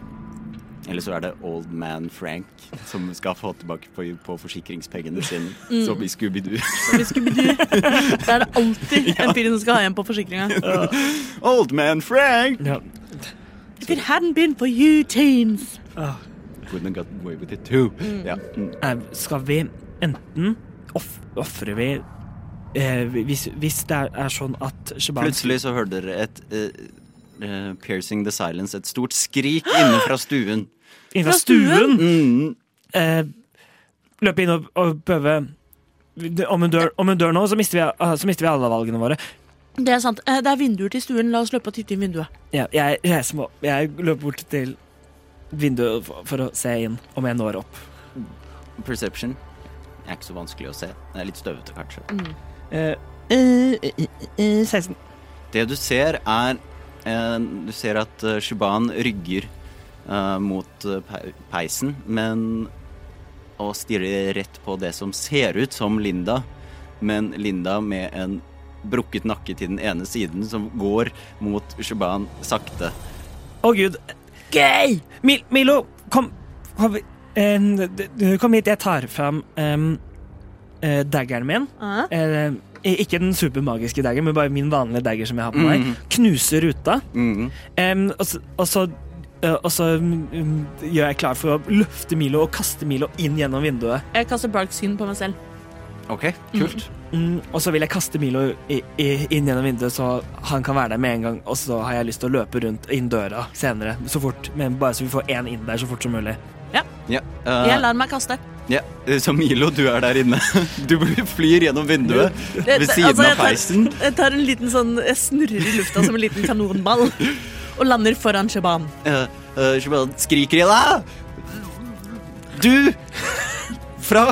Eller så er det Old Man Frank som skal få tilbake på, på forsikringspengene sine. Som i Scooby-Doo. (laughs)
(laughs) Det er det alltid en fyr som skal ha igjen på forsikringa.
Old Man Frank!
Ja.
If it hadn't been for you teens
Wouldn't have gotten away with it too. Ja. Mm.
Nei, Eh, skal vi enten off, Offrer vi eh, hvis, hvis det er, er sånn at Shaban
Plutselig så hørte dere et eh, eh, Piercing the Silence, et stort skrik inne fra stuen.
inn
Fra
fra stuen
Mm.
eh, løper inn og, og prøve om hun, dør, om hun dør nå, så mister, vi, ah, så mister vi alle valgene våre.
Det er sant. Eh, Det er vinduer til stuen. La oss løpe og titte inn vinduet.
Ja, jeg reiser meg opp. Jeg løper bort til vinduet for, for å se inn om jeg når opp.
Perception er ikke så vanskelig å se. Det er litt støvete, kanskje.
Eh, eh, eh, eh, 16.
Det du ser, er eh, Du ser at eh, Shuban rygger eh, mot eh, pe- peisen, men Og stirrer rett på det som ser ut som Linda, men Linda med en brukket nakke til den ene siden, som går mot Shuban sakte.
Å, gud. Gøy! Mil Milo, kom kom, eh, d- d- kom hit. Jeg tar fram em, eh, daggeren min.
Ah.
Eh, ikke den supermagiske daggeren, men bare min vanlige dagger som jeg har på meg. Knuser ruta.
Mhm.
Em, og så, og så eh, og så mm, gjør jeg klar for å løfte Milo og kaste Milo inn gjennom vinduet.
Jeg kaster bark syn på meg selv.
OK, kult.
Mm, og så vil jeg kaste Milo i, i, inn gjennom vinduet, så han kan være der med en gang. Og så har jeg lyst til å løpe rundt inn døra senere, så fort, men bare så vi får én inn der så fort som mulig.
Ja,
Jeg
eh,
lar meg kaste.
ja. eh, Så Milo, du er der inne. (laughs) Du flyr gjennom vinduet ved
Det-
siden
altså, jeg
av
tar-
peisen.
Jeg tar en liten sånn Jeg snurrer i lufta som en liten kanonball og lander foran Shaban.
Eh, eh, som bare skriker i deg. Du! Fra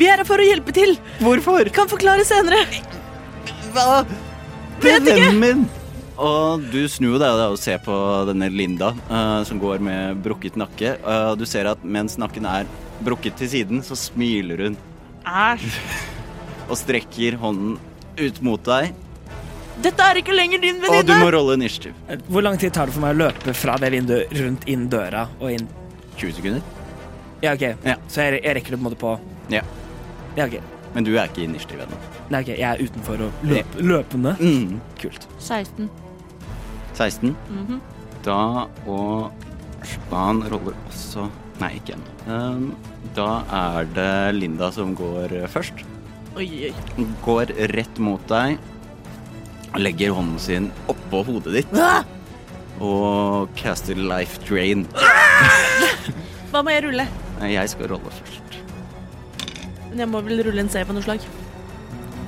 Vi er her for å hjelpe til!
Hvorfor?
Kan forklare senere.
Hva? Det
Vet
er vennen min! Og du snur deg da og ser på denne Linda, eh, som går med brukket nakke. Eh, du ser at mens nakken er brukket til siden, så smiler hun
Æsj.
og strekker hånden ut mot deg.
Dette er ikke lenger din
Og du må
venninne.
rolle initiativ.
Hvor lang tid tar det for meg å løpe fra det vinduet rundt inn døra og inn?
20 sekunder.
Ja, OK.
Ja.
Så jeg, jeg rekker det på en måte på
Ja.
Ja, OK.
Men du er ikke i initiativ ennå.
Nei, ok, Jeg er utenfor og løp, løpende.
Mm.
Kult.
16.
16. Da og Span roller også Nei, ikke ennå. Um, da er det Linda som går eh, først.
Oi, oi.
Hun Går rett mot deg. Legger hånden sin oppå hodet ditt
Ah!
og caster life drain.
Hva må jeg rulle?
Nei, Jeg skal rolle først.
Men Jeg må vel rulle en C på noe slag.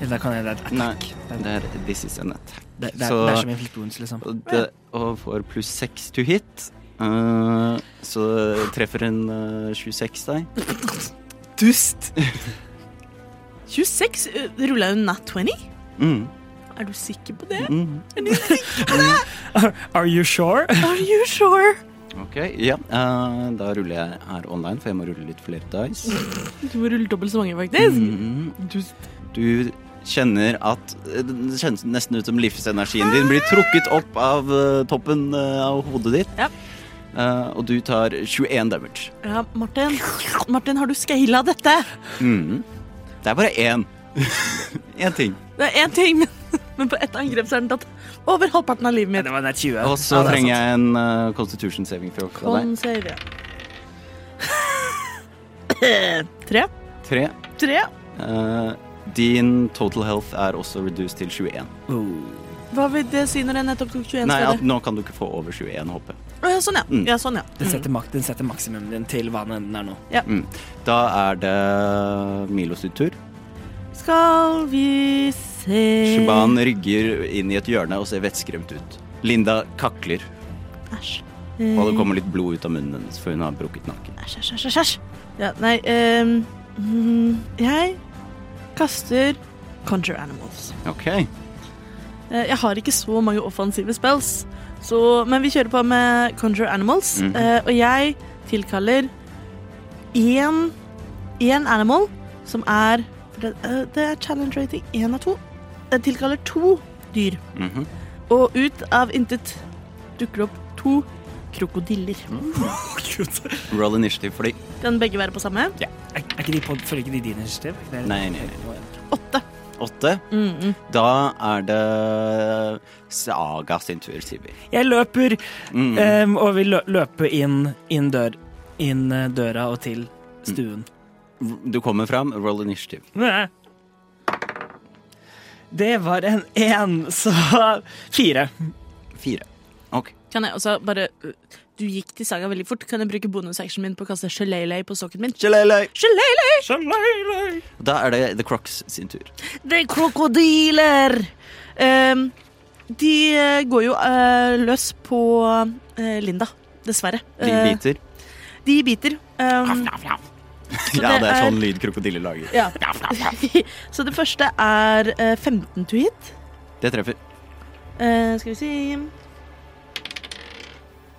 Da kan jeg, det, er-
Nei, det er This is an attack.
det, det, er-
Så-
det er som inflasjons, liksom.
Og, det, og får pluss 6 to hit. Eh, så treffer hun eh, 26 deg.
Dust!
26? Uh, Rulla hun nat 20?
Mm.
Er du sikker på det?
Mm.
Are you sure? (laughs)
Are you sure?
Ok, ja. Eh, da ruller jeg her online, for jeg må rulle litt flere dice.
Du må rulle dobbelt så mange, faktisk.
Mm. Du kjenner at eh, Det kjennes nesten ut som livsenergien din blir trukket opp av eh, toppen eh, av hodet ditt.
Ja.
Eh, og du tar 21 damage.
Ja, Martin. Martin, har du scala dette?
Mhm.
Mm. Det er bare
(laughs)
én. én ting.
Det er én ting, men, men på ett angrep så er den tatt over halvparten av livet
Ja,
mitt.
det var nær 20.
Og så
Ja, det er
trenger
sant.
jeg en eh, constitution saving throw fra deg.
Con save, ja. (coughs) Tre.
Tre.
Tre.
Eh, din total health er også reduced til 21.
Oh.
Hva vil det si når jeg nettopp tok 21
Nei, at
steder?
nå kan du ikke få over 21 hoppe.
Å, ja, sånn, ja.
Mm.
ja, sånn, ja.
Den setter, mak den setter maksimumen din til hva den enden er nå.
Mm. Da er det Milos sitt tur.
Skal vi se
Shuban rygger inn i et hjørne og ser vettskremt ut. Linda kakler,
Æsj.
og
Mhm.
det kommer litt blod ut av munnen hennes, for hun har brukket nakken.
Æsj, æsj, æsj, æsj, æsj. Ja, nei ehm, mm, Jeg kaster Conjure Animals.
OK.
Eh, Jeg har ikke så mange offensive spells, så, men vi kjører på med Conjure Animals.
Mhm.
eh, og jeg tilkaller én, én animal, som er for det, eh, det er challenge rating én av to. Jeg tilkaller to dyr,
Mhm.
og ut av intet dukker det opp to krokodiller.
(laughs) er,
Roll initiative for de.
Kan begge være på samme?
er ikke de på, følger ikke de din initiativ? Er ikke det-
Nei, nei, nei.
Åtte.
Åtte.
Mhm.
Da er det Saga sin tur, sier vi.
Jeg løper
Mm.
Eh.
em, og vil lø- løpe inn, inn, dør, inn eh, døra og til stuen.
Du kommer fram, roll initiative.
Nei. Det var en én, så fire.
Fire. OK.
Kan jeg også bare øh, Du gikk til saga veldig fort. Kan jeg bruke bonusactionen min på å kaste shalelei på sokken min?
Shalala.
Shalelei!
Da er det The Crocs sin tur.
Det er krokodiler! Ehm, de eh, går jo eh, løs på eh, Linda, dessverre.
De
Eh,
biter. Ah,
de biter. Ehm,
Ja, det er
er-
sånn lyd krokodiller lager.
ja. Så det første er eh, 15 to hit.
Det treffer.
Eh, skal vi si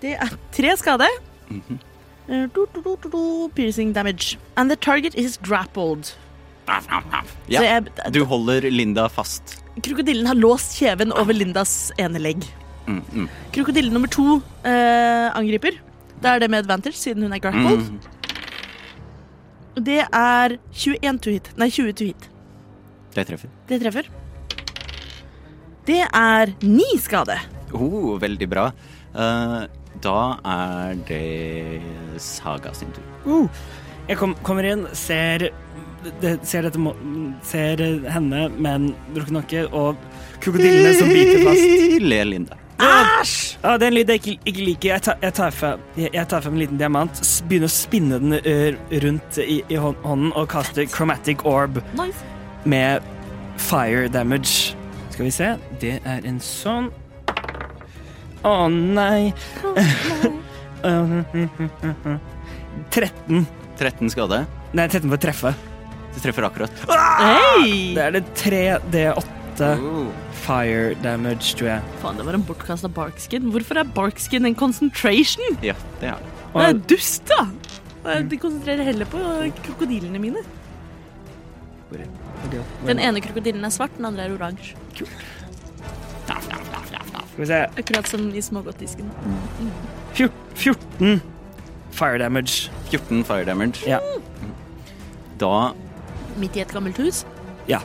Det er tre skade.
Mhm.
Eh, do, do, do, do, do, piercing damage. And the target is grappled. Så
Ja.
jeg,
Du holder Linda fast.
Krokodillen har låst kjeven over Lindas ene legg.
Mm, mm.
Krokodille nummer to eh, angriper. Da er det med advantage, siden hun er grappled.
Mm.
Og Det er 21 to hit. Nei, 20 to hit.
Det treffer.
Det treffer. Det er ni skade.
Oh, veldig bra. Eh, da er det Saga sin tur.
Uh. Jeg kom, kommer inn, ser, det, ser, dette, må- ser henne med en drukken nakke og krokodillene som biter
(laughs)
fast.
Le Linda.
Æsj! Ja, det er en lyd jeg ikke, ikke liker. Jeg tar, jeg, tar frem, jeg, jeg tar frem en liten diamant, s- begynner å spinne den ø, rundt i, i hå- hånden og kaster chromatic orb
Nice.
med fire damage. Skal vi se. Det er en sånn. Å nei. (laughs) Um, 13.
13 skade.
Nei, 13 for å treffe.
Det treffer akkurat.
Hey!
Det er det 3D8
Oh.
fire damage, tror jeg.
Faen, det var en bortkasta barkskin. Hvorfor er barkskin en concentration?
Ja, det er det.
Det er
Og,
dust, da. Eh, De konsentrerer heller på krokodillene mine. Den ene krokodillen er svart, den andre er oransje.
skal vi se
Akkurat som i smågodtdisken.
Fjor- 14 fire damage.
14 fire damage.
Ja.
Da
Midt i et gammelt hus.
ja.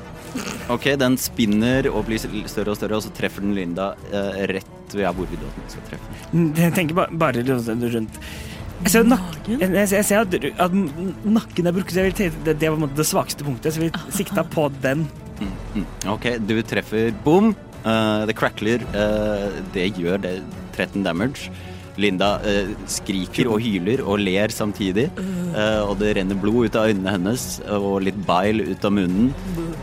Ok, den spinner og blir større og større, og så treffer den Linda eh, rett ved ja, hvor vi da skal treffe.
Jeg tenker ba bare sånn rundt jeg ser, jo nak
Magen?
jeg, jeg ser at, at nakken er brukket, så jeg vil tenke, det, det var på en måte det svakeste punktet, så vi sikta på den.
Mm. Ok, du treffer bom. eh, det crackler. eh, det gjør det 13 damage. Linda eh, skriker og hyler og ler samtidig. eh, og det renner blod ut av øynene hennes og litt beil ut av munnen.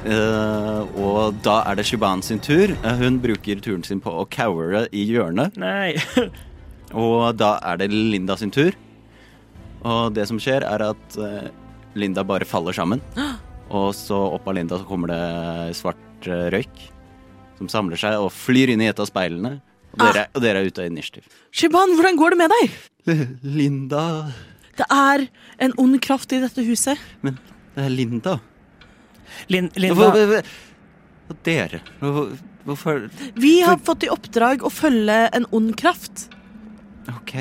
Eh, og da er det Shuban sin tur. Eh, hun bruker turen sin på å cowere i hjørnet.
Nei.
Og da er det Linda sin tur. Og det som skjer, er at eh, Linda bare faller sammen. Og så opp av Linda så kommer det svart eh, røyk som samler seg og flyr inn i et av speilene. Og dere, og dere er ute av initiativ.
Shiban, hvordan går det med deg?
(laughs) Linda
Det er en ond kraft i dette huset.
Men det er Linda.
(laughs) Lin,
Hvor-
Linda,
hvor- hvor- Og dere Hvor- Hvorfor
Vi har fått i oppdrag å følge en ond kraft.
OK.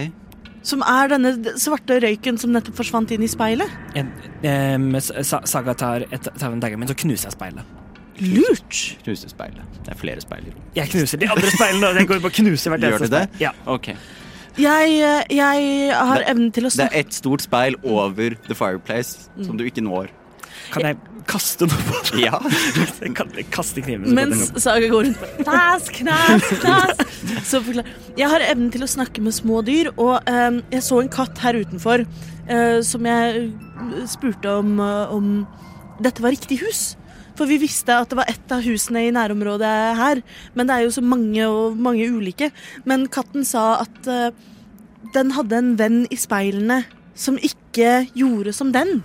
Som er denne d- svarte røyken som nettopp forsvant inn i speilet.
en, em, sa- Saga tar, et, tar en dagger min, så knuser jeg speilet.
Lurt!
Knuser speilet. Det er flere speil i rommet.
Jeg knuser de andre speilene, og jeg går på å knuse hvert
Gjør
eneste
du det?
speil. Ja.
OK.
Jeg, eh, jeg har
Det-
evnen til å
Det
snakke
er ett stort speil over The Fireplace som du ikke når.
Kan jeg kaste noe
(laughs)
på det?
Ja.
Jeg kan jeg kaster kniven. så
Mens Saga går rundt bare, Knas, knas, knas. Så forklar Jeg har evnen til å snakke med små dyr, og eh, jeg så en katt her utenfor eh, som jeg eh, spurte om, eh, om dette var riktig hus. For vi visste at det var ett av husene i nærområdet her, men det er jo så mange og mange ulike. Men katten sa at eh, den hadde en venn i speilene som ikke gjorde som den.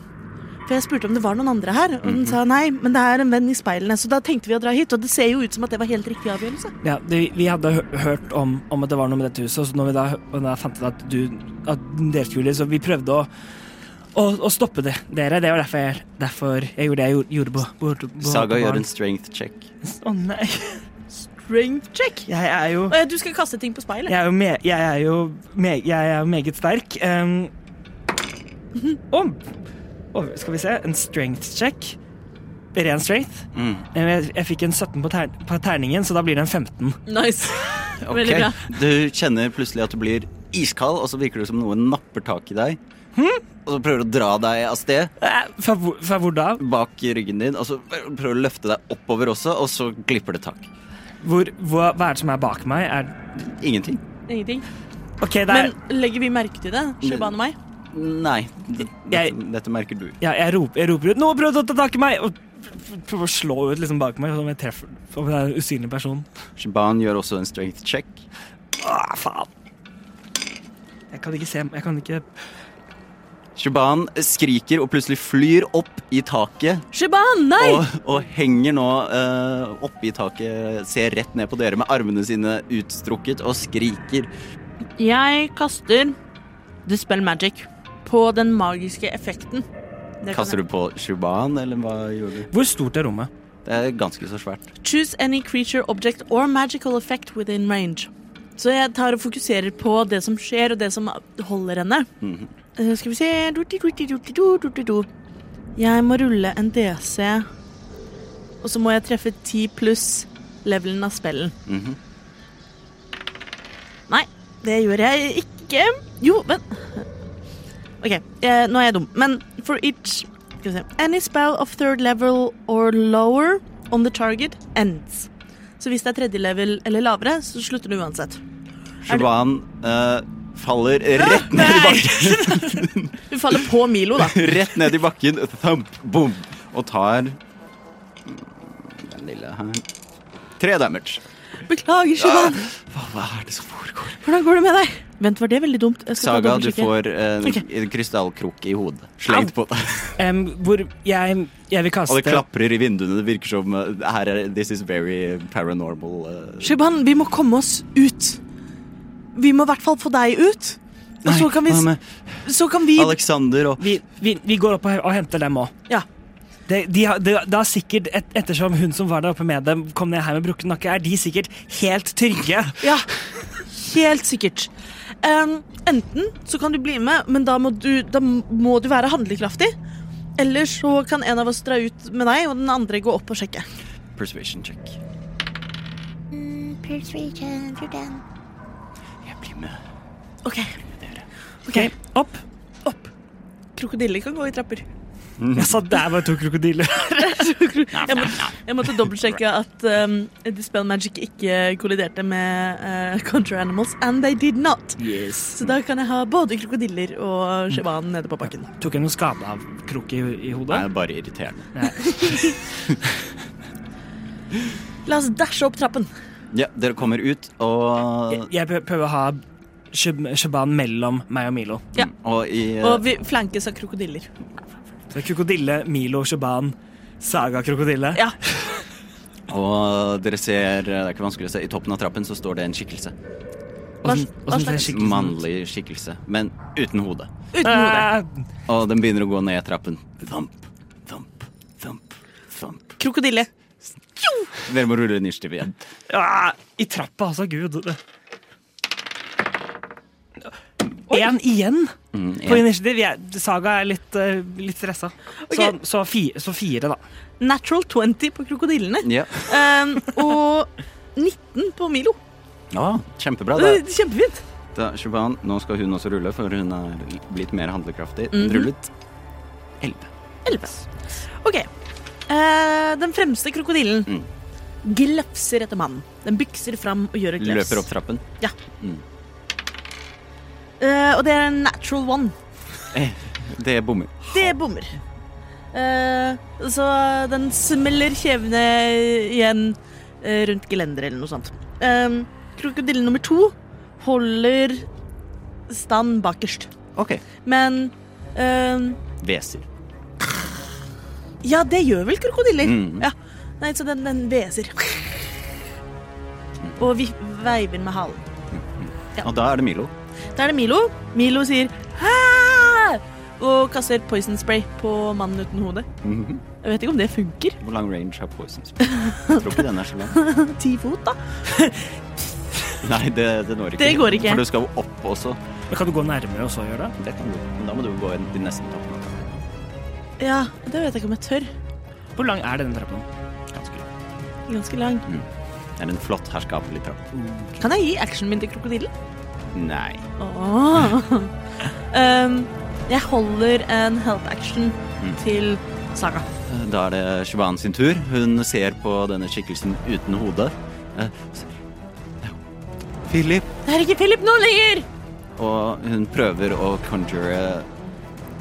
For jeg spurte om det var noen andre her, og
Mhm.
den sa nei, men det er en venn i speilene. Så da tenkte vi å dra hit, og det ser jo ut som at det var helt riktig avgjørelse.
Ja, det, vi hadde hø- hørt om, om at det var noe med dette huset, og så når vi da, og da fant ut at du at dere skulle, så vi prøvde å, å, å stoppe det, dere. Det var derfor jeg, derfor jeg gjorde det jeg gjorde- gjorde. På, på, på, på
Saga
på
gjør
barn.
en strength
(laughs)
check.
Å nei.
Strength check.
Jeg er jo
Og ja, du skal kaste ting på speilet.
Jeg er jo, me, jeg er jo, me, jeg er jo meget sterk. Um, om å, Skal vi se. En strength check. Ren strength.
Mm.
Jeg, jeg fikk en 17 på, ter, på terningen, så da blir det en 15.
(laughs) Nice. Veldig
Ok.
bra.
Du kjenner plutselig at du blir iskald, og så virker det som noe napper tak i deg.
Hm?
Og så prøver du å dra deg av sted
Eh, Fra, hvor- fra hvor da?
bak ryggen din, og så prøver du å løfte deg oppover også, og så glipper det tak.
Hvor, hva, hva er det som er bak meg? Er,
Ingenting.
Ingenting.
OK, det er
Men legger vi merke til det, Shabane og meg?
Nei. d-
Jeg-
Dette, dette merker du.
Ja, jeg roper, jeg roper ut 'Nå prøvde å ta tak i meg!' Og prøver å slå ut liksom bak meg, som om jeg treffer som om det er en usynlig person.
Shaban gjør også en strength check.
Åh, faen. Jeg kan ikke se Jeg kan ikke
Shaban skriker og plutselig flyr opp i taket
Shaban, nei!
og, og henger nå eh, oppe i taket, ser rett ned på dere med armene sine utstrukket og skriker.
Jeg kaster Dispel Magic på den magiske effekten. Det kan
Kaster du på Shaban, eller hva gjorde du?
Hvor stort er rommet?
Det er ganske så svært.
jeg. Choose any creature, object or magical effect within range. Så jeg tar og fokuserer på det som skjer, og det som holder henne. Eh, Skal vi se Du-du-du-du-du-du-du-du-du. Jeg må rulle en DC, og så må jeg treffe 10 pluss levelen av spellen.
Mhm.
Nei, det gjør jeg ikke. Jo, men OK, eh, nå er jeg dum. Men for each skal vi se. Any spell of third level or lower on the target ends. Så hvis det er tredje level eller lavere, så slutter du uansett.
Shaban eh, faller rett ned i (laughs) bakken.
Du faller på Milo, da.
Rett ned i bakken. Thump, boom. Og tar mm, den lille her. Tre damage.
(laughs) Beklager, Shivan.
Hva, hva er det som foregår?
Hvordan går det med deg? Vent, var det veldig dumt? Jeg skal ta
Saga, du
dobbeltsjekke.
får eh, en
Ok.
en krystallkrok i hodet. Slengt på deg. (laughs)
Em, hvor jeg, jeg vil kaste
Og det klaprer i vinduene. Det virker som eh, her er, This is very paranormal. eh.
Shiban, vi må komme oss ut. Vi må i hvert fall få deg ut. Og så kan vi,
hva med
så kan vi
Alexander og
vi, vi, vi går opp og, og henter dem òg.
Ja.
Det de, har- det- det har sikkert, et, Ettersom hun som var der oppe med dem, kom ned her med brukken nakke, er de sikkert helt trygge.
(laughs)
ja. Helt sikkert. Ehm, enten så kan du bli med, men da må du, da må du være handlekraftig. Eller så kan en av oss dra ut med deg, og den andre gå opp og sjekke.
Persuasion check.
Mm, Persuasion 14.
Jeg blir med.
OK.
Ok, Opp.
Opp. Krokodiller kan gå i trapper.
Jeg sa der var to krokodiller.
Jeg, må, jeg måtte dobbeltsjekke at um, Dispel Magic ikke kolliderte med uh, Contra Animals, and they did not. Så da kan jeg ha både krokodiller og sjivanen nede på bakken.
Tok jeg noe skade av krok i, i
Det
hodet?
er bare irriterende.
La oss dashe opp trappen.
Ja, dere kommer ut,
Jeg,
og,
jeg prø- prøver å ha Shab- Shaban mellom meg og Milo.
og i eh,
Og vi flankes av krokodiller.
Så krokodille, Milo, Shaban, Saga krokodille.
Ja,
Og dere ser, eh, det er ikke vanskelig å se, i toppen av trappen så står det en skikkelse.
hva,
Åssen-
hva
åssen ser
slags
skikkelsen ut?
Mannlig skikkelse, men uten hode.
Uten hode.
(laughs) Eh,
Og den begynner å gå ned trappen. Thump, thump, thump, thump.
Krokodille.
Dere må rulle initiativ igjen.
ah, I trappa, altså. Gud. Én igjen
Mm,
på
en.
initiativ. Jeg, saga er litt, eh, litt stressa. Så,
Ok.
så, fi, så fire, da.
Natural 20 på krokodillene.
Ja.
Um, og 19 på Milo.
ja, kjempebra. Da,
Det er Kjempefint.
da, Shuban, nå skal hun også rulle, for hun er blitt mer handlekraftig. Hun
Mhm.
rullet 11.
Elleve. OK. Eh, den fremste krokodillen
Mm.
glefser etter mannen. Den bykser fram og gjør et glefs.
Løper opp trappen.
Eh, og det er en natural one.
Det bommer.
Det bommer. Eh, så den smeller kjevene igjen eh, rundt gelenderet eller noe sånt. Eh, krokodille nummer to holder stand bakerst.
OK.
Men eh,
Hveser.
Ja, det gjør vel krokodiller.
Mm.
Ja. Nei, så den, den hveser. Og vi veiver med halen. Ja.
Og da er det Milo.
Da er det Milo. Milo sier Hæ! og kaster poison spray på mannen uten hode.
Mhm.
Jeg vet ikke om det funker.
Hvor lang range har poison spray? Jeg tror ikke den er så
(laughs)
lang.
Ti fot, da.
Nei, det, det når ikke.
Det går ikke.
For du skal jo opp også.
Men Kan du gå nærmere og så gjøre det?
Det kan du. Men da må du gå inn til nesten toppen.
Ja, det vet jeg ikke om jeg tør.
Hvor lang er denne trappen?
Ganske lang.
Ganske lang.
Det er en flott herskapelig trapp.
Kan jeg gi actionen min til krokodillen?
Nei.
Åh. (laughs) um, jeg holder en health action
Mm.
til Saga.
Da er det Shivan sin tur. Hun ser på denne skikkelsen uten hode. Eh, s- Philip.
Det er ikke Philip nå lenger!
Og hun prøver å conjure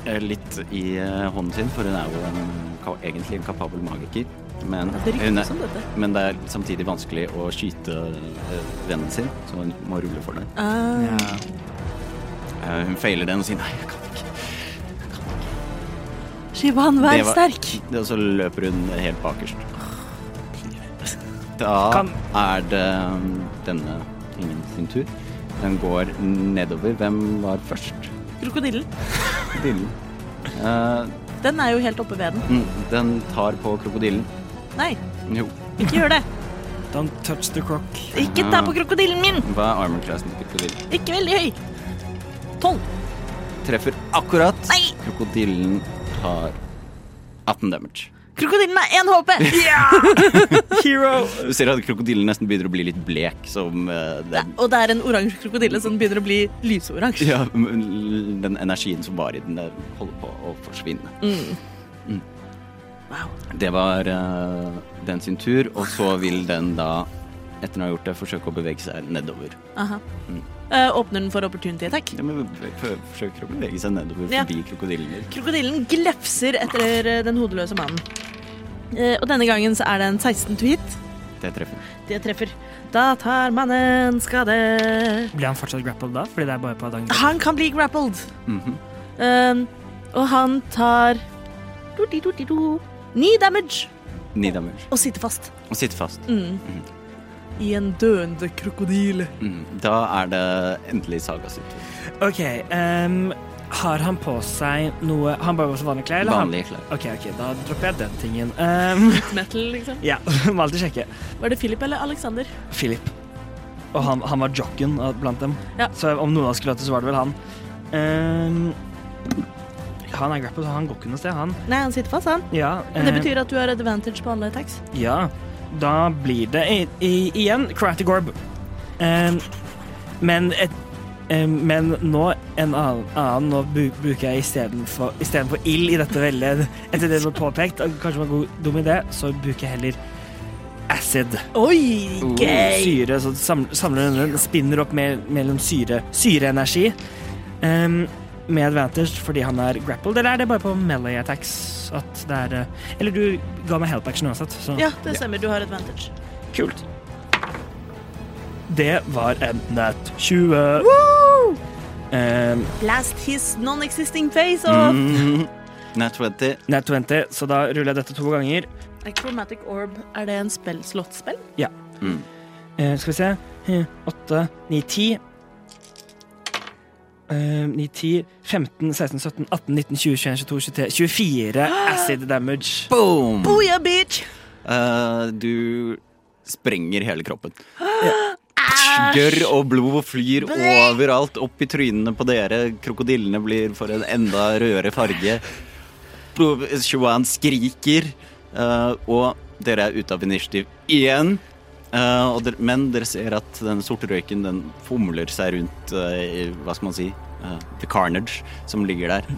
eh, litt i eh, hånden sin, for hun er jo en, ka- egentlig en kapabel magiker. Men,
Altså, Det er
hun
riktig som dette.
men det er samtidig vanskelig å skyte eh, vennen sin, så hun må rulle for det.
Ah.
Eh, Hun feiler den og sier nei, jeg kan ikke.
Shivan, vær
Det var-
sterk.
Og så løper hun helt bakerst. Da
Kan-
er det mm, denne ingen sin tur. Den går nedover. Hvem var først?
Krokodillen.
Dillen. Eh,
Den er jo helt oppe ved den.
mm, den tar på krokodillen.
Nei,
Jo.
ikke gjør det.
Don't touch the crock.
Ikke ta
Ah.
på krokodillen min!
Hva er armor classen til krokodillen?
Ikke veldig høy. Tolv.
Treffer akkurat.
Nei!
Krokodillen tar 18 damage.
Krokodillen er én
(laughs)
HP!
Hero!
Du ser at krokodillen nesten begynner å bli litt blek som eh, den,
Og det er en oransje krokodille som begynner å bli lyseoransje.
(laughs) ja, men den energien som var i den, der holder på å forsvinne. Mm.
Wow.
Det var eh, den sin tur, og så vil den da, etter å ha gjort det, forsøke å bevege seg nedover.
Aha.
Mm.
Eh, åpner den for opportunity attack?
Ja, men be- be- forsøker å bevege seg nedover
Ja.
forbi krokodillen.
Krokodillen glefser etter eh, den hodeløse mannen. Eh, og denne gangen så er det en 16 to hit.
Det treffer.
Det treffer. Da tar mannen skade.
Blir han fortsatt grappled da? Fordi det er bare på dagen.
Han kan bli grappled.
Mhm.
Um, og han tar do-di-do-di-do. Ni damage
Ni damage.
og sitter fast Mm.
Og sitter fast.
i en døende krokodil.
Mm. Da er det endelig Saga sin tur.
OK. ehm, har han på seg noe Han bare går som vanlige klær? eller han-
Vanlige klær.
OK, ok, da dropper jeg den tingen. Ehm,
Metal, liksom.
(laughs) ja, (laughs) må alltid sjekke.
Var det Philip eller Alexander?
Philip. Og han, han var jocken av- blant dem.
Ja.
Så om noen av oss skulle hatt det, så var det vel han. Ehm, han er grappled, så han går ikke noe sted, han.
Nei, han sitter fast, han.
Ja,
Men det
eh,
betyr at du har advantage på alle attacks.
Ja, da blir det i, i, igjen Kratigorb. Um, men, et, em, men nå en annen, annen Nå bu, bruker jeg istedenfor istedenfor ild i dette veldig Etter det som er påpekt, at kanskje var en god, dum idé, så bruker jeg heller acid. Uh,
Oi, gøy!
Syre, så samler, samler den rundt, spinner opp mer, mellom syre syreenergi. Um, med advantage fordi han er grappled, eller er det bare på melee attacks? At det er, eh, eller du ga meg help action uansett, så
Ja, det stemmer. Du har advantage.
Kult. Det var en nett 20. Um,
Blast his non-existing face off.
Mm. Nat 20.
nett 20, så da ruller jeg dette to ganger.
Achromatic orb, er det en spell, slottspell?
Mm.
Eh, skal vi se. Eh, Åtte, ni, ti. Eh, ni, ti, 15, 16, 17, 18, 19, 20, 21, 22, 23, 24 acid damage.
Boom!
Booyah, Oh, bitch!
Eh, du sprenger hele kroppen. Gørr og blod flyr overalt, opp i trynene på dere. Krokodillene blir for en enda rødere farge. Shuan skriker, eh, og dere er ute av initiativ igjen. Eh, og dere, men dere ser at den sorte røyken den fomler seg rundt eh, i, hva skal man si, eh, the carnage som ligger der.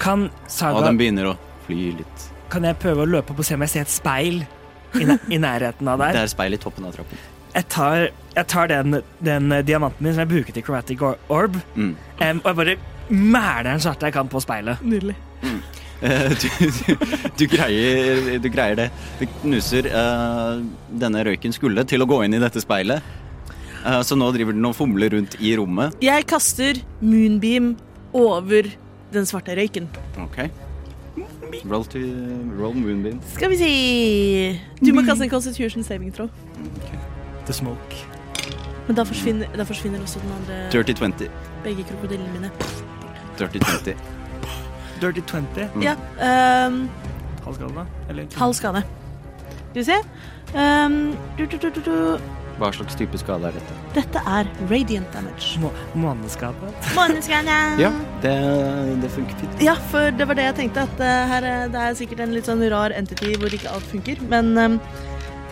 Kan
Og
Saga
den begynner å fly litt
Kan jeg prøve å løpe opp og se om jeg ser et speil i, næ- i
(laughs)
nærheten av
Det
der?
er speil i toppen av trappen.
Jeg tar, jeg tar den, den diamanten min som jeg bruker til Chromatic Or- Orb,
Mm.
em, og jeg bare mæler den så hardt jeg kan på speilet.
Nydelig.
Eh, Du, du, du, greier, du greier det. Du knuser eh, denne røyken skulle til å gå inn i dette speilet. Eh, så nå driver den og fomler rundt i rommet.
Jeg kaster moonbeam over den svarte røyken.
Ok. Roll, to, roll moonbeam.
Skal vi si Du må kaste en Constitution saving throw.
The smoke.
Men da forsvinner, da forsvinner også den andre
Dirty 20.
begge krokodillene mine.
Dirty 20.
Dirty 20.
Mm.
Ja, ehm,
Halvskala, eller?
halv skade. Skal vi se. Ehm, du, du, du, du, du.
Hva slags type skade er dette?
Dette er radiant
(laughs)
damage.
Må- (laughs) Måneskade.
Måneskana.
Ja, det, det funker fint.
Ja, for det var det jeg tenkte. At eh, her, er- det er sikkert en litt sånn rar entity hvor ikke alt funker. Men ehm,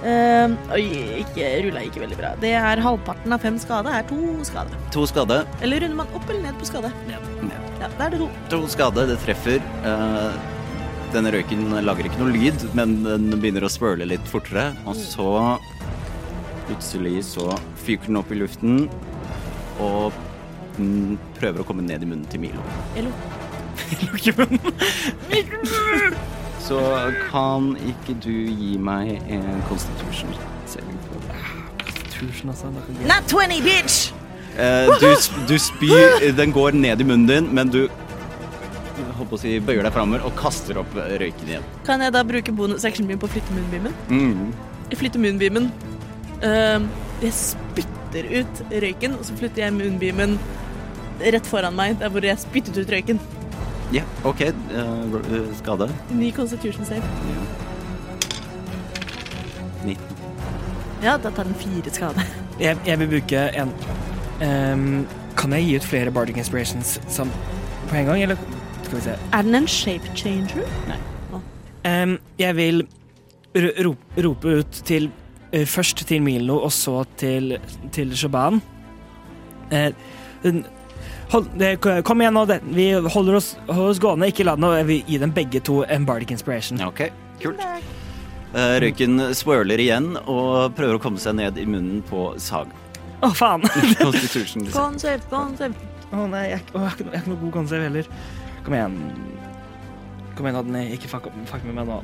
ehm, Oi, ikke, rulla ikke veldig bra. Det er halvparten av fem skade. Er to skade.
To skade.
Eller runder man opp eller ned på skade? Ja, da er det to.
To skade, det treffer. Eh, denne røyken lager ikke noe lyd, men den begynner å svøle litt fortere. Og så plutselig så fyker den opp i luften og den prøver å komme ned i munnen til Milo.
Elo.
Så kan ikke du gi meg en constitution saving throw?
Tusen, altså. det er ikke greit.
Not 20, bitch!
Eh, du, sp- du spyr, den går ned i munnen din, men du jeg holdt på å si, bøyer deg framover og kaster opp røyken igjen.
Kan jeg da bruke bonus-actionen min på å flytte munnbimen?
Mm.
Jeg flytter munnbimen. Ehm, jeg spytter ut røyken, og så flytter jeg munnbimen rett foran meg, der hvor jeg spyttet ut røyken.
Ja, OK. eh, ro- eh, skade.
Ny Constitution save.
Ja. 19.
Ja, da tar den fire skade.
Jeg, jeg vil bruke en Ehm, Kan jeg gi ut flere Bardic Inspirations sam- på en gang, eller skal vi se
Er den en shape changer?
Ehm, Jeg vil ro- rope, rope ut til eh, Først til Milo, og så til, til Shaban. Eh, hun- hold, eh, k- kom igjen nå, det. vi holder oss, holder oss gående, ikke la den og Jeg vil gi dem begge to en Bardic Inspiration.
OK, kult. Eh, Røyken swirler igjen og prøver å komme seg ned i munnen på Sag.
Å, faen!
Constitution. liksom.
Concept, concept.
Å nei, jeg, å, jeg, har ikke noe- jeg har ikke noe god konsept heller. Kom igjen. Kom igjen, Adney. Ikke fuck, opp- fuck med meg nå.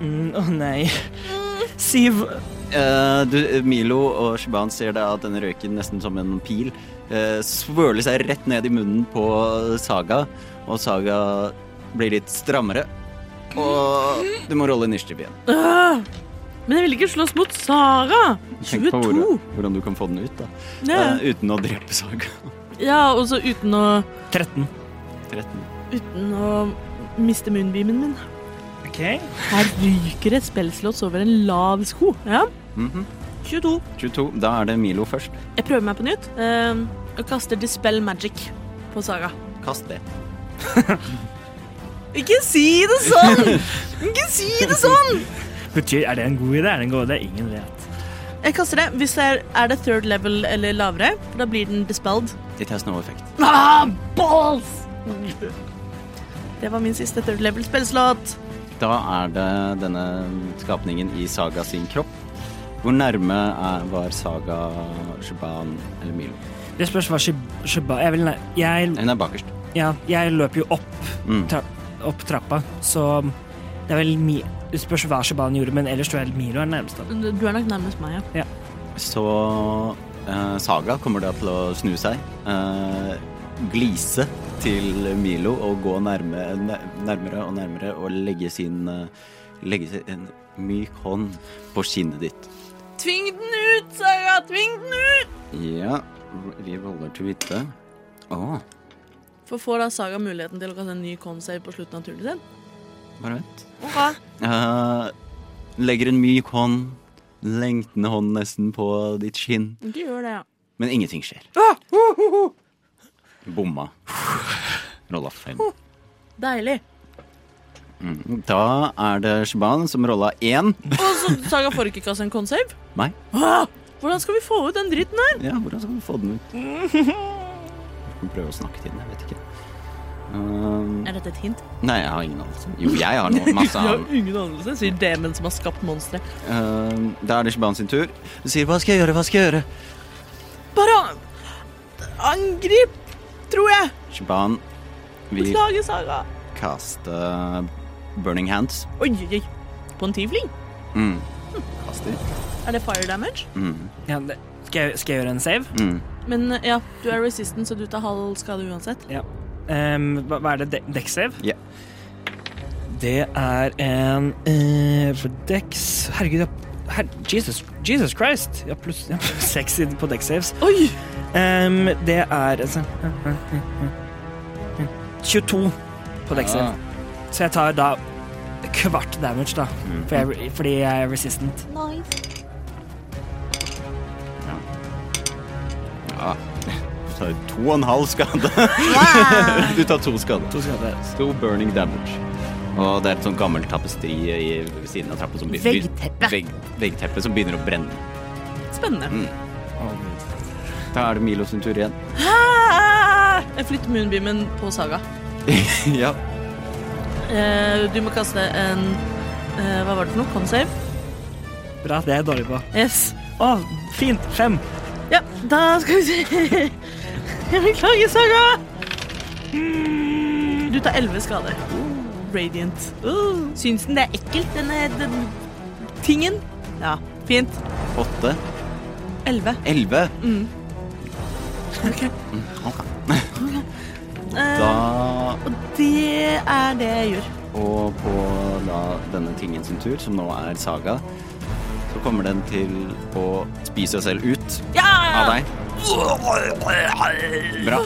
Mm, Å nei. Siv.
Eh, du, Milo og Shaban ser da at denne røyken nesten som en pil uh, swirler seg rett ned i munnen på Saga, og Saga blir litt strammere. Og du må rolle initiativ igjen.
Øh! Men jeg vil ikke slåss mot Sara!
Tenk på
22!
hvordan, hvordan du kan få den ut, da.
Ja,
Eh, uten å drepe Saga. (laughs)
ja og så uten å
13.
13.
Uten å miste munnbimen min.
OK.
Her ryker et spellslott over en lav sko. Ja.
Mhm.
22.
22. Da er det Milo først.
Jeg prøver meg på nytt ehm, og kaster Dispel Magic på Saga.
Kast det.
Ikke si det
(laughs)
sånn! Ikke si det sånn!
Betyr, er det en god idé? Er det en god idé? Ingen vet.
Jeg kaster det. Hvis det er, er det third level eller lavere, for da blir den dispelled.
It has no effect.
Ah, balls! Det var min siste third level spellslott.
Da er det denne skapningen i Saga sin kropp. Hvor nærme er, var Saga Shaban eller Milo?
Det spørs hva Shib- Shibba Jeg vil nei, jeg,
Hun er bakerst.
ja, jeg løper jo opp,
Mm.
tra, opp trappa, så det er vel mi, Det spørs hva Shiban gjorde, men ellers tror jeg Milo er nærmest. da.
Du er nok nærmest meg, ja.
Så eh, Saga kommer da til å snu seg, eh, glise til Milo og gå nærme, nær- nærmere og nærmere og legge sin eh, Legge sin, en myk hånd på skinnet ditt.
Tving den ut, Saga! Tving den ut!
Ja, vi roller til hvite. Å,
For får da Saga muligheten til å kaste en ny consave på slutten av turen sin?
bare vent.
Okay.
Eh, legger en myk hånd, lengtende hånd nesten på ditt skinn,
Ikke gjør det, ja.
men ingenting skjer. Bomma. Rolla fem.
Deilig.
Mm. Da er det Shaban som rolla én.
Og så Saga får ikke kaste en consave?
Nei.
Ah, hvordan skal vi få ut den dritten her?
Ja, hvordan skal du få den ut? Du kan prøve å snakke til den, jeg vet ikke. Um,
Er dette et hint?
nei, jeg har ingen anelse. Jo, jeg har noe,
Du (laughs)
masse
har
annet.
ingen anelse, sier demon som har skapt monsteret.
Um, da er det Shaban sin tur. Hun sier 'hva skal jeg gjøre', hva skal jeg gjøre?
Bare angrip, tror jeg.
Shaban vil
Beklager, Saga.
kaste burning hands.
Oi, oi, oi. På en tiefling?
Mm. Kaster.
Er det fire damage?
Mm.
Ja, det, skal, jeg, skal jeg gjøre en save?
Mm.
Men eh, ja, du er resistant, så du tar halv skade uansett.
Ja. Ehm, hva, hva er det? De- Dex save?
Ja.
Det er en eh, For Dex Herregud, jeg- her, Jesus, Jesus Christ! Jeg har pluss jeg har pluss seks i- på Dex saves.
Oi!
Ehm, det er altså, 22 på Dex save.
Ah.
Så jeg tar da kvart damage, da. For jeg, fordi jeg er resistant.
Nice.
Ja. Du tar to og en halv skade. (laughs) du tar to skade.
To skader.
Stor burning damage. Og det er et sånt gammelt tapestri i- ved siden av trappa som be-
Veggteppe.
Vegg, veggteppe som begynner å brenne.
Spennende.
Mm. Da er det Milo sin tur igjen.
Ah! Jeg flytter moonbeamen på Saga.
(laughs) ja.
Eh, du må kaste en eh, Hva var det for noe? Consave?
Bra. Det er jeg dårlig på.
Yes.
Å, fint! Fem.
Ja, da skal vi se (laughs) Jeg beklager, Saga. Du tar elleve skader. Radiant. Syns den det er ekkelt, denne den tingen? Ja, fint.
Åtte.
Elleve.
Elleve.
Okay.
Mm, Ok.
Eh,
Da
og det er det jeg gjør.
Og på da denne tingen sin tur, som nå er Saga, så kommer den til å spise seg selv ut
Ja!
av deg. Bra.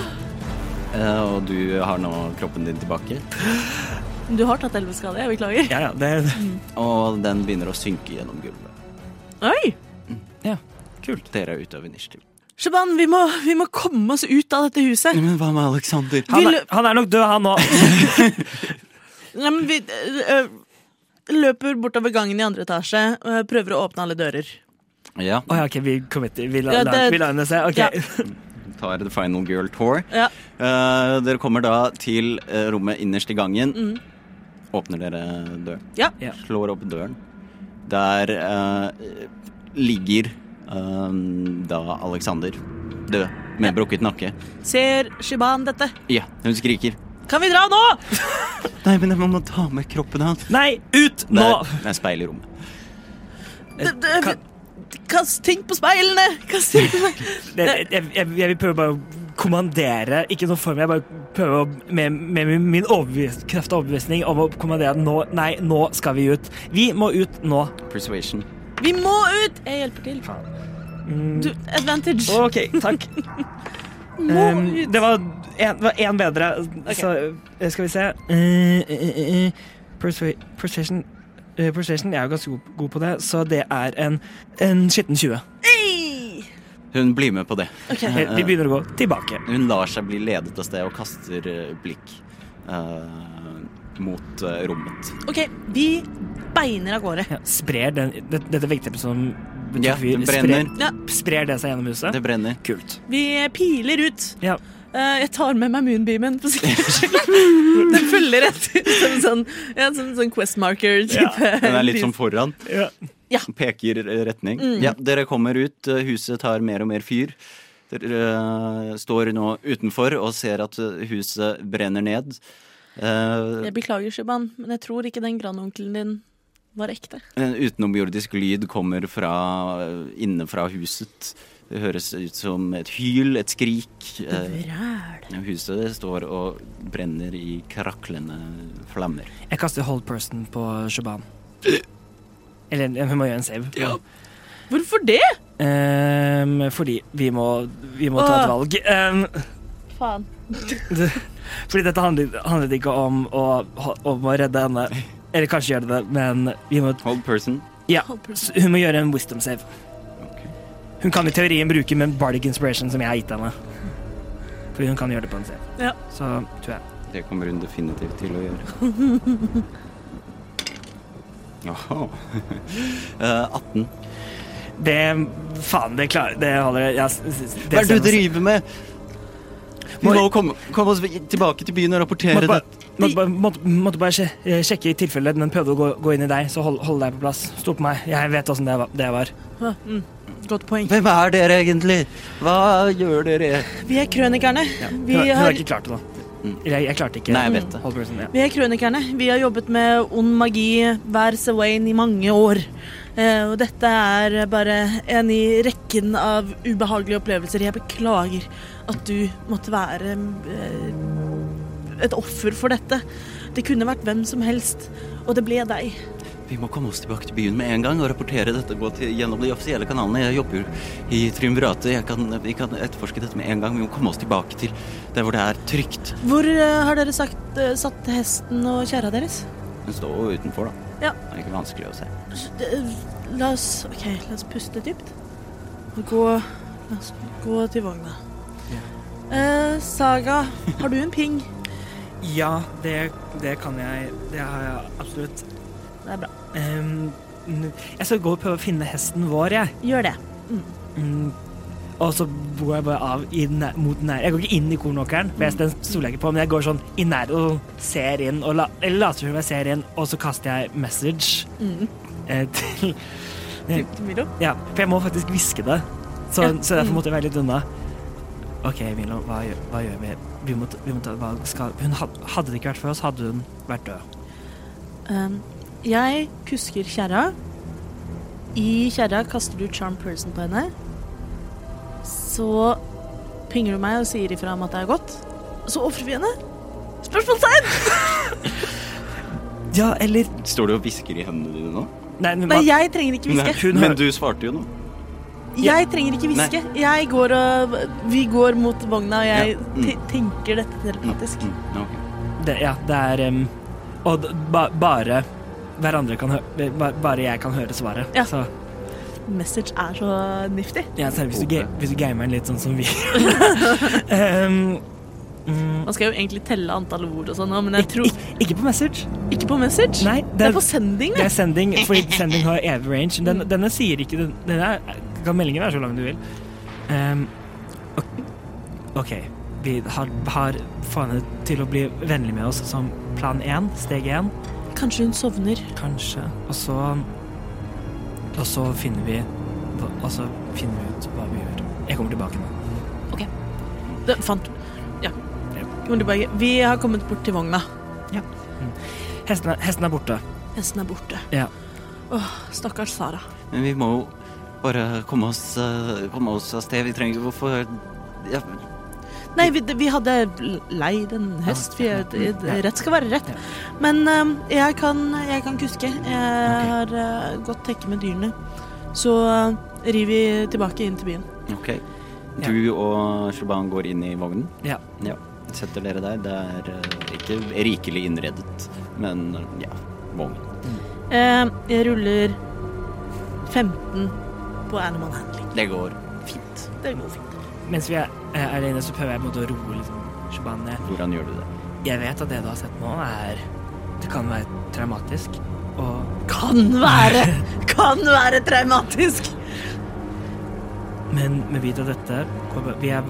Eh, og du har nå kroppen din tilbake.
Du har tatt elleve skader. Jeg beklager.
Ja, ja, det
Mm,
Og den begynner å synke gjennom gulvet.
Oi!
Ja.
Kult. Dere er ute av initiativ.
Shaban, vi må, vi må komme oss ut av dette huset.
Men hva med Aleksander?
Han,
Vil-
er, han er nok død, han òg.
Nei, men vi ø, ø, løper bortover gangen i andre etasje og prøver å åpne alle dører.
Ja.
Å ja, OK, vi committer. Vi lar
Ja,
la,
det-
vi lar henne se. OK.
Ja.
Tar The Final Girl Tour.
Ja.
Eh, dere kommer da til eh, rommet innerst i gangen. Åpner dere døren.
Ja.
Ja.
Slår opp døren. Der eh, ligger eh, da Aleksander død med brukket nakke.
Ser Shiban dette?
Ja, hun skriker.
Kan vi dra nå?!
Nei, men jeg må ta med kroppen hans.
Nei, ut nå!
Der er speil i rommet.
D- d-
Kan-
Kast ting på speilene! Kast ting på speilene.
Det, jeg, jeg, jeg vil prøve bare å kommandere Ikke noe for meg, jeg bare prøve å, med, med min- min overbevis, kraft og overbevisning om å kommandere nå. Nei, nå skal vi ut. Vi må ut nå.
Persuasion.
Vi må ut! Jeg hjelper til. Du, advantage.
OK, (laughs) takk.
må
Um,
ut.
det var en- det var én bedre, så eh, skal vi se. Eh, eh, eh, persua- Persuasion eh, Persuasion, jeg er jo ganske god, god på det, så det er en, en skitten 20.
Hey!
Hun blir med på det.
Ok.
Eh, Vi begynner å gå tilbake.
Hun lar seg bli ledet av sted og kaster eh, blikk eh, mot eh, rommet.
OK, vi beiner av gårde.
Ja, sprer den, det, dette veggteppet som betyr
Ja,
fyr,
den brenner.
Sprer,
Ja,
sprer det seg gjennom huset?
Det brenner.
Kult.
vi piler ut.
Ja.
Eh, jeg tar med meg moonbeamen for sikkerhets skyld. (laughs) Den følger etter som en sånn, ja, som en sånn quest marker-type.
Den (laughs) er litt sånn foran.
Ja.
Peker retning. Ja, dere kommer ut. eh, Huset tar mer og mer fyr. Dere eh, står nå utenfor og ser at eh, huset brenner ned. Eh,
Jeg beklager, Shiban, men jeg tror ikke den grandonkelen din var ekte.
en utenomjordisk lyd kommer fra eh, inne fra huset. Det høres ut som et hyl, et skrik. Eh,
Bræl.
Huset står og brenner i kraklende flammer.
Jeg kaster hold person på Shaban. Eller ja, hun må gjøre en save.
Hvorfor det?
Ehm, fordi vi må, vi må ta et
Åh.
valg. Ehm,
Faen.
fordi dette handlet, handlet ikke om å, om å redde henne. Eller kanskje gjøre det, men vi må,
Hold person.
ja.
Hold person.
Så hun må gjøre en wisdom save. Hun kan i teorien bruke med bardic inspiration som jeg har gitt henne. Fordi hun kan gjøre det på en save.
Ja.
Så tror jeg
Det kommer hun definitivt til å gjøre. (laughs) Jaha. (laughs) Eh, 18.
Det Faen, det klarer Det holder jeg s- s- det
Hva er det du
stemmer.
driver med? Vi må komme, komme oss tilbake til byen og rapportere
Måtte bare,
det.
måtte, bare- måtte, måtte bare sje- eh, sjekke i tilfelle den prøvde å gå, gå inn i deg, så hold, hold deg på plass. Stol på meg. Jeg vet åssen det, var- det var.
Ah, Mm, godt poeng.
Hvem er dere egentlig? Hva gjør dere?
Vi er krønikerne. Vi
Hun, hun har
har,
ikke klart det, da.
Mm.
Jeg, jeg klarte ikke.
Nei, jeg vet det.
Hold person, ja.
vi er krønikerne. Vi har jobbet med ond magi hver Sewain i mange år. Eh, og dette er bare en i rekken av ubehagelige opplevelser. Jeg beklager at du måtte være eh, et offer for dette. Det kunne vært hvem som helst, og det ble deg.
Vi må komme oss tilbake til byen med en gang og rapportere dette. Gå til, gjennom de offisielle kanalene. Jeg jobber i Triumviratet. Jeg kan, vi kan etterforske dette med en gang. Vi må komme oss tilbake til der hvor det er trygt.
Hvor eh, har dere sagt, eh, satt hesten og kjerra deres?
Den står jo utenfor, da.
Ja.
Det er ikke vanskelig å se.
S- d- La oss, ok, la oss puste dypt. Og gå, la oss gå til vogna. Eh, saga, har du en ping?
Ja, det, det kan jeg. Det har jeg absolutt.
Det er bra.
Ehm, n- jeg skal gå og prøve å finne hesten vår, jeg.
Gjør det.
Mm. Og så går jeg bare av i, næ- mot nær... Jeg går ikke inn i kornåkeren, for jeg, den stoler jeg ikke på, men jeg går sånn i nær og ser inn, og la, eller later som jeg ser inn, og så kaster jeg message
Mm.
eh, til
Til Milo.
Ja, for jeg må faktisk hviske det. Så,
Ja.
så derfor måtte jeg være litt unna. OK, Milo, hva gjør, hva gjør vi? Vi må, ta- vi må ta hva skal, hun had, Hadde det ikke vært for oss, hadde hun vært død.
Um, jeg kusker kjerra. I kjerra kaster du charm person på henne. Så pinger du meg og sier ifra om at det er godt. Så ofrer vi henne. Spørsmålstegn!
Ja, eller
Står du og hvisker i hendene dine nå?
Nei, men,
Nei,
hva-
jeg trenger ikke hviske.
Hun
men
har-
du svarte jo nå.
Jeg trenger ikke hviske. Jeg går og Vi går mot vogna, og jeg
Ja. Mm.
te- tenker dette telepatisk.
Mm, ja, ok.
det, ja, det er em, Og d- ba, bare hverandre kan hø- ba, Bare jeg kan høre svaret.
Ja.
Så Mm.
Message er så nifty.
ja, selv hvis, du,
Håper
ga-
jeg.
hvis du gamer litt
(laughs)
sånn som vi (laughs) Em, mm,
Man skal jo egentlig telle antall ord og sånn, men jeg tror
ik- Ikke på message.
Ikke på message.
Nei,
det
det-
er på sending,
Det
det.
er sending, fordi sending har evig range. Den, denne sier ikke den, Denne er- kan meldingen være så lang du vil. Ehm, ok- OK. Vi har, har faen til å bli vennlig med oss som plan én, steg én,
Kanskje hun sovner.
kanskje. Og så Og så finner vi Og så finner vi ut hva vi gjør. Jeg kommer tilbake nå.
Det fant Ja.
Ja.
Kom tilbake. Vi har kommet bort til vogna.
Mm. Hesten er, hesten er borte.
Hesten er borte.
Ja.
Stakkars Sara.
Men vi må jo bare komme oss, eh, komme oss av sted. Vi trenger jo Hvorfor ja,
Nei, vi, vi hadde leid en hest. Vi, rett skal være rett.
Ja.
Men eh, jeg, kan, jeg kan kuske. Jeg har eh, godt tekke med dyrene. Så eh, rir vi tilbake inn til byen.
OK. Du og Shaban går inn i vognen.
ja.
Ja. Setter dere der. Det er eh, ikke rikelig innredet, men ja, vogn.
Eh, jeg ruller 15 på animal handling.
Det går fint.
Det går fint.
Mens vi er, er alene, så prøver jeg på en måte å roe liksom, Shabani ned.
Hvordan gjør du det?
Jeg vet at det du har sett nå, er Det kan være traumatisk. Og,
Kan være! Kan være traumatisk!
men vi vet at dette kommer- Vi er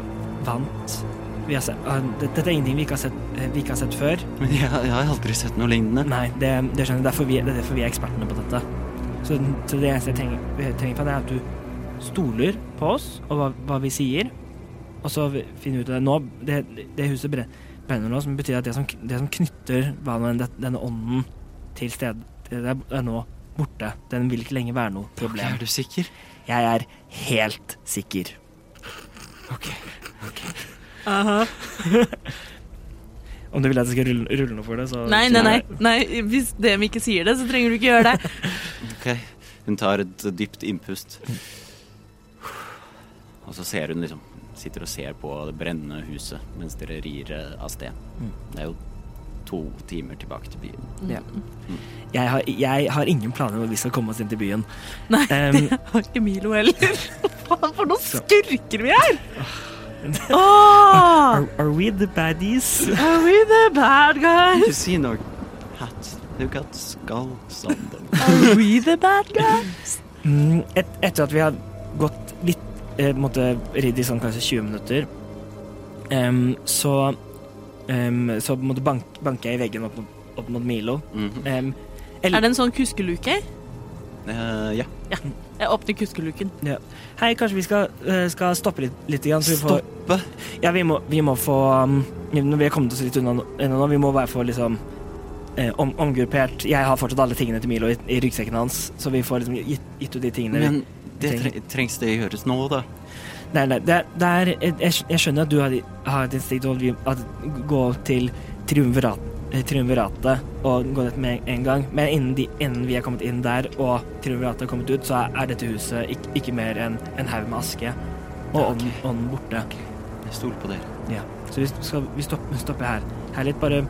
vant vi har sett, ah, det- Dette er ingenting vi ikke har sett, eh, vi ikke har sett før.
Men jeg, jeg har aldri sett noe lignende.
Nei, det, det skjønner jeg. Derfor vi, det er derfor vi er ekspertene på dette. Så, så det eneste jeg trenger, jeg trenger fra deg, er at du stoler på oss og hva, hva vi sier, og så vi- finner vi ut av det. Nå, det, det huset brenner, brenner nå, som betyr at det som, det som knytter hva nå enn det- denne ånden til stedet, det er, er nå borte. Den vil ikke lenger være noe problem.
Er du sikker?
Jeg er helt sikker.
OK.
Om du vil at jeg skal rulle, rulle noe for det, så
Nei, nei, nei. nei. Hvis dem ikke sier det, så trenger du ikke gjøre det.
Ok. Hun tar et dypt innpust. Og så ser hun liksom Sitter og ser på det brennende huset mens dere rir eh, av sted.
Mm.
Det er jo to timer tilbake til byen.
Ja. Jeg, har, jeg har ingen planer om at vi skal komme oss inn til byen.
Nei,
Em,
(laughs) det har ikke Milo
(laughs)
heller. Faen, for noen
Så.
skurker vi er! Åh! Ah.
Are, are we the baddies?
Are we the bad guys?
You see no hat, you got skull something.
Are we the bad
(laughs)
guys?
Mm, et, etter at vi har gått litt eh, måtte ridd i sånn kanskje 20 minutter, Em, så em, Så på en måte bank, banker jeg i veggen opp, mot- opp mot Milo.
Mhm.
Em,
Er det en sånn kuskeluke?
Eh, ja.
Jeg åpner kuskeluken.
ja. Hei, kanskje vi skal, eh, skal stoppe litt, litt grann, så vi får
Stoppe.
Ja, vi må, vi må få um, Når vi har kommet oss litt unna nå- unna nå, vi må bare få liksom eh, om, omgruppert. Jeg har fortsatt alle tingene til Milo i, i ryggsekken hans, så vi får liksom gitt, gitt ut de tingene.
Men det tre trengs det gjøres nå, da?
vi, nei, nei, det, er- det er jeg, skj- jeg skjønner at du har, har et instinkt til å bli- at gå til triumvirat, eh, triumviratet og gå dit med en gang, men innen, de, innen vi har kommet inn der og triumviratet har kommet ut, så er, er dette huset ikke, ikke mer enn en haug med aske. Og ånden ånden borte.
Jeg stoler på dere.
Ja, så vi, skal, vi stopper, stopper her. Her litt, bare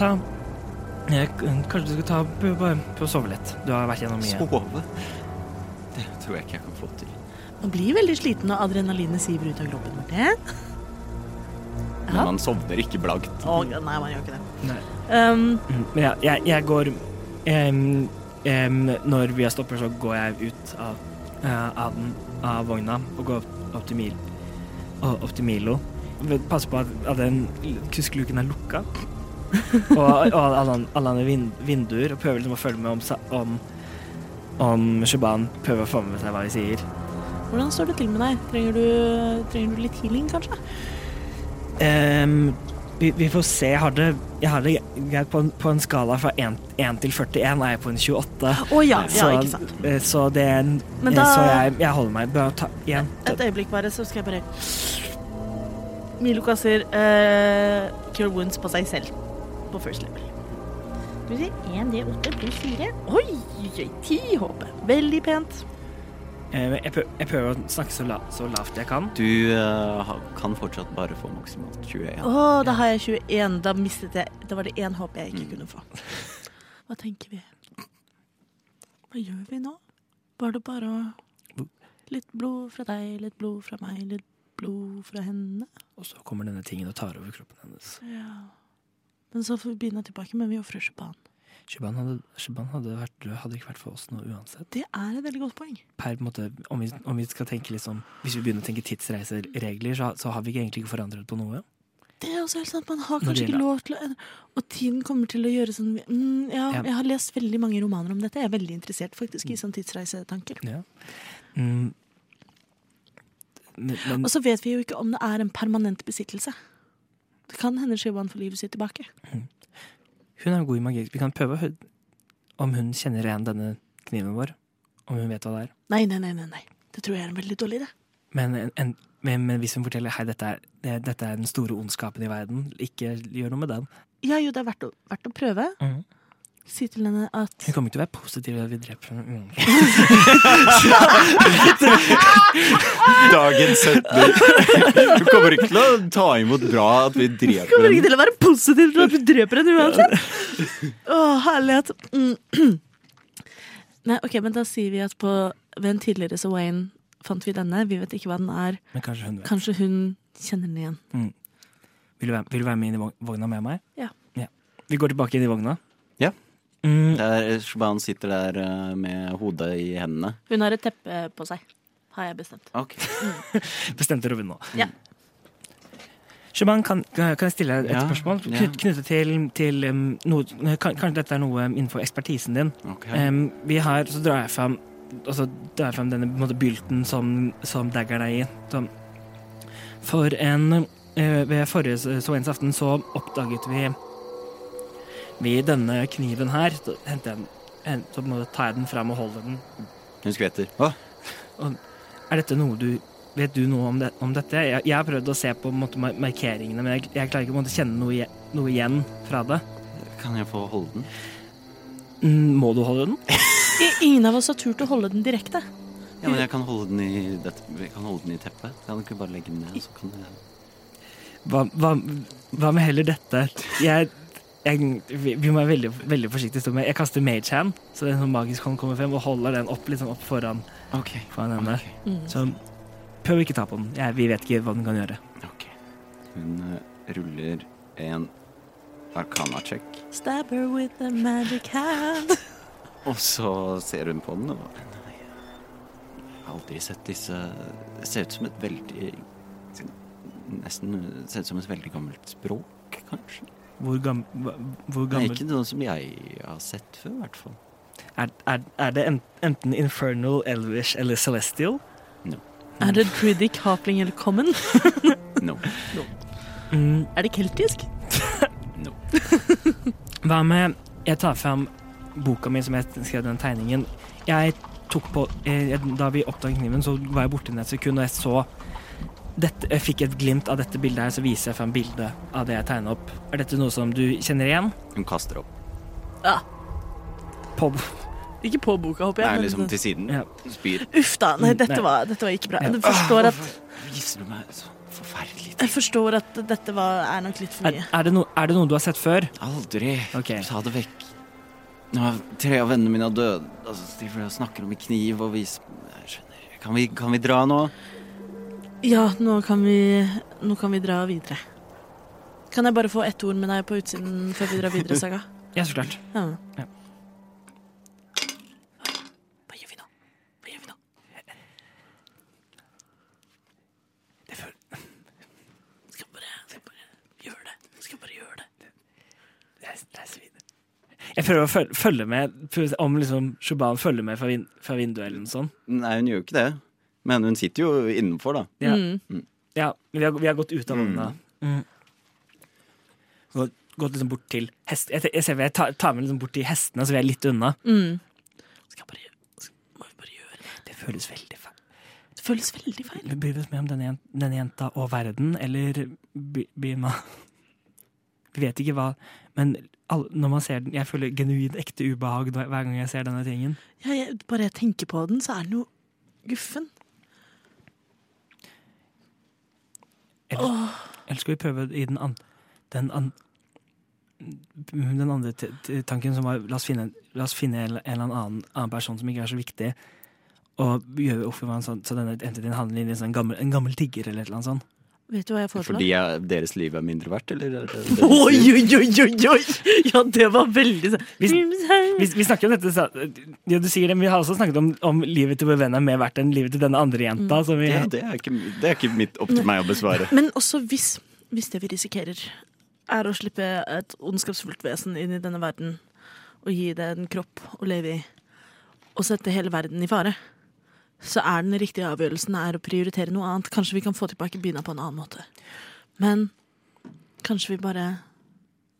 ta eh, k- Kanskje du skal ta b- bare på å sove litt. Du har vært gjennom mye.
Sove? Det tror jeg ikke jeg kan få til.
Man blir veldig sliten når adrenalinet siver ut av kroppen. Martin.
Mm.
Men
Ja.
man sovner ikke blankt.
Å, nei, man gjør ikke det.
Nei.
Um,
Mm, Men ja, jeg, jeg går em, em, Når vi har stopper, så går jeg ut av, eh, av, den, av vogna og går opp, opp, til Mil, og opp til Milo. Men Pass på at, at den kuskluken er lukka. og, og alle, an- alle andre vin, vinduer, og prøver liksom å følge med om, sa- om, om Shaban prøver å få med seg hva vi sier.
hvordan står det til med deg? Trenger du, trenger du litt healing, kanskje?
Ehm, vi, vi får se. Jeg har det, jeg har det greit på, en- på en skala fra 1, til 41, er jeg på en 28.
Å ja, ja, ikke sant.
eh, så det er en
Men
eh,
da-
Så jeg, jeg holder meg bra. Ta, igjen.
Et øyeblikk bare, så skal jeg bare Milo kaster eh, Cure Wounds på seg selv på first level. Skal vi se 1 D8 pluss 4. Oi, oi, oi, 10 HP. Veldig pent.
Eh, jeg, prøver, jeg prøver å snakke så, la, så lavt jeg kan.
Du eh, ha- kan fortsatt bare få maksimalt 21.
Å, da har jeg 21. Da mistet jeg Da var det én HP jeg ikke kunne få. Hva tenker vi? Hva gjør vi nå? Var det bare å Litt blod fra deg, litt blod fra meg, litt blod fra henne.
Og så kommer denne tingen og tar over kroppen hennes.
Ja. Men så får vi begynne tilbake, men vi ofrer sjipanen.
Shuban hadde, Shuban hadde vært død, hadde ikke vært for oss nå uansett.
Det er et veldig godt poeng.
Per, på en måte, om, vi, om vi skal tenke liksom Hvis vi begynner å tenke tidsreiseregler, så, så har vi ikke egentlig ikke forandret på noe.
Det er også helt sant, Man har
Når
kanskje
det
ikke
gjelder-
lov til å Og tiden kommer til å gjøre sånn mm, ja,
Ja. Mm.
Jeg har lest veldig mange romaner om dette. Jeg er veldig interessert faktisk i sånne tidsreisetanker.
Ja. Mm. Men, men
Og så vet vi jo ikke om det er en permanent besittelse. Det kan hende Shivan får livet sitt tilbake.
Hun er god i magi. Vi kan prøve å hø- om hun kjenner igjen denne kniven vår. Om hun vet hva det er.
Nei, nei, nei, nei, nei. Det tror jeg er en veldig dårlig idé.
Men, en, en, men, men hvis hun forteller hei, dette er, det, dette er den store ondskapen i verden, ikke gjør noe med den.
Ja, jo, det er verdt å, verdt å prøve.
Mhm.
Si til henne at
Hun kommer ikke til å være positiv når vi dreper henne. Mm.
(laughs) Dagens setning. (laughs) Du kommer ikke til å ta imot bra at vi dreper
Kommer ikke
henne.
til å være positiv til at du dreper henne uansett. Å, herlighet. Mm. (clears throat) Nei, ok, men da sier vi at på, ved en tidligere så Wayne fant vi denne. Vi vet ikke hva den er.
Men kanskje hun vet.
Kanskje hun kjenner den igjen.
Vil du være, vil du være med inn i vog- vogna med meg?
Ja.
Vi går tilbake inn i vogna.
Ja.
Mm,
Der, Shaban sitter der eh, med hodet i hendene.
Hun har et teppe på seg, har jeg bestemt.
Ok.
bestemte Robin nå.
Ja.
Shaban, kan, kan jeg stille deg et
Ja,
spørsmål
ja.
Knyt, knyttet til, til um, noe, kan, Kanskje dette er noe um, innenfor ekspertisen din. Em, vi har, så drar jeg fram Og så drar jeg fram denne på en måte, bylten som, som daggeren er i. Som, for en eh, Ved forrige sovenes aften så oppdaget vi Vi denne kniven her. Så henter jeg den hen- Så på en måte tar jeg den fram og holder den.
Hun skvetter. Å,
Er dette noe du Vet du noe om, det, om dette? Jeg, jeg har prøvd å se på, på en måte, mar- markeringene, men jeg, jeg klarer ikke på en måte, å kjenne noe, igjen- noe igjen fra det.
kan jeg få holde den?
Mm, Må du holde den?
I- Ingen av oss har turt å holde den direkte.
Ja, men jeg kan holde den i, dette, jeg kan holde den i teppet. Kan du ikke bare legge den ned, så kan jeg
Hva, hva, hva med heller dette? Jeg, jeg, vi vi må være veldig, veldig forsiktige. Stormy. Jeg kaster mage hand, så den som magisk hånd kommer frem, og holder den opp, litt sånn opp foran,
Ok.
foran henne.
Mm.
Så prøv å ikke ta på den. Jeg, vi vet ikke hva den kan gjøre.
Ok. Hun eh, ruller en arcana-check,
Stab her with a magic hand.
og så ser hun på den og bare, Nei, jeg har aldri sett disse Det ser ut som et veldig nesten ser ut som et veldig gammelt språk, kanskje.
Hvor, gam, hva- hvor
Det er
gammel
ikke noe som jeg har sett før, i hvert fall.
er, er, er det en- enten Infernal, Elvish eller Celestial?
Er det druidic, hapling eller common?
No.
Mm,
Er det keltisk?
no.
hva med Jeg tar fram boka mi som jeg skrev den tegningen. Jeg tok på eh, Da vi oppdaget kniven, så var jeg borte i et sekund, og jeg så dette, Jeg fikk et glimt av dette bildet her, så viser jeg fram bildet av det jeg tegna opp. Er dette noe som du kjenner igjen?
Hun kaster opp.
Ja.
På,
Ikke på boka, håper
Det
jeg.
er
men-
liksom til siden.
ja.
Spyr.
Uff da. Nei,
Mm,
dette
nei.
var, dette var ikke bra.
Ja.
Jeg forstår at,
Hvorfor viser du meg så forferdelig?
jeg forstår at dette var, er nok litt for
er,
mye.
er, det no, er det noe du har sett før?
Aldri.
Ok.
Ta det vekk. Nå har tre av vennene mine er døde. Altså, de snakker om en kniv og vis... Jeg skjønner. Kan vi, kan vi dra nå?
Ja, nå kan vi, nå kan vi dra videre. Kan jeg bare få ett ord med deg på utsiden før vi drar
(laughs)
videre, Saga?
Ja, så klart.
Ja.
Ja.
Hva gjør vi nå? Hva gjør vi nå? Skal bare, skal bare gjøre det. Skal bare gjøre det.
Jeg prøver å følge, følge med prøver om liksom Shuban følger med fra, vin, fra vinduet eller noe sånt.
Nei, hun gjør jo ikke det. Men hun sitter jo innenfor, da.
Ja,
Mm.
ja men vi, har, vi har gått ut av
Mm.
vogna. Mm. Så Gått liksom bort til hest... Jeg, jeg, ser, jeg tar, tar meg liksom bort til hestene, så vi er litt unna.
Mm. Skal bare, skal, må vi bare gjøre det.
Det føles veldig feil.
Det føles veldig feil.
Bryr vi oss mer om denne, jen- denne jenta og verden, eller by- Bima? (laughs) Vi vet ikke hva Men all, når man ser den Jeg føler genuint ekte ubehag hver hver gang jeg ser denne tingen.
Ja, jeg, bare jeg tenker på den, så er den jo guffen.
Eller skal vi prøve i den, an, den, an, den andre t t tanken som var La oss finne, la oss finne en, en eller annen, annen person som ikke er så viktig, og gjøre offer for en sånn, så denne endte din handel inn i en, sånn gammel, en gammel tigger eller et eller annet sånt.
Vet du hva jeg foreslår?
Fordi jeg, deres liv er mindre verdt, eller? er det-
Oi, oi, oi, oi, oi! Ja, det var veldig sånn
Hvis- Vi, vi snakker om dette sa- ja, du sier det, men vi har også snakket om, om livet til vår venn er mer verdt enn livet til denne andre jenta. Som vi,
Ja, det, er ikke, det er ikke mitt opp til meg å besvare.
Men også hvis, hvis det vi risikerer, er å slippe et ondskapsfullt vesen inn i denne verden og gi det en kropp å leve i, og sette hele verden i fare, så er den riktige avgjørelsen er å prioritere noe annet. Kanskje vi kan få tilbake byen på en annen måte. Men kanskje vi bare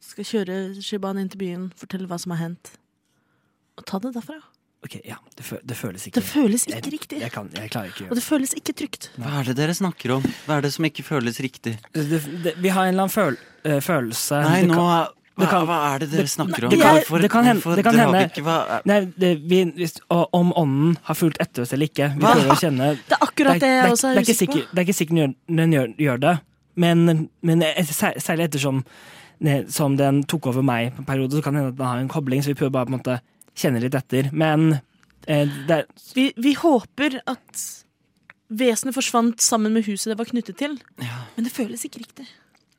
skal kjøre Shiban inn til byen, fortelle hva som har hendt, og ta det derfra.
Ok, ja, det, fø, det føles ikke
Det føles ikke
jeg,
riktig.
Jeg, kan, jeg klarer ikke å
Og det føles ikke trygt.
Hva er det dere snakker om? Hva er det som ikke føles riktig?
det, det, Vi har en eller annen føl, eh, følelse
Nei,
Det
nå
kan-
er- hva,
det kan-
hva er det dere snakker om?
det kan-
hvorfor
det kan hende-
hvorfor
det kan
drar vi
hende.
ikke hva,
Nei, det, vi, hvis, og, om ånden har fulgt etter oss eller ikke. Vi
Hva?
prøver
(laughs)
å kjenne
Det er akkurat det jeg også
det
er
ikke
usikker på.
sikkert- Det er ikke sikkert den gjør, den gjør, gjør det, men, men et- sær- særlig ettersom ne- som den tok over meg på en periode, så kan det hende at den har en kobling, så vi prøver bare på en måte kjenne litt etter. Men eh, det er
Vi, vi håper at vesenet forsvant sammen med huset det var knyttet til. Men det føles ikke riktig.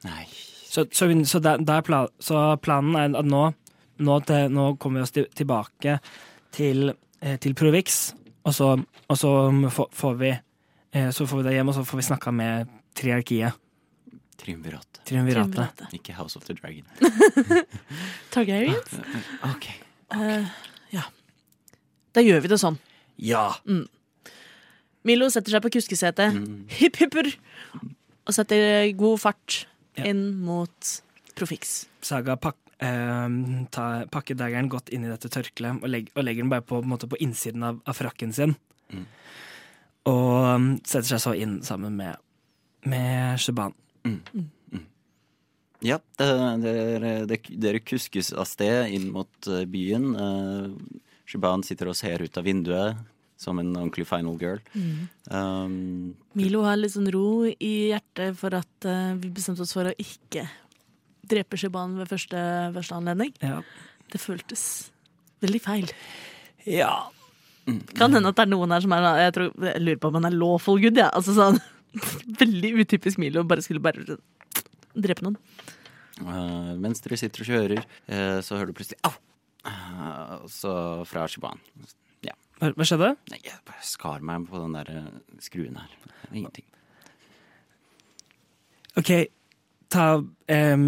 Nei.
Så, så, vi- så, der, der er pla- så planen er at nå, nå, til, nå kommer vi oss til, tilbake til, eh, til Provix, og så, og så får, får vi eh, så får vi deg hjem, og så får vi snakka med triarkiet.
Triumvirat.
Triumviratet.
Triumviratet.
Ikke House of the Dragon.
Targaryens?
Ok.
Eh, ja. Da gjør vi det sånn. Mm.
Ja!
Milo setter seg på kuskesetet, hipp hipper, og setter god fart
Ja.
inn mot Profix.
Saga pak, eh, ta, pakker daggeren godt inn i dette tørkleet og, legg, og legger den bare på, på, en måte, på innsiden av, av frakken sin.
Mm.
Og um, setter seg så inn sammen med, med Shaban.
Ja, det- dere, dere- dere kuskes av sted inn mot eh, byen. Eh, Shuban sitter og ser ut av vinduet som en ordentlig final girl. Um,
Milo har litt sånn ro i hjertet for at eh, vi bestemte oss for å ikke drepe Shiban ved første, første anledning.
Ja.
Det føltes veldig feil.
ja.
Kan hende at det er noen her som er sånn, jeg, tror, jeg lurer på om han er lawful good, ja. Altså sånn (laughs) Veldig utypisk Milo, bare skulle bare drepe noen.
eh, mens dere sitter og kjører, eh, så hører du plutselig au! Eh, og så fra Shuban.
Hva, hva skjedde?
Nei, jeg bare skar meg på den der eh, skruen her. Ingenting.
OK, ta em,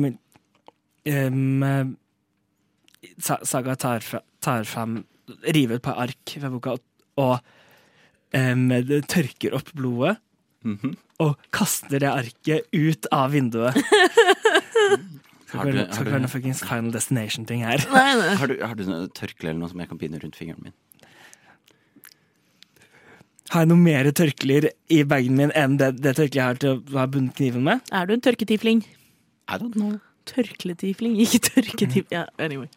em, eh, Sa- Saga tar, fra, tar fram River et par ark fra boka og, og em, det tørker opp blodet.
Mhm.
Og kaster det arket ut av vinduet.
Har
Skal
du-
ikke
har
være
du-
noe fuckings Final Destination-ting her.
Nei, nei.
Har du, har du noe tørkle eller noe som jeg kan pine rundt fingeren min?
Har jeg noe mer tørklær i bagen min enn det, det tørkleet jeg har til å ha bundet kniven med?
Er du en tørketifling?
I don't know.
Tørkletifling, ikke tørketifling. Ja, anyway.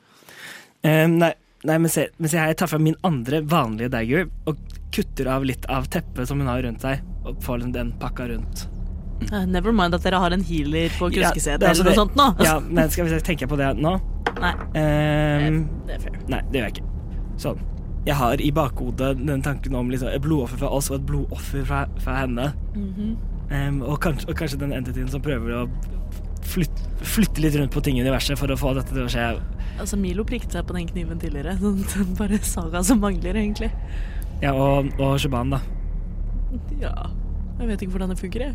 Eh, nei, nei, men se, men se her, jeg tar fram min andre vanlige dagger og kutter av litt av teppet som hun har rundt seg, og får liksom den pakka rundt.
Eh, Never mind at dere har en healer på
Ja,
kruskesetet
det er altså
eller noe
det-
sånt nå.
Ja, nei, skal vi se, tenker jeg på det nå?
Nei, Um,
Eh,
det er fair.
nei, det gjør jeg ikke. Sånn. Jeg har i bakhodet den tanken om liksom, et blodoffer fra oss og et blodoffer fra, fra henne.
Mhm.
Eh, og, kanskje, og kanskje den entityen som prøver å flytte, flytte litt rundt på ting i universet for å få dette til å skje.
Altså, Milo prikket seg på den kniven tidligere. (laughs) Sånn, sånn bare saga som mangler, egentlig.
Ja, og, og Shaban, da.
Ja. Jeg vet ikke hvordan det funker, jeg.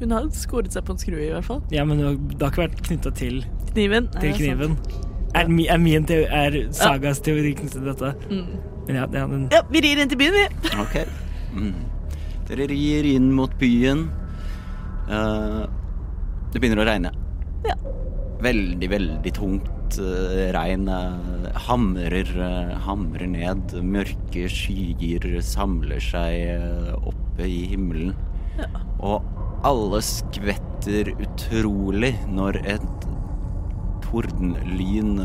Hun har skåret seg på en skrue, i hvert fall.
Ja, men det har ikke vært knytta til,
Kniven. Nei,
til
det er sant.
kniven. Er, mi, er min teori, er Sagas teori knyttet til dette?
Mm.
Men ja, ja men,
Ja, vi rir inn til byen, vi.
Ok. Mm. Dere rir inn mot byen. Eh, det begynner å regne.
Ja.
Veldig, veldig tungt eh, regn. eh, hamrer, eh, hamrer ned. Mørke skyer samler seg eh, oppe i himmelen. Og alle skvetter utrolig når et tordenlyn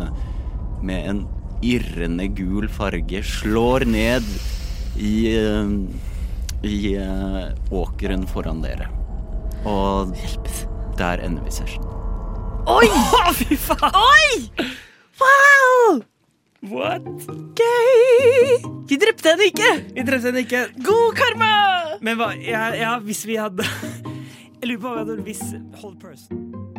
med en irrende gul farge slår ned i, eh, i eh, åkeren foran dere. Og der ender vi session.
Oi! fy faen! Oi! Wow!
What?
Gøy! Vi drepte henne ikke!
Vi drepte henne ikke.
God karma!
(laughs) Men hva ja, ja, hvis vi hadde Jeg lurer på hva det hvis Hold person